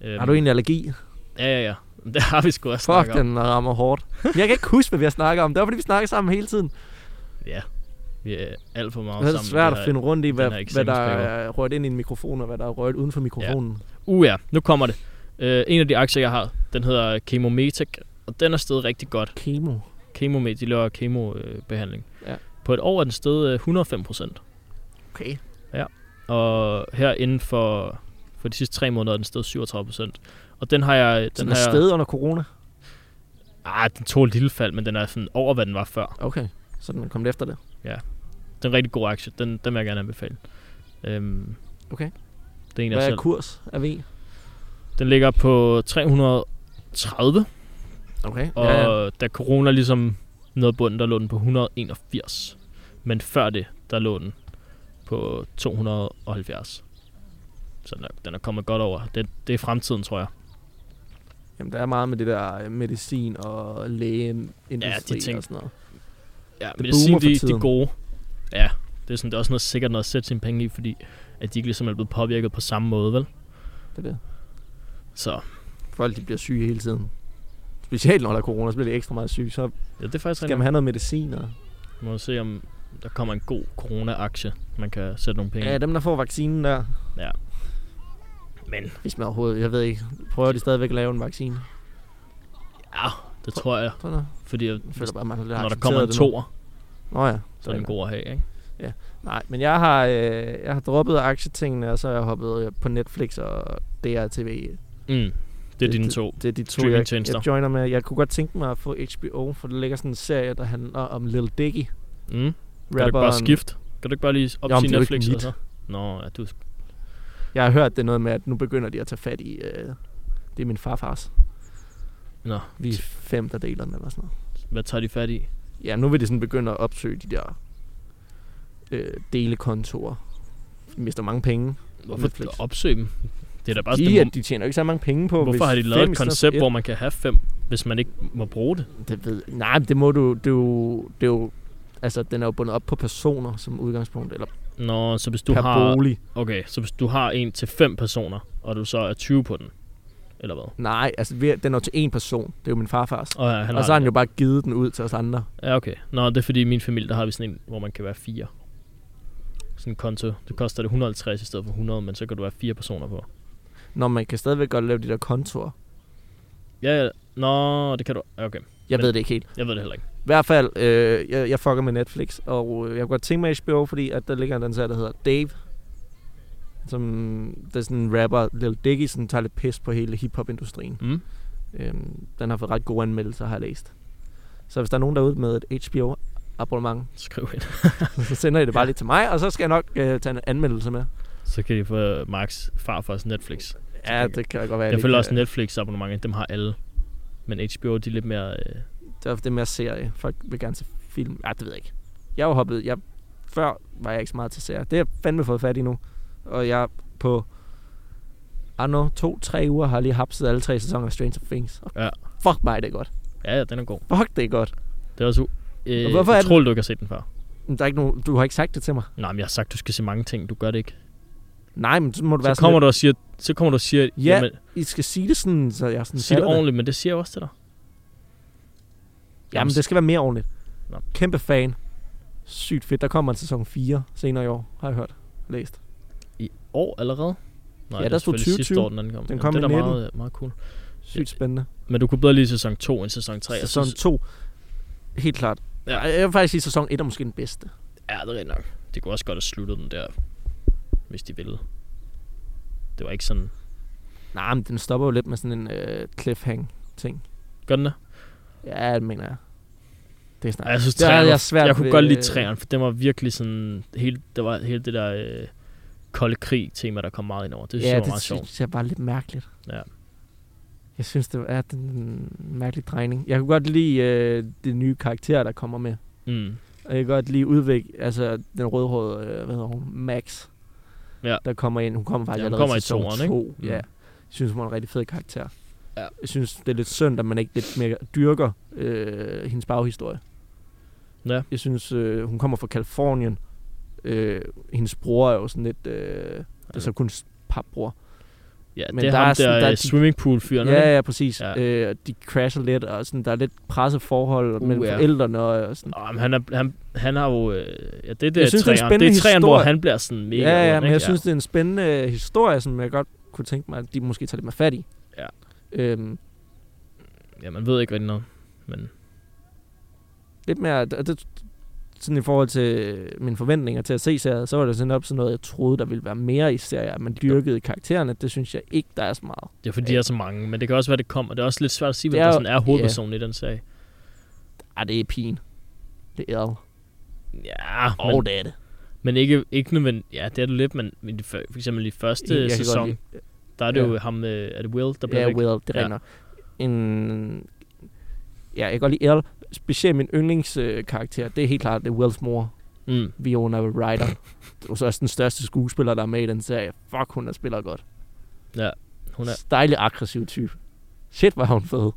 Speaker 1: Øhm,
Speaker 2: Har du egentlig allergi?
Speaker 1: Ja, ja, *laughs* ja. Det har vi sgu også
Speaker 2: Fuck,
Speaker 1: snakket om.
Speaker 2: den rammer hårdt. Men jeg kan ikke huske, hvad vi har snakket om. Det var, fordi vi snakkede sammen hele tiden.
Speaker 1: Ja. Vi er alt for meget
Speaker 2: Det er
Speaker 1: sammen.
Speaker 2: svært
Speaker 1: Det
Speaker 2: at
Speaker 1: her-
Speaker 2: finde rundt i, hvad,
Speaker 1: her
Speaker 2: hvad der
Speaker 1: eksamensperiode.
Speaker 2: er rørt ind i en mikrofon, og hvad der er rørt uden for mikrofonen.
Speaker 1: Uh ja, nu kommer det. Uh, en af de aktier, jeg har, den hedder Chemometec, og den er stedet rigtig godt.
Speaker 2: Kemo.
Speaker 1: Chemomet, de laver kemobehandling.
Speaker 2: Ja.
Speaker 1: På et år er den stedet øh, 105 procent.
Speaker 2: Okay.
Speaker 1: Og her inden for, for de sidste tre måneder er den stedet 37 procent. Og den har jeg... Den
Speaker 2: Den
Speaker 1: har
Speaker 2: er
Speaker 1: jeg-
Speaker 2: sted under corona.
Speaker 1: Ah, den tog et lille fald, men den er sådan over, hvad den var før.
Speaker 2: Okay. Så den er kommet efter det.
Speaker 1: Det er en rigtig god aktie. Den, den vil jeg gerne anbefale. Øhm,
Speaker 2: Okay.
Speaker 1: Det er en, jeg
Speaker 2: Hvad er
Speaker 1: selv.
Speaker 2: kurs af V?
Speaker 1: Den ligger på 330,
Speaker 2: Okay.
Speaker 1: og
Speaker 2: ja, ja.
Speaker 1: ja, ja. da corona ligesom nåede bunden, der lå den på 181. Men før det, der lå den på 270. Så den er, den er kommet godt over. Det, det er fremtiden, tror jeg.
Speaker 2: Jamen, der er meget med det der øh, medicin og lægeindustri
Speaker 1: Ja, de ting.
Speaker 2: og sådan noget.
Speaker 1: Ja,
Speaker 2: Det
Speaker 1: men det siger,
Speaker 2: boomer for
Speaker 1: de, de
Speaker 2: tiden.
Speaker 1: gode. Ja, det er, sådan, det er også noget sikkert noget at sætte sine penge i, fordi at de ikke ligesom er blevet påvirket på samme måde, vel?
Speaker 2: Det er det.
Speaker 1: Så
Speaker 2: Folk, de bliver syge hele tiden. Specielt når der er corona, så bliver de ekstra meget syge. Så
Speaker 1: ja, det er faktisk
Speaker 2: skal man have noget medicin. Og...
Speaker 1: Vi må se, om der kommer en god corona-aktie, man kan sætte nogle penge
Speaker 2: Ja,
Speaker 1: ja,
Speaker 2: dem, der får vaccinen der,
Speaker 1: Men
Speaker 2: hvis man overhovedet, jeg ved ikke, prøver de stadigvæk at lave en vaccine?
Speaker 1: ja, det tror jeg.
Speaker 2: Tror du?
Speaker 1: Fordi jeg,
Speaker 2: Jeg føler bare, man har lidt
Speaker 1: når der
Speaker 2: accepteret
Speaker 1: kommer en
Speaker 2: det nu.
Speaker 1: toer,
Speaker 2: Nå ja.
Speaker 1: så er den god at have, ikke?
Speaker 2: Nej, men jeg har, øh, jeg har droppet aktietingene, og så har jeg hoppet øh, på Netflix og DRTV.
Speaker 1: Mm, det er dine to.
Speaker 2: Det er de to, jeg,
Speaker 1: streamingtjenester.
Speaker 2: jeg joiner med. Jeg kunne godt tænke mig at få HBO, for der ligger sådan en serie, der handler om Lil Dicky.
Speaker 1: Mm. Kan du ikke bare skift? Kan du ikke bare lige op
Speaker 2: Jamen,
Speaker 1: til
Speaker 2: det er jo ikke
Speaker 1: Netflix?
Speaker 2: mit.
Speaker 1: Og så? Nå, ja, du er sk-
Speaker 2: Jeg har hørt det noget med, at nu begynder de at tage fat i... Øh, det er min farfars.
Speaker 1: Nå.
Speaker 2: Vi er fem, der deler den eller sådan noget.
Speaker 1: hvad tager de fat i?
Speaker 2: Ja, nu vil de sådan begynde at opsøge de der øh, delekontorer. De mister mange penge.
Speaker 1: Hvorfor
Speaker 2: Netflix.
Speaker 1: opsøge dem? Det er da bare
Speaker 2: De,
Speaker 1: sådan,
Speaker 2: at de tjener jo ikke så mange penge på.
Speaker 1: hvor, hvorfor
Speaker 2: hvis
Speaker 1: har de lavet
Speaker 2: fem i
Speaker 1: et
Speaker 2: stedet for
Speaker 1: koncept,
Speaker 2: et-
Speaker 1: hvor man kan have fem, hvis man ikke må bruge det?
Speaker 2: Det ved Nej, men det må du... Det er jo, det er jo, altså, den er jo bundet op på personer som udgangspunkt, eller
Speaker 1: Nå, så hvis
Speaker 2: du
Speaker 1: du
Speaker 2: per
Speaker 1: har...
Speaker 2: bolig.
Speaker 1: Okay, så hvis du har en til fem personer, og du så er 20 på den, eller hvad?
Speaker 2: Nej, altså, vi- den er jo til én person. Det er jo min farfars.
Speaker 1: Og, ja, han
Speaker 2: og
Speaker 1: har
Speaker 2: så har
Speaker 1: det.
Speaker 2: han jo bare givet den ud til os andre.
Speaker 1: Ja, okay. Nå, det er fordi i min familie, der har vi sådan en, hvor man kan være fire. Sådan en konto. Det koster det 150 i stedet for 100, men så kan du være fire personer på.
Speaker 2: Når man kan stadigvæk godt lave de der kontorer.
Speaker 1: Ja, ja. Nå, det kan du. Ja, Okay,
Speaker 2: Jeg
Speaker 1: Men-
Speaker 2: ved det ikke helt.
Speaker 1: jeg ved det heller ikke.
Speaker 2: I hvert fald, øh, jeg, jeg fucker med Netflix, og øh, jeg kunne godt tænke mig HBO, fordi at der ligger den serie, der hedder Dave. Som, det er sådan en rapper, Lil Dicky, som tager lidt pis på hele hiphop-industrien.
Speaker 1: Mm?
Speaker 2: Øhm, den har fået ret gode anmeldelser, har jeg læst. Så hvis der er nogen derude med et HBO-abonnement,
Speaker 1: Skriv ind.
Speaker 2: *laughs* så sender I det bare lige til mig, og så skal jeg nok øh, tage en anmeldelse med.
Speaker 1: Så kan de få Marks farfars Netflix.
Speaker 2: Ja, det kan da godt være. øh,
Speaker 1: Jeg
Speaker 2: lige
Speaker 1: føler
Speaker 2: kan-
Speaker 1: også Netflix abonnementer, dem har alle. Men HBO, de er lidt mere... Øh,
Speaker 2: Det er ofte mere serie. øh, Folk vil gerne se film. Ja, det ved jeg ikke. Jeg er jo hoppet... Jeg, før var jeg ikke så meget til serier. Det har jeg fandme fået fat i nu. Og jeg på... Anno, to-tre uger har jeg lige hapset alle tre sæsoner af Stranger Things. Og
Speaker 1: Ja.
Speaker 2: Fuck mig, det er godt.
Speaker 1: ja, ja, den er god.
Speaker 2: Fuck, det er godt.
Speaker 1: Det er også... u- Øh,
Speaker 2: Og hvorfor er den-
Speaker 1: utroligt, du ikke har set den før.
Speaker 2: Men Der er ikke nogen, du har ikke sagt det til mig.
Speaker 1: Nej, men jeg har sagt, du skal se mange ting. Du gør det ikke.
Speaker 2: Nej, men så må det være
Speaker 1: Så kommer,
Speaker 2: sådan
Speaker 1: du og siger, så kommer du og siger,
Speaker 2: Ja,
Speaker 1: jamen,
Speaker 2: lidt, I skal sige det sådan, så jeg sådan
Speaker 1: sig det
Speaker 2: fatter
Speaker 1: ordentligt, men det siger jeg også til dig.
Speaker 2: Jamen, det skal være mere ordentligt.
Speaker 1: Nå.
Speaker 2: Kæmpe fan. Sygt fedt. Der kommer en sæson 4 senere i år, har jeg hørt. Læst.
Speaker 1: I år allerede? Nej,
Speaker 2: Ja,
Speaker 1: det
Speaker 2: der
Speaker 1: er
Speaker 2: stod
Speaker 1: selvfølgelig sidste
Speaker 2: 2020.
Speaker 1: år, den ankom.
Speaker 2: Den
Speaker 1: Jamen,
Speaker 2: kom
Speaker 1: det
Speaker 2: i
Speaker 1: er da
Speaker 2: 19.
Speaker 1: meget, meget cool.
Speaker 2: Sygt spændende.
Speaker 1: Men du kunne bedre lide sæson 2 end sæson 3.
Speaker 2: Sæson
Speaker 1: Jeg synes,
Speaker 2: 2. Helt klart.
Speaker 1: Ja.
Speaker 2: Ja. Jeg vil faktisk sige, at sæson 1 er måske den bedste.
Speaker 1: ja, det er rigtig nok. Det kunne også godt have sluttet den der, hvis de ville. Det var ikke sådan...
Speaker 2: Nej, men den stopper jo lidt med sådan en øh, cliffhang-ting.
Speaker 1: Gør den det?
Speaker 2: Ja, det mener jeg. Det er snart.
Speaker 1: Ej, jeg synes,
Speaker 2: det er,
Speaker 1: træerne,
Speaker 2: jeg svært
Speaker 1: jeg kunne
Speaker 2: ved- øh,
Speaker 1: godt lide træerne, for den var virkelig sådan... Hele, det var hele det der øh, kolde krig-tema, der kom meget ind over. Det synes
Speaker 2: ja,
Speaker 1: jeg var
Speaker 2: det
Speaker 1: meget sjovt.
Speaker 2: synes jeg bare er lidt mærkeligt.
Speaker 1: Ja.
Speaker 2: Jeg synes, det er den- en mærkelig drejning. Jeg kunne godt lide øh, de nye karakterer, der kommer med.
Speaker 1: Mm.
Speaker 2: Og jeg kan godt lide udvæk, altså den rødhårede, øh, hvad hedder hun, Max,
Speaker 1: Ja.
Speaker 2: der kommer ind. Hun kommer faktisk
Speaker 1: Ja, hun
Speaker 2: allerede
Speaker 1: kommer i
Speaker 2: sæson
Speaker 1: toeren, ikke?
Speaker 2: to.
Speaker 1: Mm.
Speaker 2: Ja. Jeg synes, hun er en rigtig fed karakter.
Speaker 1: Ja.
Speaker 2: Jeg synes, det er lidt synd, at man ikke lidt mere dyrker øh, hendes baghistorie.
Speaker 1: Ja.
Speaker 2: Jeg synes, øh, hun kommer fra Kalifornien. Øh, hendes bror er jo sådan lidt, øh, altså kun s- papbror.
Speaker 1: Ja,
Speaker 2: Men
Speaker 1: det er
Speaker 2: der
Speaker 1: ham
Speaker 2: er
Speaker 1: der,
Speaker 2: sådan-
Speaker 1: der, øh,
Speaker 2: der er de-
Speaker 1: swimmingpool-fyren, ikke?
Speaker 2: Ja, ja, præcis.
Speaker 1: Ja.
Speaker 2: Ja. Øh, de crasher lidt, og sådan, der er lidt presset forhold
Speaker 1: Uh,
Speaker 2: mellem
Speaker 1: ja.
Speaker 2: forældrene. Og, og sådan.
Speaker 1: Nå, men han, er, han, han har jo... Øh, ja, det er der
Speaker 2: Jeg synes, det er en
Speaker 1: træerne.
Speaker 2: spændende
Speaker 1: det er træerne, hvor
Speaker 2: historie.
Speaker 1: han bliver sådan mega
Speaker 2: Ja, ja,
Speaker 1: ond,
Speaker 2: men jeg
Speaker 1: ikke?
Speaker 2: synes, det er en spændende øh, historie, som jeg godt kunne tænke mig, at de måske tager lidt mere fat i.
Speaker 1: Ja.
Speaker 2: Øhm,
Speaker 1: Ja, man ved ikke rigtig noget. Men
Speaker 2: lidt mere, det, det, sådan i forhold til øh, mine forventninger til at se serien, så var det sådan op sådan noget, jeg troede, der ville være mere i serier, at man dyrkede karaktererne. Det synes jeg ikke, der er så meget.
Speaker 1: det er fordi, der er så mange. Men det kan også være, det kommer. Det er også lidt svært at sige, hvem
Speaker 2: Det er
Speaker 1: der
Speaker 2: jo-
Speaker 1: sådan er hovedpersonen i den sag.
Speaker 2: Ah, det er pigen. Det er det.
Speaker 1: Ja,
Speaker 2: Og
Speaker 1: men,
Speaker 2: det er det.
Speaker 1: men ikke, ikke nødvendigt. Ja, det er det lidt, men i de fø- for eksempel i første
Speaker 2: Jeg kan godt
Speaker 1: sæson,
Speaker 2: lide-
Speaker 1: der er det jo
Speaker 2: ja.
Speaker 1: ham, øh, er det Will, der bliver
Speaker 2: Ja,
Speaker 1: væk?
Speaker 2: Will, det
Speaker 1: Ja.
Speaker 2: er ja. nok. En, ja, jeg kan godt lide Elle. Specielt min yndlingskarakter, det er helt klart, det er Wills mor.
Speaker 1: Mm.
Speaker 2: Viona Ryder. Det er så også den største skuespiller, der er med i den serie. Fuck, hun der spiller godt.
Speaker 1: Hun er,
Speaker 2: Dejlig aggressiv type. Shit, var hun fed.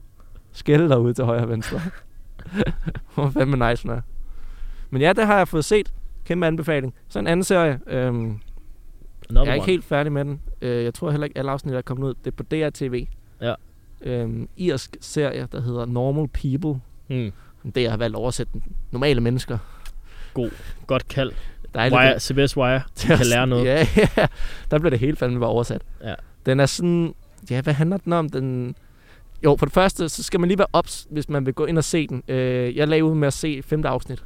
Speaker 2: Skælde derude til højre og
Speaker 1: *laughs*
Speaker 2: venstre. Hvor fandme nice hun er. Men ja, det har jeg fået set. Kæmpe anbefaling. Så en anden serie. Øhm, jeg
Speaker 1: another
Speaker 2: er
Speaker 1: one.
Speaker 2: ikke helt færdig med den. Øh, jeg tror heller ikke, alle afsnit er kommet ud. Det er på DRTV.
Speaker 1: Ja.
Speaker 2: Øhm, irsk serie, der hedder Normal People.
Speaker 1: Mm.
Speaker 2: Det, jeg har valgt at oversætte den. Normale mennesker.
Speaker 1: Godt kald.
Speaker 2: Dejligt.
Speaker 1: Wire, CBS Wire. *laughs*
Speaker 2: *laughs* Det er
Speaker 1: kan lære
Speaker 2: sådan-
Speaker 1: noget.
Speaker 2: Ja, *laughs* ja, der blev det hele fandme bare oversat.
Speaker 1: Ja.
Speaker 2: Den er sådan, ja, hvad handler den om? Den, jo, for det første, så skal man lige være ops, hvis man vil gå ind og se den. Øh, jeg lagde ud med at se femte afsnit.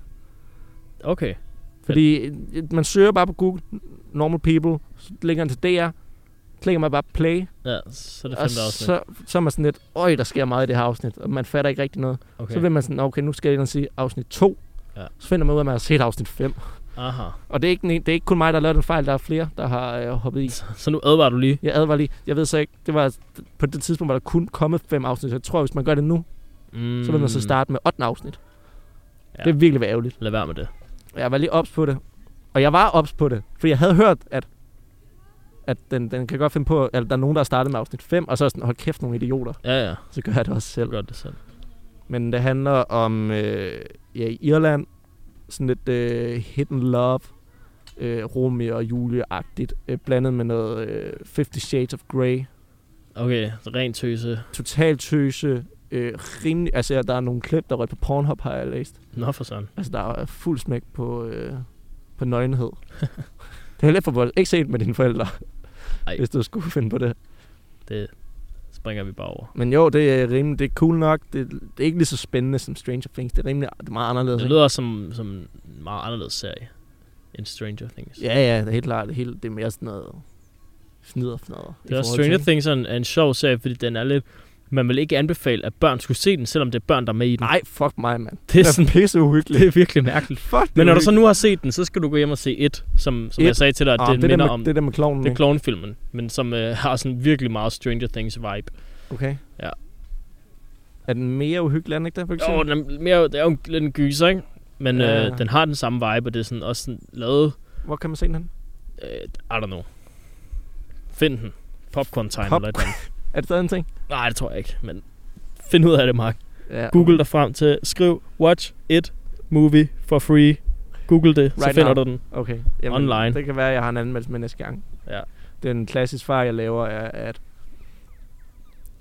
Speaker 1: Okay.
Speaker 2: Fordi øh, man søger bare på Google, normal people, så ligger den til DR, klikker man bare play,
Speaker 1: Ja, så er det
Speaker 2: og
Speaker 1: femte afsnit.
Speaker 2: så, så er man sådan lidt, øj, der sker meget i det her afsnit, og man fatter ikke rigtig noget. Okay.
Speaker 1: okay.
Speaker 2: Så vil man sådan, okay, nu skal jeg ind og se afsnit 2,
Speaker 1: Ja.
Speaker 2: så finder man ud af, at man har set afsnit 5.
Speaker 1: Aha.
Speaker 2: Og det er ikke, den ene- det er ikke kun mig, der har lavet den fejl, der er flere, der har øh, hoppet i.
Speaker 1: Så nu advarer du lige.
Speaker 2: Jeg advarer lige. Jeg ved så ikke, det var på det tidspunkt, var der kun kommet fem afsnit. Så jeg tror, hvis man gør det nu, mm.
Speaker 1: Mm.
Speaker 2: så vil man så starte med 8. afsnit.
Speaker 1: Ja.
Speaker 2: Ja. Det er virkelig være ærgerligt.
Speaker 1: Lad være med det.
Speaker 2: Jeg var lige ops på det. Og jeg var ops på det, fordi jeg havde hørt, at, at den, den kan godt finde på, at der er nogen, der har startet med afsnit 5, og så er jeg sådan, hold kæft, nogle idioter.
Speaker 1: Ja, ja.
Speaker 2: Så gør jeg det også
Speaker 1: Du
Speaker 2: selv.
Speaker 1: gør det selv.
Speaker 2: Men det handler om øh, ja, i Irland, sådan lidt øh, hidden love, øh, Romeo og Julie-agtigt, øh, blandet med noget øh, 50 Shades of Grey.
Speaker 1: Okay, rent tøse.
Speaker 2: totalt tøse, øh, rimelig, altså ja, der er nogle klip, der er på Pornhub, har jeg læst.
Speaker 1: Nå for sådan.
Speaker 2: Altså der er fuld smæk på, øh,
Speaker 1: *laughs*
Speaker 2: på nøgenhed. det er lidt for vold. Ikke set med dine forældre,
Speaker 1: Ej.
Speaker 2: Ej. hvis du skulle finde på det.
Speaker 1: Det springer vi bare over.
Speaker 2: Men jo, det er rimelig, det er cool nok. Det, det er ikke lige så spændende som Stranger Things. Det er rimelig det er meget anderledes.
Speaker 1: Det
Speaker 2: ikke?
Speaker 1: lyder også som, som en meget anderledes serie end Stranger Things.
Speaker 2: Ja, ja, det er helt klart. Det er, helt, det er mere sådan noget fnider fnader. i
Speaker 1: det er også
Speaker 2: forhold til,
Speaker 1: Stranger
Speaker 2: ikke?
Speaker 1: Things er en, er en sjov serie, fordi den er lidt... Man vil ikke anbefale, at børn skulle se den, selvom det er børn, der er med i den.
Speaker 2: Nej, fuck mig, mand.
Speaker 1: det er, sådan,
Speaker 2: pisse
Speaker 1: det
Speaker 2: uhyggeligt.
Speaker 1: er virkelig mærkeligt.
Speaker 2: Fuck, det
Speaker 1: *laughs* Men
Speaker 2: er
Speaker 1: når du så
Speaker 2: uhyggeligt.
Speaker 1: nu har set den, så skal du gå hjem og se et, som, som
Speaker 2: It.
Speaker 1: jeg sagde til dig, at
Speaker 2: Ah,
Speaker 1: det,
Speaker 2: det,
Speaker 1: minder
Speaker 2: der
Speaker 1: om...
Speaker 2: med, det
Speaker 1: Det,
Speaker 2: der med klovnen,
Speaker 1: det er
Speaker 2: ikke?
Speaker 1: klovnefilmen, men som øh, har sådan virkelig meget Stranger Things vibe.
Speaker 2: Okay.
Speaker 1: Ja.
Speaker 2: Er den mere uhyggelig, er den ikke der? for eksempel?
Speaker 1: Jo, den er mere, det er jo en- lidt en gyser, ikke? Men
Speaker 2: Ja.
Speaker 1: øh, den har den samme vibe, og det er sådan også sådan lavet...
Speaker 2: Hvor kan man se den hen?
Speaker 1: Øh, I don't know. Find den. Popcorn time
Speaker 2: Pop-
Speaker 1: eller et eller andet.
Speaker 2: Er det stadig en ting?
Speaker 1: Nej, det tror jeg ikke, men find ud af det, Mark.
Speaker 2: Ja.
Speaker 1: Google dig frem til, skriv watch it movie for free. Google det, right så
Speaker 2: Right
Speaker 1: finder
Speaker 2: now.
Speaker 1: du den.
Speaker 2: Okay.
Speaker 1: Online.
Speaker 2: Det kan være, at jeg har en anmeldelse med næste gang.
Speaker 1: Ja.
Speaker 2: Den klassiske fejl, jeg laver, er, at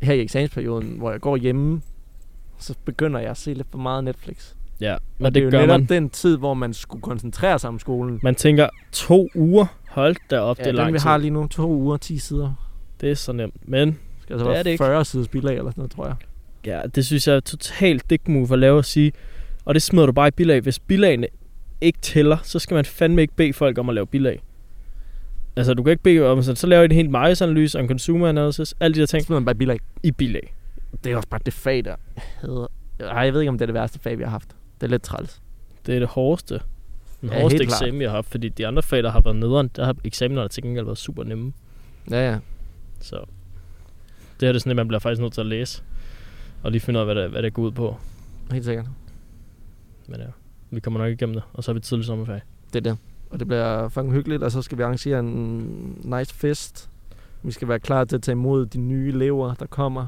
Speaker 2: her i eksamensperioden, hvor jeg går hjemme, så begynder jeg at se lidt for meget Netflix.
Speaker 1: Ja,
Speaker 2: Og,
Speaker 1: og
Speaker 2: det er
Speaker 1: det
Speaker 2: jo
Speaker 1: gør
Speaker 2: netop
Speaker 1: man.
Speaker 2: den tid, hvor man skulle koncentrere sig om skolen.
Speaker 1: Man tænker, to uger, hold da op,
Speaker 2: Ja,
Speaker 1: det er
Speaker 2: den
Speaker 1: lang
Speaker 2: vi
Speaker 1: tid.
Speaker 2: har lige nu, to uger, 10 sider.
Speaker 1: Det er så nemt. Men
Speaker 2: Det skal altså
Speaker 1: Det er
Speaker 2: være
Speaker 1: det ikke.
Speaker 2: 40 sider bilag eller sådan noget, tror jeg.
Speaker 1: ja, det synes jeg er totalt dick move at lave at sige. Og det smider du bare i bilag. Hvis bilagene ikke tæller, så skal man fandme ikke bede folk om at lave bilag. Altså, du kan ikke bede om sådan, så laver I en helt markedsanalyse og en consumer analysis, alle de der
Speaker 2: Jeg
Speaker 1: ting
Speaker 2: smider bare et bilag.
Speaker 1: i bilag.
Speaker 2: Det er også bare det fag, der hedder... Ej, jeg ved ikke, om det er det værste fag, vi har haft. Det er lidt træls.
Speaker 1: Det er det hårdeste. Den
Speaker 2: Ja,
Speaker 1: hårdeste
Speaker 2: helt klart.
Speaker 1: eksamen, jeg har haft, fordi de andre fag, der har været nederen, der har eksamenerne til gengæld været super nemme.
Speaker 2: Ja, ja.
Speaker 1: Så det her det er sådan, at man bliver faktisk nødt til at læse, og lige finde ud af, hvad det, hvad det går ud på.
Speaker 2: Helt sikkert.
Speaker 1: Men ja, vi kommer nok igennem det, og så er vi tidlig sommerferie.
Speaker 2: Det er det. Og det bliver fucking hyggeligt, og så skal vi arrangere en nice fest. Vi skal være klar til at tage imod de nye elever, der kommer.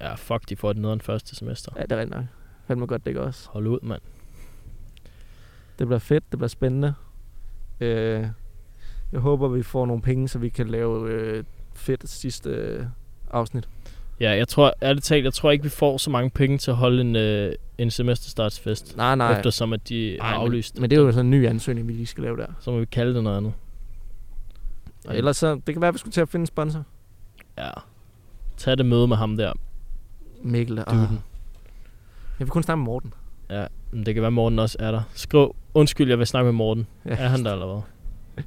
Speaker 1: Ja, fuck, de får det nederen første semester.
Speaker 2: Ja, det er rigtig nok. Fandt mig godt, det ikke også.
Speaker 1: Hold ud, mand.
Speaker 2: Det bliver fedt, det bliver spændende. Øh, jeg håber, vi får nogle penge, så vi kan lave øh, fedt sidste øh, afsnit.
Speaker 1: Ja, jeg tror, ærligt talt, jeg tror ikke, vi får så mange penge til at holde en, øh, en semesterstartsfest.
Speaker 2: Nej, nej.
Speaker 1: Eftersom, at de har
Speaker 2: nej,
Speaker 1: aflyst.
Speaker 2: Men, men det er jo sådan en ny ansøgning, vi lige skal lave der.
Speaker 1: Så må vi kalde det noget andet.
Speaker 2: Og ellers så, det kan være, at vi skulle til at finde en sponsor.
Speaker 1: Ja. Tag det møde med ham der.
Speaker 2: Mikkel, og...
Speaker 1: Duden.
Speaker 2: Jeg vil kun snakke med Morten.
Speaker 1: Ja, men det kan være, Morten også er der. Skriv, undskyld, jeg vil snakke med Morten.
Speaker 2: Ja.
Speaker 1: Er han der eller hvad?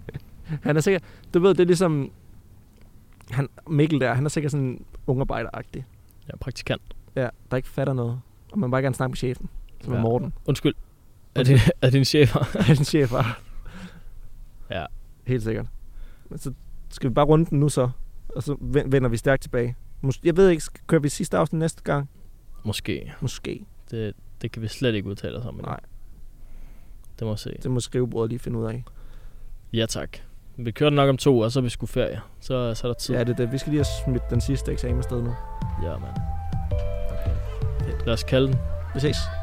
Speaker 2: Han er sikkert, du ved, det er ligesom, han, Mikkel der, han er sikkert sådan ungarbejderagtig.
Speaker 1: Jeg er praktikant.
Speaker 2: Ja, der ikke fatter noget. Og man vil bare gerne snakke med chefen, som ja.
Speaker 1: Ja.
Speaker 2: er Morten. *laughs*
Speaker 1: Undskyld. Er din, er din chef her? *laughs*
Speaker 2: Han chef er.
Speaker 1: Ja.
Speaker 2: Helt sikkert. Men så skal vi bare runde den nu så, og så ven- vender vi stærkt tilbage. Mås- jeg ved ikke, skal- kører vi sidste afsnit næste gang?
Speaker 1: Måske.
Speaker 2: Måske.
Speaker 1: Det, det kan vi slet ikke udtale os om. endnu.
Speaker 2: Nej.
Speaker 1: Det må vi se.
Speaker 2: Det må skrivebordet lige finde ud af.
Speaker 1: Ja tak. Vi kører den nok om to uger, så er vi skulle ferie. Så, så er der tid.
Speaker 2: Så er det det. Vi skal lige have smidt den sidste eksamen afsted nu.
Speaker 1: Ja, mand. Okay. Lad os kalde den.
Speaker 2: Vi ses.